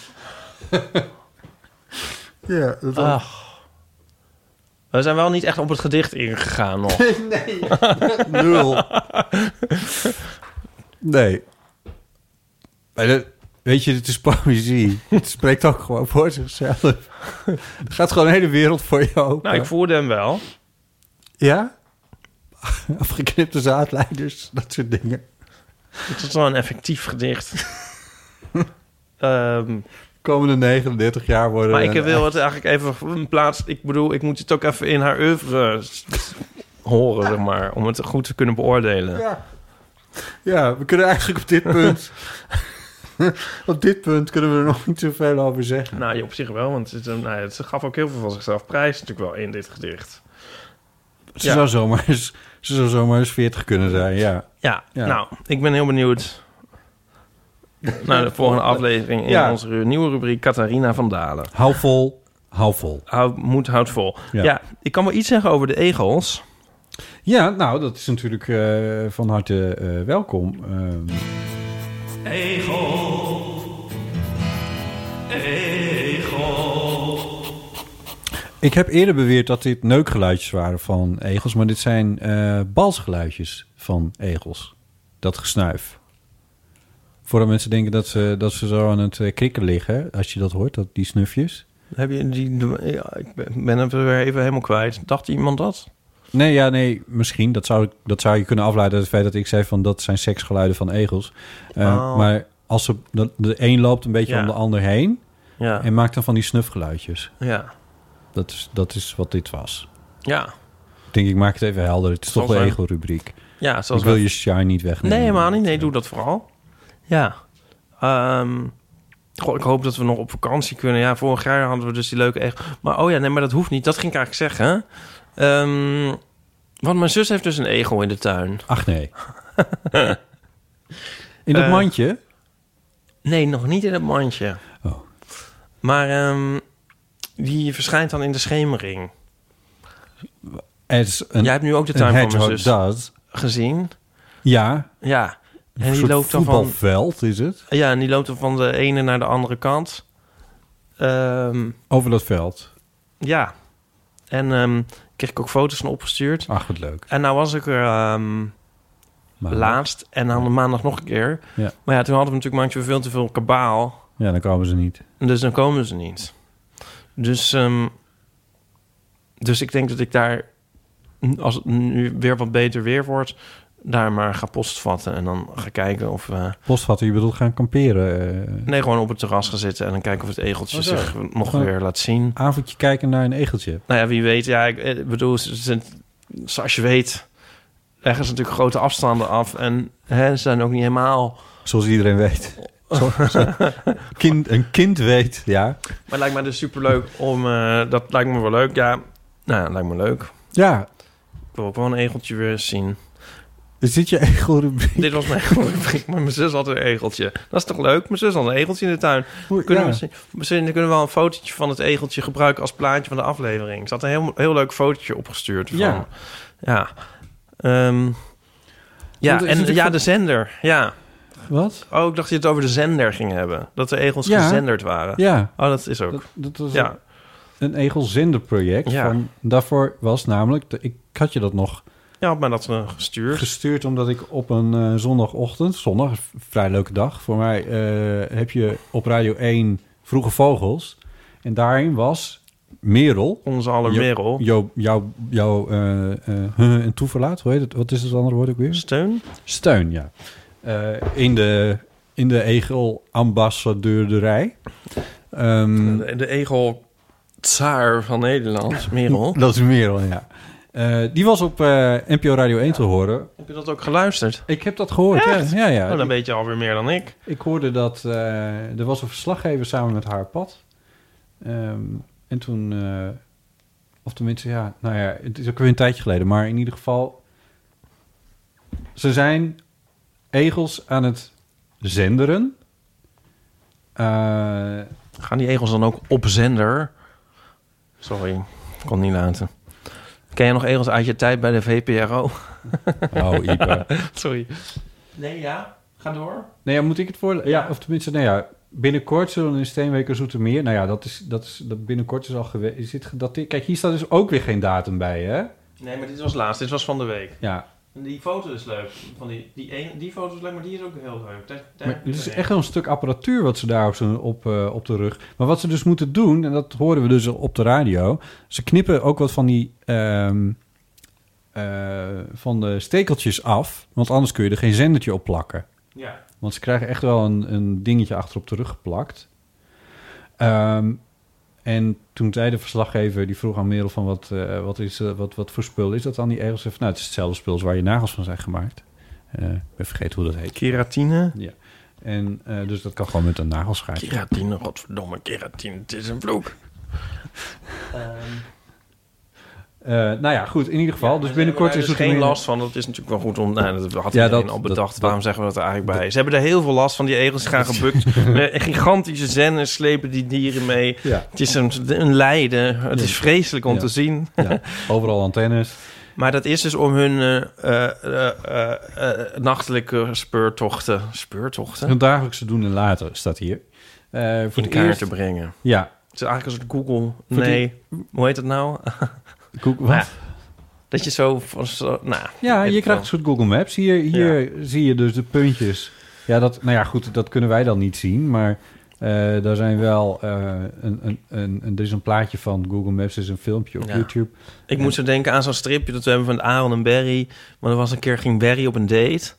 (laughs) Ja, dat
Ach. We zijn wel niet echt op het gedicht ingegaan nog.
Nee, nul.
Nee. Maar dat- weet je, het is poëzie. het spreekt ook gewoon voor zichzelf. er gaat gewoon een hele wereld voor je open.
Nou, ik voelde hem wel.
Ja? Afgeknipte zaadleiders, dat soort dingen.
Het is wel een effectief
(laughs)
gedicht. Ehm,
Komende 39 jaar worden...
maar ik wil het eigenlijk even plaatsen. Ik bedoel, ik moet het ook even in haar oeuvre s- horen, zeg maar. Om het goed te kunnen beoordelen.
Ja. ja, we kunnen eigenlijk op dit
(laughs)
punt... op dit punt kunnen we er nog niet zoveel over zeggen.
Nou, ja, op zich wel, want het, eh, nou, ja, ze gaf ook heel veel van zichzelf prijs natuurlijk wel in dit gedicht.
Ze,
Ja.
zou zomaar eens, ze zou zomaar eens 40 kunnen zijn, ja.
Ja,
Ja.
nou, ik ben heel benieuwd naar de volgende aflevering in
Ja.
onze ru- nieuwe rubriek Catharina van Dalen.
Hou vol, hou vol.
Houd, moed houdt vol.
Ja.
Ja. ik kan wel iets zeggen over de egels.
Ja, nou, dat is natuurlijk eh, van harte eh, welkom. Ehm,
Egel. Egel.
ik heb eerder beweerd dat dit neukgeluidjes waren van egels... maar dit zijn eh, balsgeluidjes van egels. Dat gesnuif. Voordat mensen denken dat ze, dat ze zo aan het eh, krikken liggen... als je dat hoort, dat, die snufjes.
Heb je die, ja, ik ben ben hem weer even helemaal kwijt. Dacht iemand dat?
Nee, ja, nee, misschien. Dat zou, dat zou je kunnen afleiden uit het feit dat ik zei van... dat zijn seksgeluiden van egels. Eh,
Oh.
Maar als ze, de, de een loopt een beetje
Ja.
om de ander heen...
Ja.
en maakt dan van die snufgeluidjes.
Ja.
Dat is, dat is wat dit was.
Ja.
Ik denk, ik maak het even helder. Het is
Zoals
toch de
wij-
egelrubriek.
Ja, zoals
Ik wil
wij-
je shine niet wegnemen.
Nee, helemaal niet. Nee, doe dat vooral. Ja. Ehm, goh, ik hoop dat we nog op vakantie kunnen. Ja, vorig jaar hadden we dus die leuke echt. Maar oh ja, nee, maar dat hoeft niet. Dat ging ik eigenlijk zeggen. Ehm, want mijn zus heeft dus een egel in de tuin.
Ach
(laughs)
nee. In dat
Eh,
mandje?
Nee, nog niet in het mandje.
Oh.
Maar ehm, die verschijnt dan in de schemering.
Het is een,
Jij hebt nu ook de
een
tuin van mijn
hedgehog
zus.
does.
Gezien?
Ja.
Ja.
Een soort voetbalveld is het.
Ja, en die loopt dan van de ene naar de andere kant. Ehm,
Over dat veld.
ja. En ehm, kreeg ik ook foto's van opgestuurd.
Ach, wat leuk.
En nou was ik er ehm, laatst en dan maandag nog een keer.
Ja.
Maar ja, toen hadden we natuurlijk maandje veel te veel kabaal.
Ja, dan komen ze niet.
Dus dan komen ze niet. Dus, ehm, dus ik denk dat ik daar, als het nu weer wat beter weer wordt, daar maar ga postvatten. En dan ga kijken of... eh,
Postvatten, je bedoelt gaan kamperen. eh.
nee, gewoon op het terras gaan zitten en dan kijken of het egeltje
Oh, zo.
zich nog
Gewoon
weer laat zien.
Avondje kijken naar een egeltje.
Nou ja, wie weet. Ja, ik eh, bedoel, ze- ze zijn- zoals je weet, leggen ze natuurlijk grote afstanden af. En hè, ze zijn ook niet helemaal...
Zoals iedereen weet.
Oh.
Zo- zo- kind, een kind weet, ja.
Maar het lijkt me dus superleuk om... eh, dat lijkt me wel leuk, ja. Nou ja, lijkt me leuk.
Ja,
Ik wil ook wel een egeltje weer eens zien.
is dit je egelrubriek?
Dit was mijn (laughs) egelrubriek, maar mijn zus had een egeltje. Dat is toch leuk? Mijn zus had een egeltje in de tuin. Kunnen
ja.
we misschien, misschien kunnen we wel een fotootje van het egeltje gebruiken als plaatje van de aflevering. Ze had een heel, heel leuk fotootje opgestuurd. Van,
Ja.
ja. Ja. Ehm, ja,
Want er is
en
natuurlijk
ja,
van-
de zender. Ja.
Wat?
Oh, ik dacht dat je het over de zender ging hebben. Dat de egels
Ja.
gezenderd waren.
Ja.
Oh, dat is ook.
Dat, dat was
ja.
een egelzenderproject.
Ja.
Van, daarvoor was namelijk, de- ik had je dat nog
Ja, had mij dat eh, gestuurd.
gestuurd omdat ik op een eh, zondagochtend, zondag, is een vrij leuke dag voor mij, eh, heb je op Radio 1 Vroege Vogels. En daarin was Merel.
Onze aller
Jo-
Merel.
Jouw jou, jou, eh, eh, huh en toeverlaat, hoe heet het? Wat is het andere woord ook weer?
Steun?
Steun, ja. Eh, in de, in de egel-ambassadeurderij. Ehm,
De, de egel tsaar van Nederland, Merel.
Dat is Merel, ja. Eh, die was op eh, NPO Radio 1 te horen.
Heb je dat ook geluisterd?
Ik heb dat gehoord, ja.
Echt?
ja, ja.
Oh, dan weet je alweer meer dan ik.
Ik hoorde dat eh, er was een verslaggever samen met haar pad. Ehm, en toen, eh, of tenminste, ja, nou ja, het is ook weer een tijdje geleden, maar in ieder geval, ze zijn egels aan het zenderen. Eh,
Gaan die egels dan ook op zender? Sorry, ik kon het niet laten. Ken je nog egels uit je tijd bij de VPRO?
Oh, Ipe.
(laughs) Sorry. Nee, ja. Ga door.
(laughs) Nou ja, moet ik het voor? Ja, of tenminste, nou ja, binnenkort zullen in Steenweken Zoetermeer. Nou ja, dat is, dat is dat binnenkort is al geweest. Is dit gedateerd? Kijk, hier staat dus ook weer geen datum bij, hè?
Nee, maar dit was laatst. Dit was van de week.
Ja.
Die foto is leuk. Van die, die, een, die foto is leuk, maar die is ook heel leuk. Daar- daar
Maar
heb ik
het is
er
echt wel een stuk apparatuur wat ze daar op, z'n- op, eh, op de rug. Maar wat ze dus moeten doen, en dat horen we dus op de radio. Ze knippen ook wat van die ehm, eh, van de stekeltjes af. Want anders kun je er geen zendertje op plakken.
Ja.
Want ze krijgen echt wel een, een dingetje achter op de rug geplakt. Ehm, en toen zei de verslaggever, die vroeg aan Merel van wat, eh, wat, is, eh, wat, wat voor spul is dat dan die egels? Ze zei van, Nou, het is hetzelfde spul als waar je nagels van zijn gemaakt. Eh ik vergeet hoe dat heet.
Keratine?
Ja. En eh, dus dat kan gewoon met een nagelschaar.
Keratine, godverdomme, keratine, het is een vloek.
Eh, nou ja, goed. In ieder geval. dus binnenkort is
er
er
geen last van. Dat is natuurlijk wel goed om. Nou, dat had
Ja,
iedereen
dat-
al
dat-
bedacht. Waarom zeggen we dat er eigenlijk bij? Ze hebben er heel veel last van. Die egels gaan
(laughs)
gebukt. Met gigantische zennen slepen die dieren mee.
Ja.
Het is een, een lijden. Het is vreselijk om
Ja.
te zien.
Ja. Overal antennes.
(laughs) Maar dat is dus om hun eh, eh, eh, eh, nachtelijke speurtochten. Speurtochten?
Hun dagelijkse doen en laten staat hier. Eh, voor
in
het
kaart
eerst-
te brengen.
Ja.
Het is eigenlijk een soort Google.
Voor het
nee, hoe heet dat nou? (laughs)
Google,
wat? dat je zo... van zo nou,
Ja,
ik
je
weet
krijgt een
het
soort Google Maps. Hier, hier zie je dus de puntjes. Ja, dat, nou ja, goed, dat kunnen wij dan niet zien. Maar eh, daar zijn wel... eh, een, een, een, een- er is een plaatje van Google Maps. Er is een filmpje op
Ja.
YouTube.
wel. Ik moest zo denken aan zo'n stripje dat we hebben van Aaron en Barry. Maar er was een keer ging Barry op een date.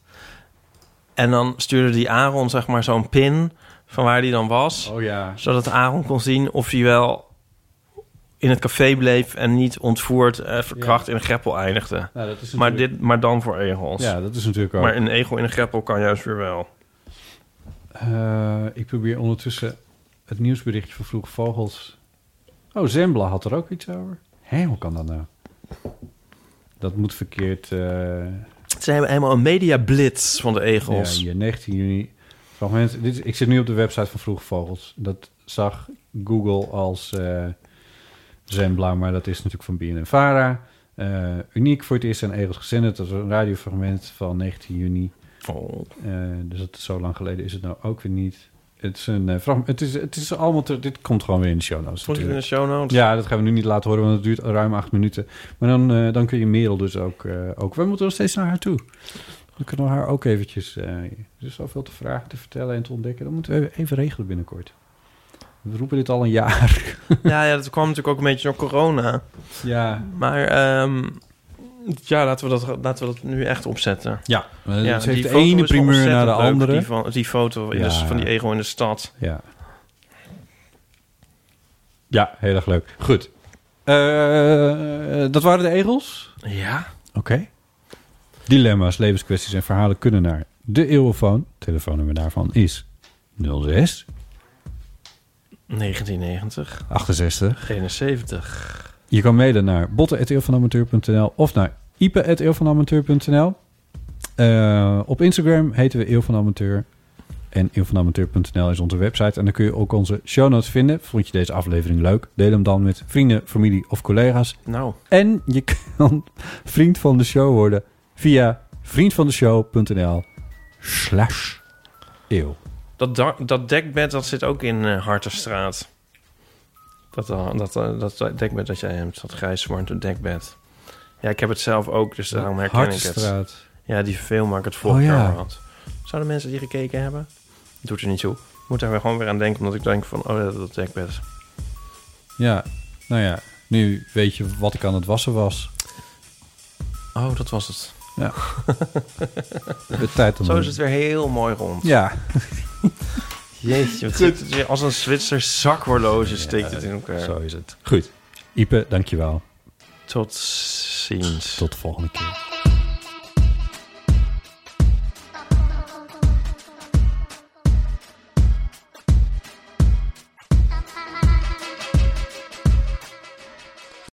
En dan stuurde die Aaron zeg maar zo'n pin van waar die dan was.
Oh ja.
Zodat Aaron kon zien of hij wel in het café bleef en niet ontvoerd, eh, verkracht in een greppel eindigde.
Nou, dat is
maar,
natuurlijk-
dit, maar dan voor egels.
Ja, dat is natuurlijk ook.
Maar een egel in een greppel kan juist weer wel.
Eh, ik probeer ondertussen het nieuwsberichtje van Vroege Vogels. Oh, Zembla had er ook iets over. Hé, hoe kan dat nou? Dat moet verkeerd. eh,
Ze hebben helemaal een mediablitz van de egels.
Ja, hier, 19 juni. Fragment, dit, is- ik zit nu op de website van Vroege Vogels. Dat zag Google als eh Zembla, maar dat is natuurlijk van BNNVARA. Eh uniek voor het eerst zijn egels gezenderd. Dat is een radiofragment van 19 juni.
Oh.
Eh, dus dat, zo lang geleden is het nou ook weer niet. Het is, een, eh, fragment- het, is, het is allemaal... te- dit komt gewoon weer in de show notes
Komt het in
natuurlijk.
de show notes?
Ja, dat gaan we nu niet laten horen, want het duurt ruim acht minuten. Maar dan, eh, dan kun je Merel dus ook, eh, ook... We moeten nog steeds naar haar toe. Dan kunnen we haar ook eventjes... eh, er is zoveel te vragen, te vertellen en te ontdekken. Dat moeten we even- even regelen binnenkort. We roepen dit al een jaar.
Ja, ja, dat kwam natuurlijk ook een beetje door corona.
Ja.
Maar ehm, ja, laten we, dat, laten we dat nu echt opzetten.
Ja, maar het heeft
die
de
foto
ene
is wel
primeur
ontzettend
naar de
leuk,
andere.
Die, van, die foto in de-
Ja.
van die ego in de stad.
Ja. Ja, heel erg leuk. Goed. Eh, dat waren de egels?
Ja.
Oké. Dilemma's, levenskwesties en verhalen kunnen naar de Eeuwenfoon. Telefoonnummer daarvan is 06
1990.
68.
71.
Je kan mailen naar botten.eeuwvanamateur.nl of naar ipe.eeuwvanamateur.nl. Eh op Instagram heten we Eeuw van Amateur. En eeuwvanamateur.nl is onze website. En daar kun je ook onze show notes vinden. Vond je deze aflevering leuk? Deel hem dan met vrienden, familie of collega's.
Nou.
En je kan (laughs) vriend van de show worden via vriendvandeshow.nl slash eeuw.
Dat, da- dat dekbed dat zit ook in eh Hartenstraat. Dat, eh, dat, eh, dat dekbed dat jij hebt, dat grijs-zwarte dekbed. Ja, ik heb het zelf ook, dus daarom herken ik het.
Hartenstraat.
Ja, die film waar ik het vorig
Oh, ja.
jaar had. Zouden mensen die gekeken hebben? Doet er niet toe. Ik moet daar weer gewoon weer aan denken, omdat ik denk van, oh, dat, dat dekbed.
Ja, nou ja. Nu weet je wat ik aan het wassen was.
Oh, dat was het.
Ja. De tijd om
Zo is het weer heel mooi rond.
Ja.
Jeetje, wat zit het weer als een Zwitser zakhorloge steekt het in elkaar. Zo
is het. Goed. Ipe, dankjewel.
Tot ziens.
Tot de volgende keer.